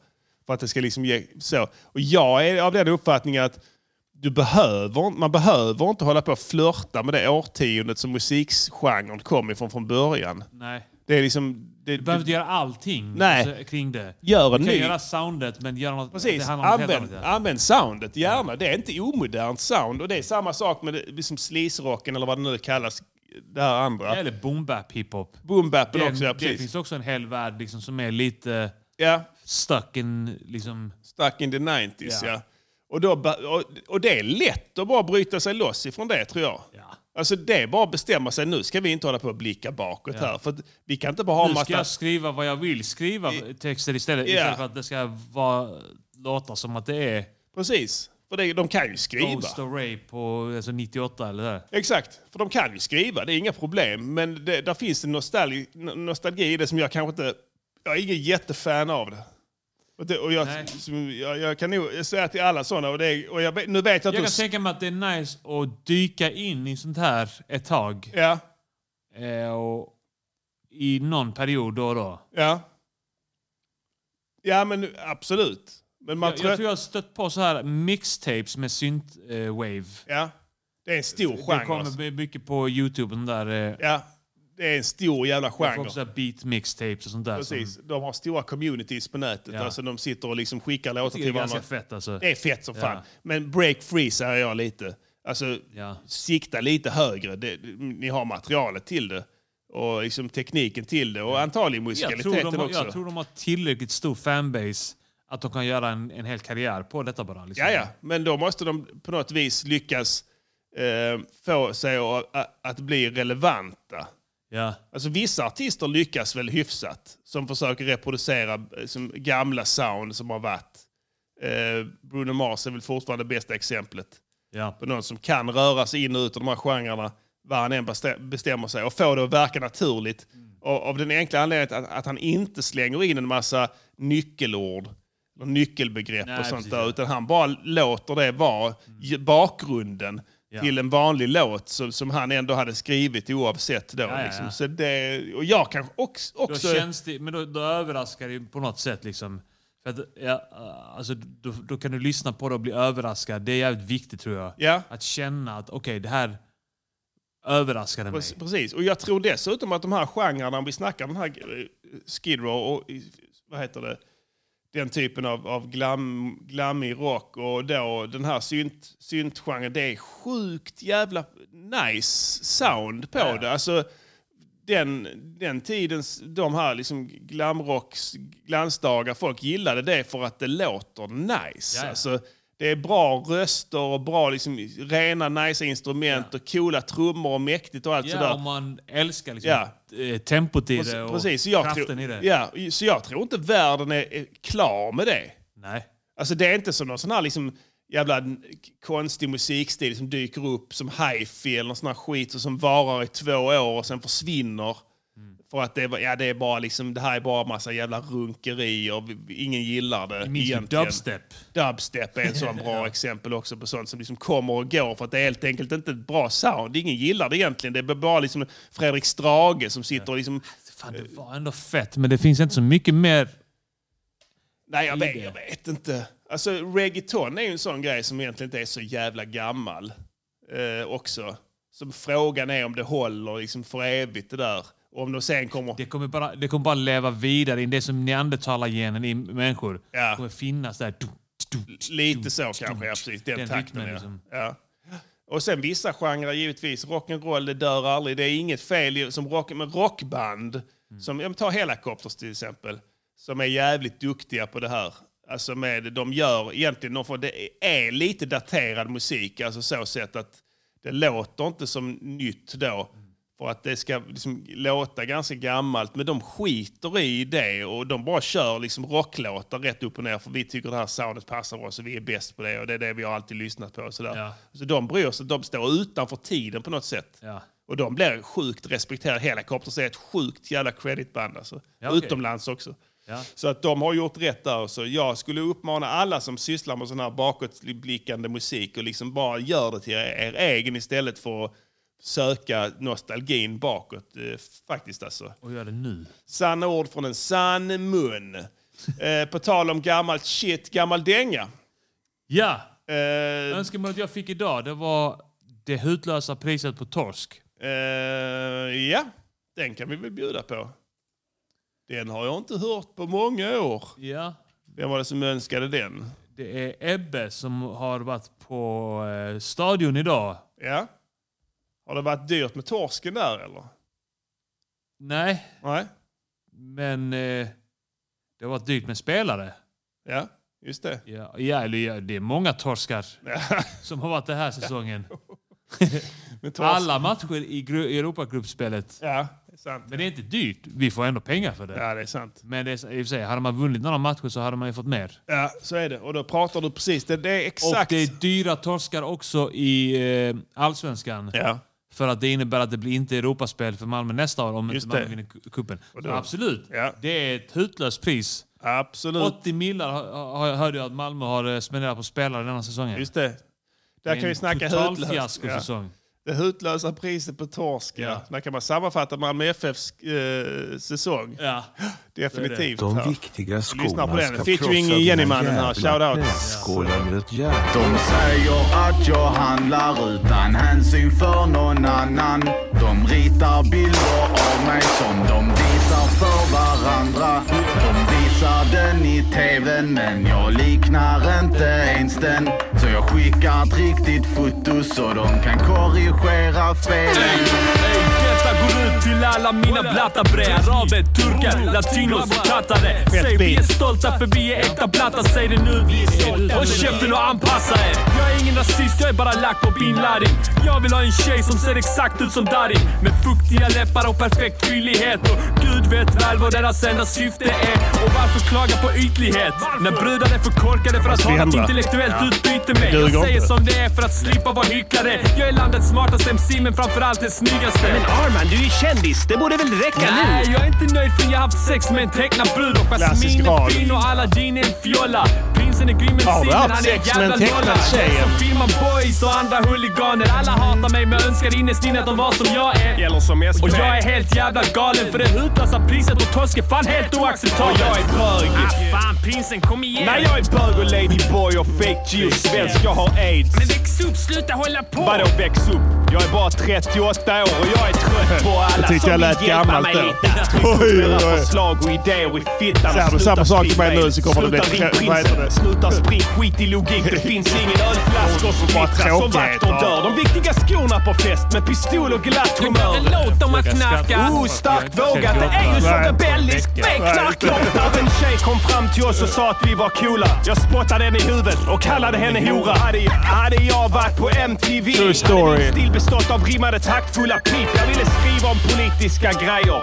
För att det ska liksom ge så. Och jag är av den uppfattningen att du behöver, man behöver inte hålla på och flörta med det årtiondet som musikgenren kom ifrån från början. Nej. Det är liksom, det, Du behöver inte göra allting Nej. alltså, kring det. Gör en du kan ny. göra soundet, men gör något, Precis, det handlar om något helt använd, annat. använd soundet gärna. Det är inte omodernt sound. Och det är samma sak med det- liksom sleaze-rocken eller vad det nu kallas. Det här andra. Eller boom-bap hiphop. Boom-bappen Det- också, ja, Det precis. finns också en hel värld liksom, som är lite stuck in... Liksom, Stuck in the 90s, Ja. ja. Och, då, ba- och, och det är lätt att bara bryta sig loss ifrån det, tror jag. Alltså det är bara att bestämma sig, nu ska vi inte hålla på och blicka bakåt Ja. här. För att vi kan inte bara ha en nu ska massa... jag skriva vad jag vill skriva texter istället. Ja. Istället för att det ska vara, låta som att det är... Precis. För det, de kan ju skriva. Ghost och Rape och alltså 98 eller det. Exakt, för de kan ju skriva, det är inga problem. Men det, där finns en nostalgi, n- nostalgi i det som jag kanske inte... Jag är ingen jättefan av det. Och, det, och jag, som, jag, jag kan nog säga till alla sådana, och, det, är- och jag, vet- nu vet jag Jag att kan du... tänka mig att det är nice att dyka in i sånt här ett tag. Ja. Eh, och I någon period då och då. Ja. ja, men absolut. Men man Jag, jag tror jag har stött på så här mixtapes med synth-wave. Ja, det är en stor Det genre. kommer my- mycket på Youtube. Den där, eh, Ja, det är en stor jävla Jag får också genre. så här beat mixtapes och sånt där. Precis. Som, De har stora communities på nätet. Ja. Alltså, de sitter och liksom skickar jag låtar tycker det till är ganska varandra. fett alltså. Det är fett som Ja. fan. Men break free säger jag lite. Alltså, sikta lite högre. Det, ni har materialet till det. Och liksom tekniken till det. Och antagligen Jag tror, musikaliteten de, har- också. jag tror de har tillräckligt stor fanbase att de kan göra en, en hel karriär på detta bara. Liksom. Ja, ja. Men då måste de på något vis lyckas eh, få sig att, att- att bli relevanta. Ja. Alltså vissa artister lyckas väl hyfsat. Som försöker reproducera eh, som gamla sound som har varit. Eh, Bruno Mars är väl fortfarande det bästa exemplet. Ja. På någon som kan röra sig in och ut ur de här genrerna. Vad han än bestä- bestämmer sig. Och få det att verka naturligt. Mm. Och, av den enkla anledningen att, att han inte slänger in en massa nyckelord. Eller nyckelbegrepp Nej, och sånt precis, där. ja. Utan han bara låter det vara Mm. ge- bakgrunden Ja. till en vanlig låt som, som han ändå hade skrivit oavsett då. Ja, ja, liksom. ja. Så det, och jag kanske också... Då också känns det, men då, då överraskar det ju på något sätt. Liksom. För att, ja, alltså, då, då kan du lyssna på det och bli överraskad. Det är jävligt viktigt tror jag. Ja. Att känna att okej, det här överraskade mig. Precis, precis. Och jag tror dessutom att de här genrerna, om vi snackar den här eh, Skid Row och eh, vad heter det? den typen av, av glam, glammig rock och då den här synt, syntgenren, det är sjukt jävla nice sound på det. Alltså, den, den tidens, de här liksom glamrocks glansdagar, folk gillade det för att det låter nice. Ja, ja. Alltså, det är bra röster och bra liksom, rena nice instrument och coola trummor och mäktigt och allt Ja, sådär. om man älskar liksom, Ja. eh, tempot Alltså i det och Precis, så jag kraften tror, i det. Ja, så jag tror inte världen är är klar med det. Nej. Alltså det är inte som någon sån här liksom jävla n- konstig musikstil som dyker upp som hifi eller någon sån här skit och som varar i två år och sen försvinner. Mm. För att det, är ba- ja, det är bara liksom, det här är bara massa jävla runkerier, Vi- vi- ingen gillar det minns ju egentligen. dubstep. Dubstep är en sån bra exempel också på sånt som liksom kommer och går för att det är helt enkelt inte ett bra sound. Ingen gillar det egentligen. Det är bara liksom Fredrik Strage som sitter och liksom... Fan, det var ändå fett, men det finns inte så mycket mer. Nej, jag vet, jag vet inte. Alltså, reggaeton är ju en sån grej som egentligen inte är så jävla gammal eh, också. Som frågan är om det håller liksom för evigt det där. Och om de sen kommer... Det kommer bara, det kommer bara leva vidare i det som neandertalargenen i människor. Det kommer finnas där. Lite så kanske, ja, precis. Den, Den takten, rytmen ja. liksom. ja. Och sen vissa genrer givetvis. Rock'n'roll, det dör aldrig. Det är inget fel i- som rock, men rockband. Som, ja, men ta Hellacopters till exempel. Som är jävligt duktiga på det här. Alltså med, de gör egentligen någon form, det är lite daterad musik. Alltså så sätt att det låter inte som nytt då. För att det ska liksom låta ganska gammalt. Men de skiter i det och de bara kör liksom rocklåtar rätt upp och ner. För vi tycker det här soundet passar oss och vi är bäst på det. Och det är det vi har alltid lyssnat på. Och sådär. Så de bryr sig. De står utanför tiden på något sätt. Ja. Och de blir sjukt respekterade. Helicopters är ett sjukt jävla creditband. Alltså. Ja, okej. Utomlands också. Ja. Så att de har gjort rätt där. Så jag skulle uppmana alla som sysslar med sån här bakåtblickande musik och liksom bara gör det till er, er egen istället för att söka nostalgin bakåt. Eh, faktiskt alltså. Och gör det nu. Sanna ord från en sann mun. Eh, på tal om gammalt shit, gammal dänga. Eh, Ja! Önskemålet jag fick idag det var det hutlösa priset på torsk. Eh, ja, den kan vi väl bjuda på. Den har jag inte hört på många år. Ja. Vem var det som önskade den? Det är Ebbe som har varit på eh, stadion idag. Ja. Har det varit dyrt med torsken där eller? Nej. Nej. Men eh, det har varit dyrt med spelare. Ja, just det. Ja, ja, eller ja, det är många torskar som har varit den här säsongen. torsk- Alla matcher i gru- i Europagruppspelet. Ja, det är sant. Men det är inte dyrt. Vi får ändå pengar för det. Ja, det är sant. Men det är, så- i och för sig, hade man vunnit några matcher så hade man ju fått mer. Ja, så är det. Och då pratar du precis. Det, det är Och exakt. det är dyra torskar också i eh, Allsvenskan. Ja. För att det innebär att det blir inte Europaspel för Malmö nästa år om inte Malmö vinner cu- cupen. då- Så Absolut. Det är ett hutlöst pris. Absolut. 80 millar har- har- hörde jag att Malmö har eh, spenderat på spelare denna säsongen. Just det. Det är Där kan vi en snacka total hutlöst. fiaskosäsong. Det hutlösa priset på torsk. Ja. Där kan man sammanfatta Malmö FFs eh, säsong. Ja. Definitivt. De här. viktiga Lyssna på skorna den. ska Featuring krossa Jennymannen dina här. jävla Shoutout. knäskålar med ett järn. De säger att jag handlar utan hänsyn för någon annan. De ritar bilder av mig som de visar för varandra. De visar den i tvn men jag liknar inte ens den. Så jag skickar ett riktigt foto så de kan korrigera felen. Detta går ut till alla mina blattabrer Araber, turkar, latinos och tattare Säg vi är stolta för vi är äkta blattar, säg det nu Håll käften och anpassa er Jag är ingen rasist, jag är bara lack på bin Laden Jag vill ha en tjej som ser exakt ut som Darin Med fuktiga läppar och perfekt fyllighet Och gud vet väl vad deras enda syfte är Och varför klaga på ytlighet? När brudar är för korkade för att ha något Svindla. intellektuellt Ja. utbyte med Duger Jag säger inte. som det är för att slippa vara hycklare Jag är landets smartaste MC men framförallt den snyggaste Men Arman, du är ju kändis. Det borde väl räcka Nej, nu? jag är inte nöjd förrän jag haft sex med en tecknad brud och Klassisk Jasmin är radio. fin och Aladdin är en fjolla. Prinsen är grym men Har du Simon han haft är en sex med en jävla tecknad nolla. tjej, Jag eller? som filmar boys och andra huliganer. Alla hatar mig men önskar innerst inne att de var som jag är. Gäller som SP. och jag är helt jävla galen för det hutlösa priset på torsk är fan helt oacceptabelt. Och jag är bög. Ah, fan, prinsen kom igen. Nej, jag är bög och ladyboy och fake G och svensk. Jag har aids. Men väx upp, sluta hålla på! Vadå väx upp? Jag är bara 38 år och jag är trött på alla Jag tyckte som jag vill lät hjälpa mig gammalt då. lite. Oj, oj, Tryck upp oj. era förslag och idéer i fittan. Säger du samma sak till mig nu så kommer det bli Sluta trö- vad heter det? prinsen. Sluta sprid skit i logik. Det finns ingen ölflaskor som Vad splittras som vakter tråkigheter. dör. De viktiga skorna på fest med pistol och glatt humör. Låt dem att knarka. Oh, starkt vågat. Det är ju så rebelliskt med knarklåtar. En tjej kom fram till oss och sa att vi var coola. Jag spottade henne i huvudet och kallade henne hora. Hade, hade jag varit på MTV True story. hade min stil bestått av rimmade taktfulla pip. Jag ville skriva om politiska grejer.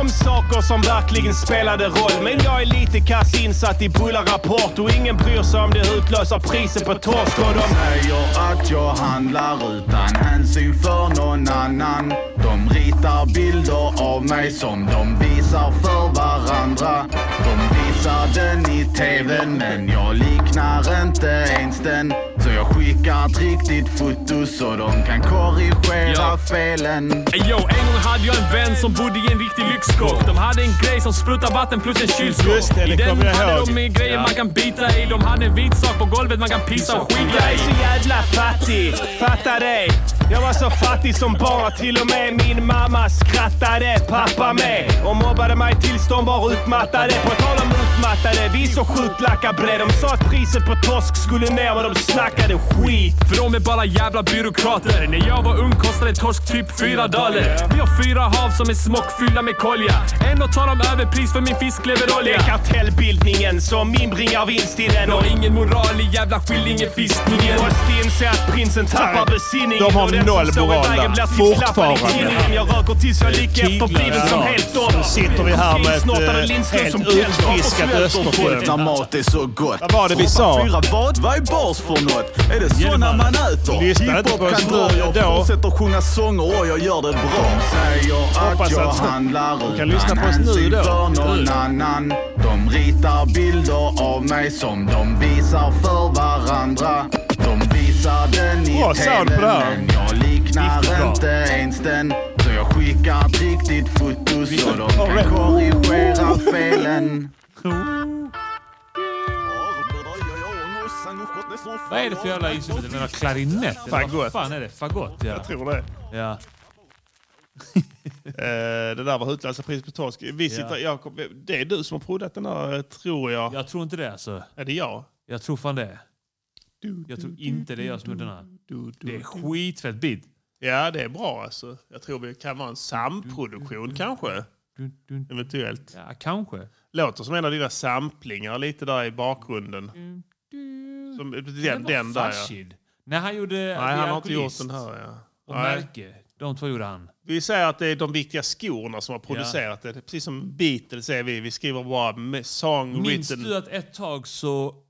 Om saker som verkligen spelade roll. Men jag är lite kass insatt i Rapport och ingen bryr sig om det utlösa priset på torsk. Och de säger att jag handlar utan hänsyn för någon annan. De ritar bilder av mig som de visar för varandra. De visar den i tvn men jag liknar inte ens den. Så jag skickar ett riktigt foto så de kan korrigera felen. Ey, Yo, en gång hade jag en vän som bodde i en riktig lyxkåk. De hade en grej som sprutade vatten plus en kylskåp. Just det, det I den kommer jag hade ihåg. de med grejer Ja. man kan bita i. De hade en vit sak på golvet man kan pissa och skita Jag är i. så jävla fattig, fatta dig. Jag var så fattig som barn att till och med min mamma skrattade. Pappa med och mobbade mig tills de var utmattade. På tal om utmattade, vi är så sjukt lacka bre. De sa att priset på torsk skulle ner men de snackade skit. För de är bara jävla byråkrater. När jag var ung kostade torsk typ 4 dollar. Vi har fyra hav som är smockfyllda med kolja. Ändå tar de överpris för min Det fiskleverolja. är kartellbildningen som inbringar vinst i den. De har ingen moral i jävla skillingefiskningen. Måste inse att prinsen tappar besinningen. De har och den noll som står moral i vägen där. blir tillklappad i Fortfarande. tinningen. Jag röker tills jag ligger efter Tidlöst. bilen som Ja. helt dom. Nu sitter vi här med ett, Finsnortade eh, Lindström helt som hjälper oss utfiskat och svälter Östersjön. folk. När mat är så gott. Vad var det vi sa? Fyra vad? Vad är bars för något? Är det såna man äter? Lyssna inte Hiphop på oss kan nu, dra, jag då. fortsätter sjunga sånger och jag gör det bra. Säger Hoppas att jag att- handlar Du kan utan lyssna på oss nu hänsyn då. för någon Nu. annan. De ritar bilder av mig som de visar för varandra. De visar den i Bra sound på det här. men jag liknar Riktigt inte ens den. Så jag skickar ett riktigt foto så de kan korrigera felen. Vad är det för jävla instrument? Är det någon klarinett? eller vad Fagott. fan är det? Fagott, ja. Jag tror det. Ja. Eh, det där var utlandspriset på torsk. Vi sitter, Ja. jag kom, det är du som har proddat den där, eh, tror jag. Jag tror inte det alltså. Är det jag? Jag tror fan det. Jag tror inte det är jag som gjort den här. Det är skitfett beat. Ja, det är bra alltså. Jag tror vi kan vara en samproduktion kanske. Eventuellt. Ja, kanske. Låter som en av dina samplingar lite där i bakgrunden. Som, den, den där ja. Farshid. När han gjorde Nej, han har inte gjort den här. Ja. Och Nej. Märke. De två gjorde han. Vi säger att det är de viktiga skorna som har producerat det. Precis som Beatles är vi. Vi skriver bara med song Minns written. du att ett tag så...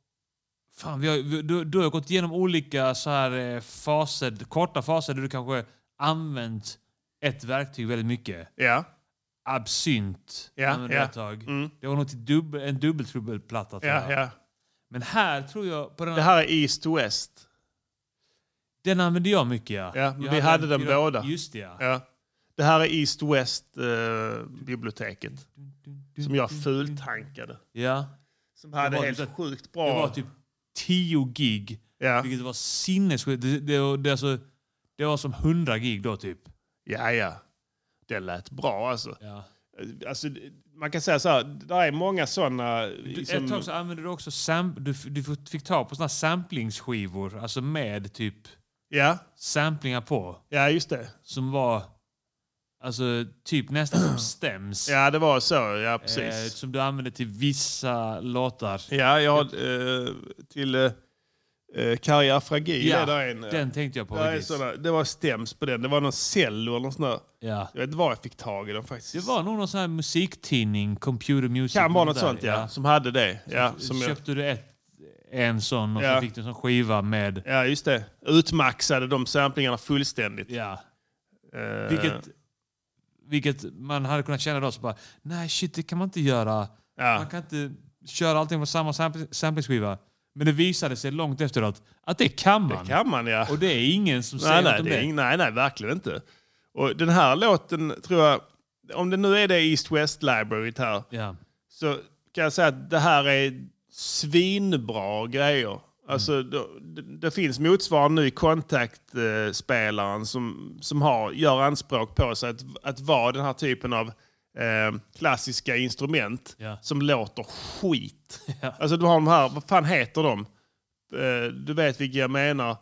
Fan, vi har, vi, du, du har gått igenom olika så här eh, faser, korta faser där du kanske använt ett verktyg väldigt mycket. Ja. Absynt Ja, använde ja. Mm. jag ett tag. Det var nog till dubbel, en dubbeltrubbelplatta. tror Ja, jag. ja. Men här tror jag... På den Det här är East to West. Den använde jag mycket ja. Ja, jag vi hade den fyra- båda. Just det ja. Det här är East West-biblioteket. som jag fultankade. ja. Som hade Det var helt typ- sjukt bra- Det var typ 10 gig. Vilket var sinnessjukt. Det, det, var- det, alltså, det var som 100 gig då typ. Ja, ja. Det lät bra alltså. alltså det- man kan säga så här, det där är många sådana... liksom- Ett tag så använde du också sam, du, f- du f- fick ta på såna samplingsskivor. Alltså med typ ja. samplingar på. Ja, just det. Som var alltså typ nästan som stems. Ja, det var så. Ja, precis. Eh, som du använde till vissa låtar. Ja, jag eh, till eh, eh, Karriärfragil. Ja, är där en, eh, den tänkte jag på där är faktiskt. såna, det var stäms på den. Det var någon cello eller något sånt där. Ja. Jag vet inte var jag fick tag i den faktiskt. Det var nog någon sån här musiktidning, Computer Music. Kan vara och något där, sånt ja, som hade det. Ja, Så som jag- köpte du ett, en sån och Ja. så fick du en sån skiva med... Ja, just det. Utmaxade de samplingarna fullständigt. Ja. Eh, Vilket, vilket man hade kunnat känna då så bara, nej shit det kan man inte göra. Man kan inte köra allting på samma sampl- samplingsskiva. Men det visade sig långt efteråt att det kan man. Det kan man ja. Och det är ingen som nej, säger nej, något om det är det. ing- nej, nej, verkligen inte. Och den här låten tror jag, om det nu är det East West Library här, Ja. så kan jag säga att det här är svinbra grejer. Alltså, då- det, det finns motsvarande ny kontaktspelaren som, som har, gör anspråk på sig att, att vara den här typen av eh, klassiska instrument Ja. som låter skit. Alltså du har de här, vad fan heter de? Eh, du vet vilka jag menar.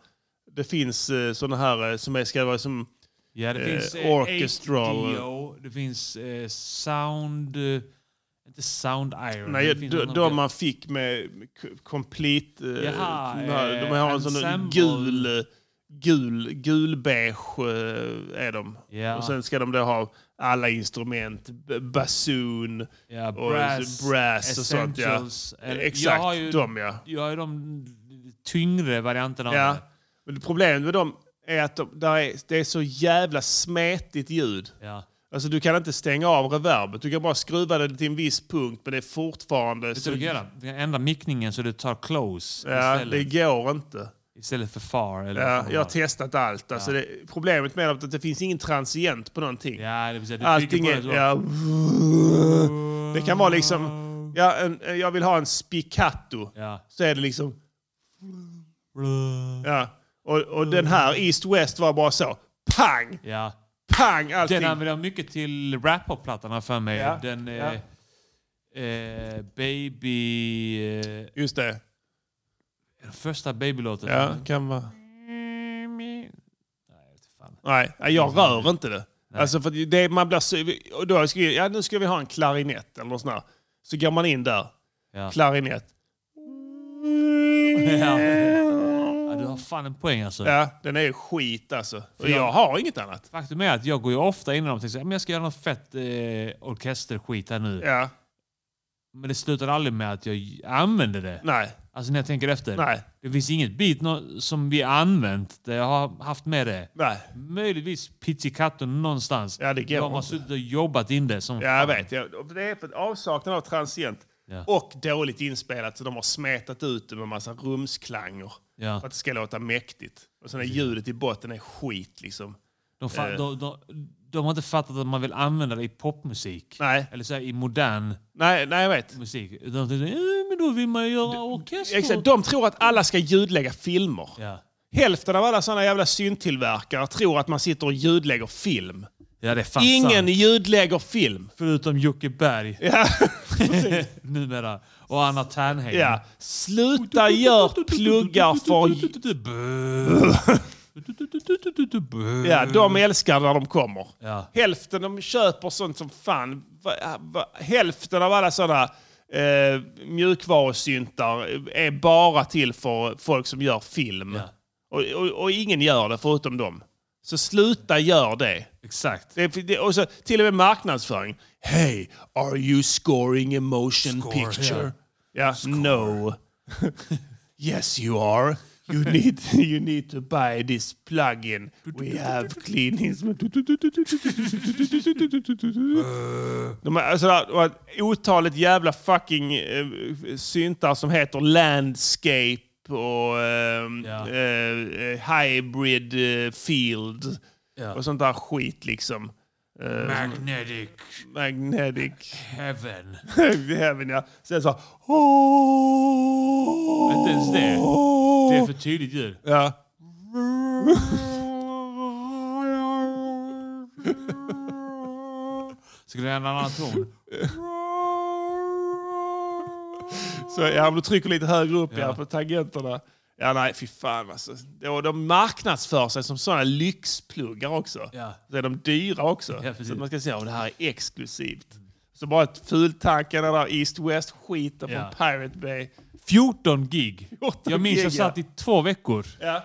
Det finns eh, sådana här eh, som är, ska vara som Ja, det finns eh, orchestral. 8DO, det finns eh, sound... Eh, inte sound iron. Nej, det finns de, någon de annan- man fick med k- complete... eh, Jaha, de, här, de eh, har en sån där ensemble. gul, gul, gulbeige eh, är de. Ja. Och sen ska de då ha alla instrument, b- basun, Ja, och brass, så brass och sånt. Ja. essentials, eller- Exakt, jag har ju- de ja. Jag har ju de tyngre varianterna av ja. det. Men problemet med dem är att de, där är, det är så jävla smetigt ljud. Ja. Alltså du kan inte stänga av reverbet. Du kan bara skruva det till en viss punkt men det är fortfarande... Vet du vad du kan göra? Du kan ändra mickningen så du tar close Ja, det istället, går inte. istället för far. Eller vad Ja, fan det jag har var. testat allt. Alltså Ja. det, problemet med det är att det finns ingen transient på någonting. Ja, det vill säga, du Allting trycker är... på det Ja, så. det kan vara liksom... Ja, en, jag vill ha en spiccato. Så är det liksom... Ja. Och, och den här East West var bara så. Pang! Ja. Pang allting. Den använder jag mycket till rap-pop-plattan har jag för mig. Ja, Den ja. eh, eh, Baby... Eh, Just det. Den första Baby-låten. Ja, kan vara. Nej, jag rör inte det. Alltså för att det, man blir så, och då har jag skrivit, ja nu ska vi ha en klarinett eller något sånt där. Så går man in där. Ja. Klarinett. ja. ja, du har fan en poäng alltså. Ja, den är skit alltså. Och För jag- jag har inget annat. Faktum är att jag går ju ofta in i dem och tänker att jag ska göra något fett eh, orkesterskit här nu. Ja. Men det slutar aldrig med att jag använder det. Nej. Alltså när jag tänker efter. Nej. Det finns inget bit nå- som vi använt där jag har haft med det. Nej. Möjligtvis pizzicato någonstans. Ja, det går Då har man inte. suttit och jobbat in det som Ja, jag vet. Jag, och det är för avsaknad av transient. Ja. Och dåligt inspelat så de har smetat ut det med massa rumsklanger. Ja. För att det ska låta mäktigt. Och sen är ljudet i botten är skit liksom. De, fa- Eh, de, de, de har inte fattat att man vill använda det i popmusik. Nej. Eller så här, i modern nej, nej, jag vet. musik. De tänkte, "Eh, men då vill man ju göra orkester. Exakt, de tror att alla ska ljudlägga filmer. Ja. Hälften av alla sådana jävla syntillverkare tror att man sitter och ljudlägger film. Ja, det är fan Ingen sant. ljudlägger film. Förutom Jocke Berg. Ja. Numera. Och Anna Ternheim. Ja. Sluta gör pluggar för... ja, de älskar när de kommer. Ja. Hälften de köper sånt som fan. Va- va- Hälften av alla sådana eh, mjukvarusyntar är bara till för folk som gör film. Och, och, och ingen gör det förutom dem. Så sluta gör det. Exakt. Det, det, och så, till och med marknadsföring. Hey, are you scoring a motion Score, picture? Yeah, no. yes, you are. You need you need to buy this plugin. We have cleanings. De är, alltså, det var ett otaligt jävla fucking eh, syntar som heter Landscape och eh, eh, Hybrid eh, Field Ja. och sånt där skit liksom. Eh, Magnetic. Magnetic. Heaven. Heaven, ja. Sen så... Oh, Inte ens det. Det är för tydligt ljud. Ja. Ska du ändra en annan ton? Så ja, om du trycker lite högre upp ja. Ja. på tangenterna. Ja, nej, fy fan alltså. De, de marknadsför sig som sådana lyxpluggar också. Ja. Så är de dyra också. Ja, precis. så att man ska se om det här är exklusivt. Så bara ett fultankarna där, East West-skiten Ja. från Pirate Bay. 14 gig. 14 jag minns jag gig, ja. satt i två veckor. Ja.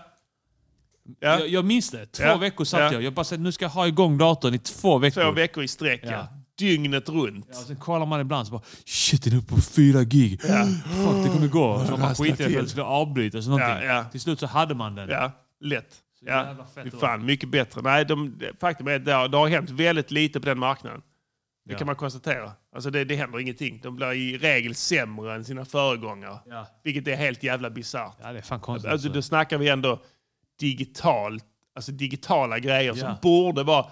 Jag, jag minns det. Två Ja. veckor satt Ja. jag. Jag bara sa, nu ska jag ha igång datorn i två veckor. Två veckor i sträck, ja. Ja. Dygnet runt. Ja, sen kollar man ibland så bara shit den är uppe på fyra gig. Ja. Fuck det kommer gå. Så man Rasslar skiter i det för till. att det skulle avbrytas eller någonting. Ja, ja. Till slut så hade man den. Ja, lätt. Ja, jävla fett det är då. fan mycket bättre. Nej, de, det- faktum är att det har, det har hänt väldigt lite på den marknaden. Det Ja. kan man konstatera. Alltså det, det händer ingenting. De blir i regel sämre än sina föregångare. Ja. Vilket är helt jävla bisarrt. Ja, det är fan konstigt. Alltså, alltså. då snackar vi ändå digitalt, alltså digitala grejer som Ja. borde vara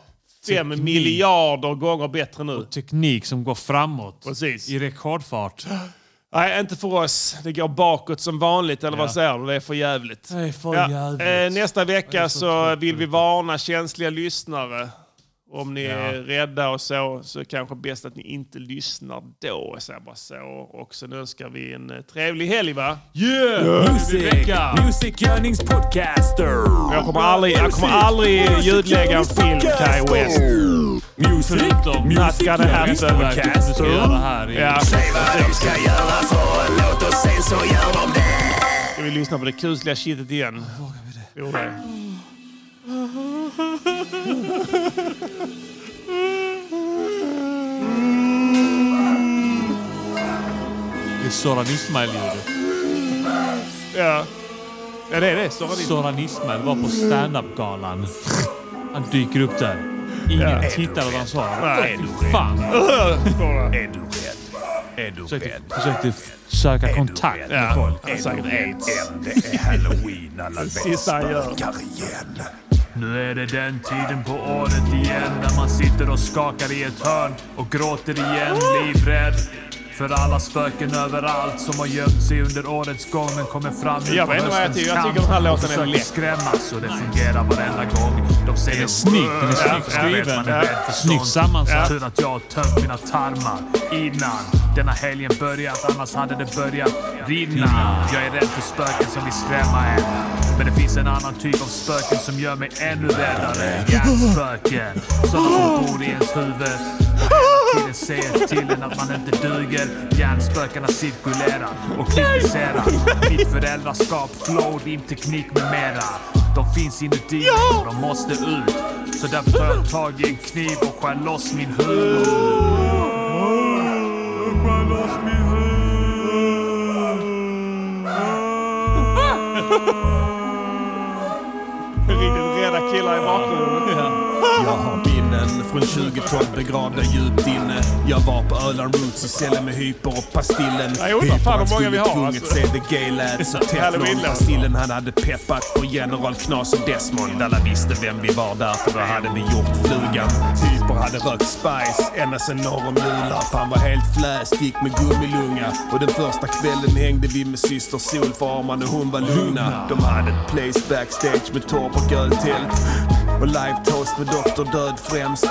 fem Teknik. miljarder gånger bättre nu. Teknik som går framåt. Precis. I rekordfart. Nej, inte för oss. Det går bakåt som vanligt, eller Ja. vad säger du? Det är för jävligt. Det är för jävligt. eh, Nästa Det vecka är så, så vill vi varna känsliga lyssnare. Om ni Ja. är rädda och så, så kanske bäst att ni inte lyssnar då. Så jag bara så. Och sen önskar vi en eh, trevlig helg, va? Yeah! Music! Music Yearnings Podcaster. Jag kommer aldrig, jag kommer aldrig ljudlägga en film, Kanye West. Music, Not music gonna Yearnings happen. Podcaster. Ja. Säg vad de ska göra för en låt och sen så gör de det. Ska vi lyssna på det kusliga shitet igen? Vågar vi det? Jo, det. Det är Soran Ismail-ljudet. Ja. ja, det är det. Soran Ismail. Soran Ismail var på standup-galan. Han dyker upp där. Ingen Ja. tittar vad han sa. Nej. Fy Fan! Är du rädd? Är du rädd? Försökte f- söka kontakt med folk. Är du rädd än det är halloween alla Sista han gör. bästar igen? Nu är det den tiden på året igen när man sitter och skakar i ett hörn och gråter igen, livrädd. För alla spöken överallt som har gömt sig under årets gång men kommer fram nu Jag på vet inte vad jag höstens tycker. Jag kant tycker den här och låten är försöker läck. skrämmas och det fungerar varenda gång. De säger Den är snygg. Den är Ja, snyggt jag vet, man är skriven. rädd för Snyggt sånt. sammansatt. Tur att jag har tömt mina tarmar innan denna helgen börjat. Annars hade det börjat rinna. Jag är rädd för spöken som vill skrämma en. Men det finns en annan typ av spöken som gör mig ännu räddare. Hjärnspöken. Sådana som bor i ens huvud. Och hela tiden säger till en att man inte duger. Hjärnspökena cirkulerar och kritiserar. Mitt föräldraskap, flow, rimteknik med mera. De finns inuti och de måste ut. Så därför tar jag tag i en kniv och skär loss min hud. Riktigt rädda killar i bakgrunden. Jag har minnen från 2012 begravda djupt inne. Jag var på Öland Roots i cellen med hyper och pastillen. Jag undrar fan hur många vi har, tvunget alltså. se the gay lads och teflon. Halloween-låt. Pastillen han hade peppat på General Knas och Desmond. Alla visste vem vi var därför då hade vi gjort flugan. Hyper hade rökt Spice ända sen norr om Julafton. Han var helt fläst, gick med gummilunga. Och den första kvällen hängde vi med syster Sol för Arman och hon var lugna. De hade ett place backstage med torp och öltält. Och live-toast med Dr. Död främst.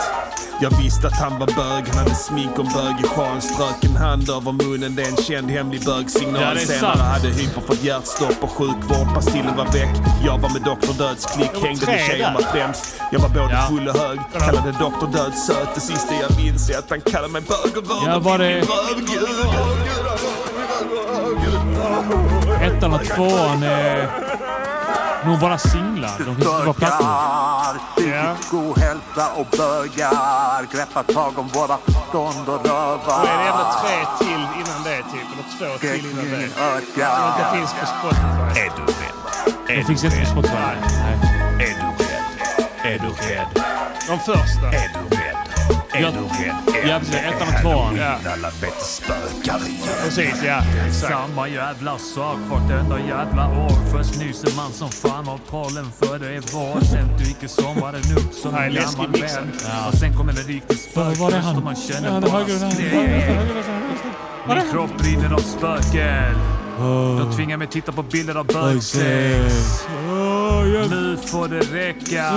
Jag visste att han var bög, han hade smink om bög i sjal. Strök en hand över munnen, det är en känd hemlig bögsignal. Ja, det är Senare sant. hade Hyper fått hjärtstopp och sjukvård. Pastillen var väck. Jag var med Dr. Döds klick, hängde tre med tjejerna där. främst. Jag var både full och hög, kallade Dr. Död söt. Det sista jag minns är att han kallade mig bög och vurmade Ja, var till det- min rövgud. Ettan och tvåan är nog bara singlar. De finns inte på plattor. Bögar, psykisk ohälsa och bögar Greppa tag om våra stånd och rövar Då är det ändå tre till innan det, typ. Eller två till innan det. Som inte finns på Spotify. Är du rädd? Är Det du finns inte på rädd? Spotify. Nej. Är du rädd? Är du rädd? De första. Är du rädd? Är Jag- du rädd? Ja, precis. Ettan och tvåan. Ja. Alla vet spökar igen. Precis, ja. Samma jävla sak vartenda jävla år. Först nyser man som fan av pollen för det är vår. Sen dyker sommaren upp som Nej, en läskig gammal mix. vän. Ja. Och sen kommer en riktig Var är spökröst han? och man Ja, känner han är bara högre, han är högre, skräck. Min kropp brinner av spöken. De tvingar mig titta på bilder av bögsex. Nu får det räcka.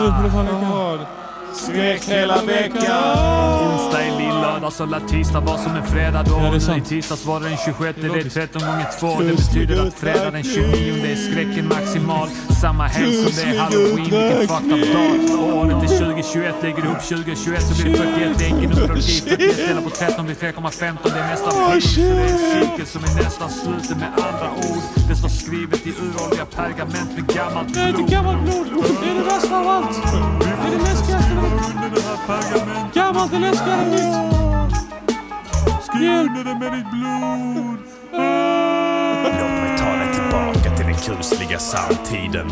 Skrek hela veckan. Onsdag är lill-lördag, så lär tisdag vara som en fredag då. Ja, det är Och nu i sant. tisdags var det den 26, det är logiskt. 13 gånger 2. Det betyder att fredag den 29 är skräcken maximal. Samma helg som det är halloween, vilken fucked up dag. Och Året är 2021, lägger ihop 2021 så blir det 41. Enkel numerologi, 41 delat på 13 blir 3,15. Det är nästan Oh, pris. Så det är en shit. cirkel som är nästan sluten med andra ord. Det står skrivet i uråldriga pergament med gammalt Nej, blod. inte gammalt blod. Det är det värsta av allt. Det är det läskigaste av allt. Gammalt är läskigare än nytt. Skriv under det med ditt blod. Låt mig ta dig tillbaka till den kusliga samtiden.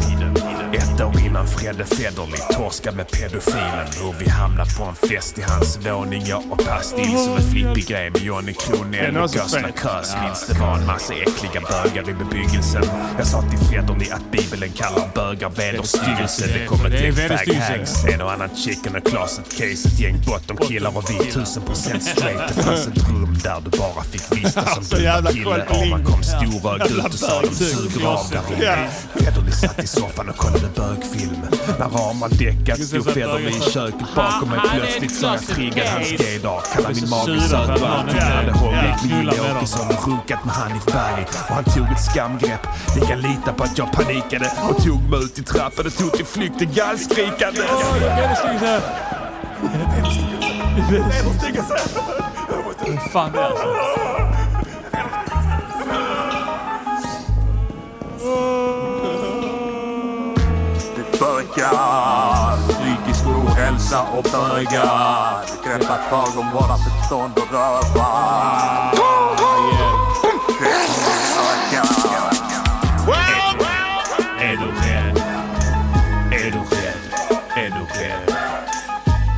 Ett år innan Fredde Federley torskade med pedofilen. Hur vi hamnade på en fest i hans våning. Jag och Pastill som en flippig grej med Johnny Den Kronell är och så Gösta fet. Krös. Ja. Minns det var en massa äckliga bögar i bebyggelsen. Jag sa till Federley att Bibeln kallar bögar vederstyggelse. Det kom ett Det är gäng vederstyggelse. faghacks. En och annan chicken och closet case. Ett gäng bottomkillar och vi tusen procent straight. Det fanns ett rum där du bara fick vistas som Så du jävla var kille. koll på Aman kom storögd Jävla ut och sa de bögsug. suger av där Ja. inne. Federley satt i soffan och kollade bögfilm. När Rahman däckat stod Federley i köket bakom mig. Plötsligt så jag triggade hans gaydag. Kallade min mage söt och allting. Han hade hånglat med Jill Åkesson och runkat med Hanif Bali. Och han tog ett skamgrepp. Ni kan lita på att jag panikade och tog mig ut i trappan och tog till flykt i gallskrikande. Fan det är alltså. Bögar, psykisk ohälsa och bögar Greppa tag om våra förstånd och rövar Bögar Är du rädd? Är du rädd? Är du rädd?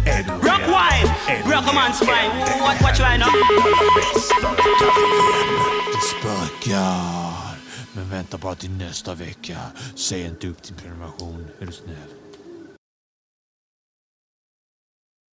Är du Rock rädd? wine. Är du Rock a man's rädd? wine. What, what you right now? Spökar. Men vänta bara till nästa vecka. Säg inte upp din prenumeration. Är du snäll?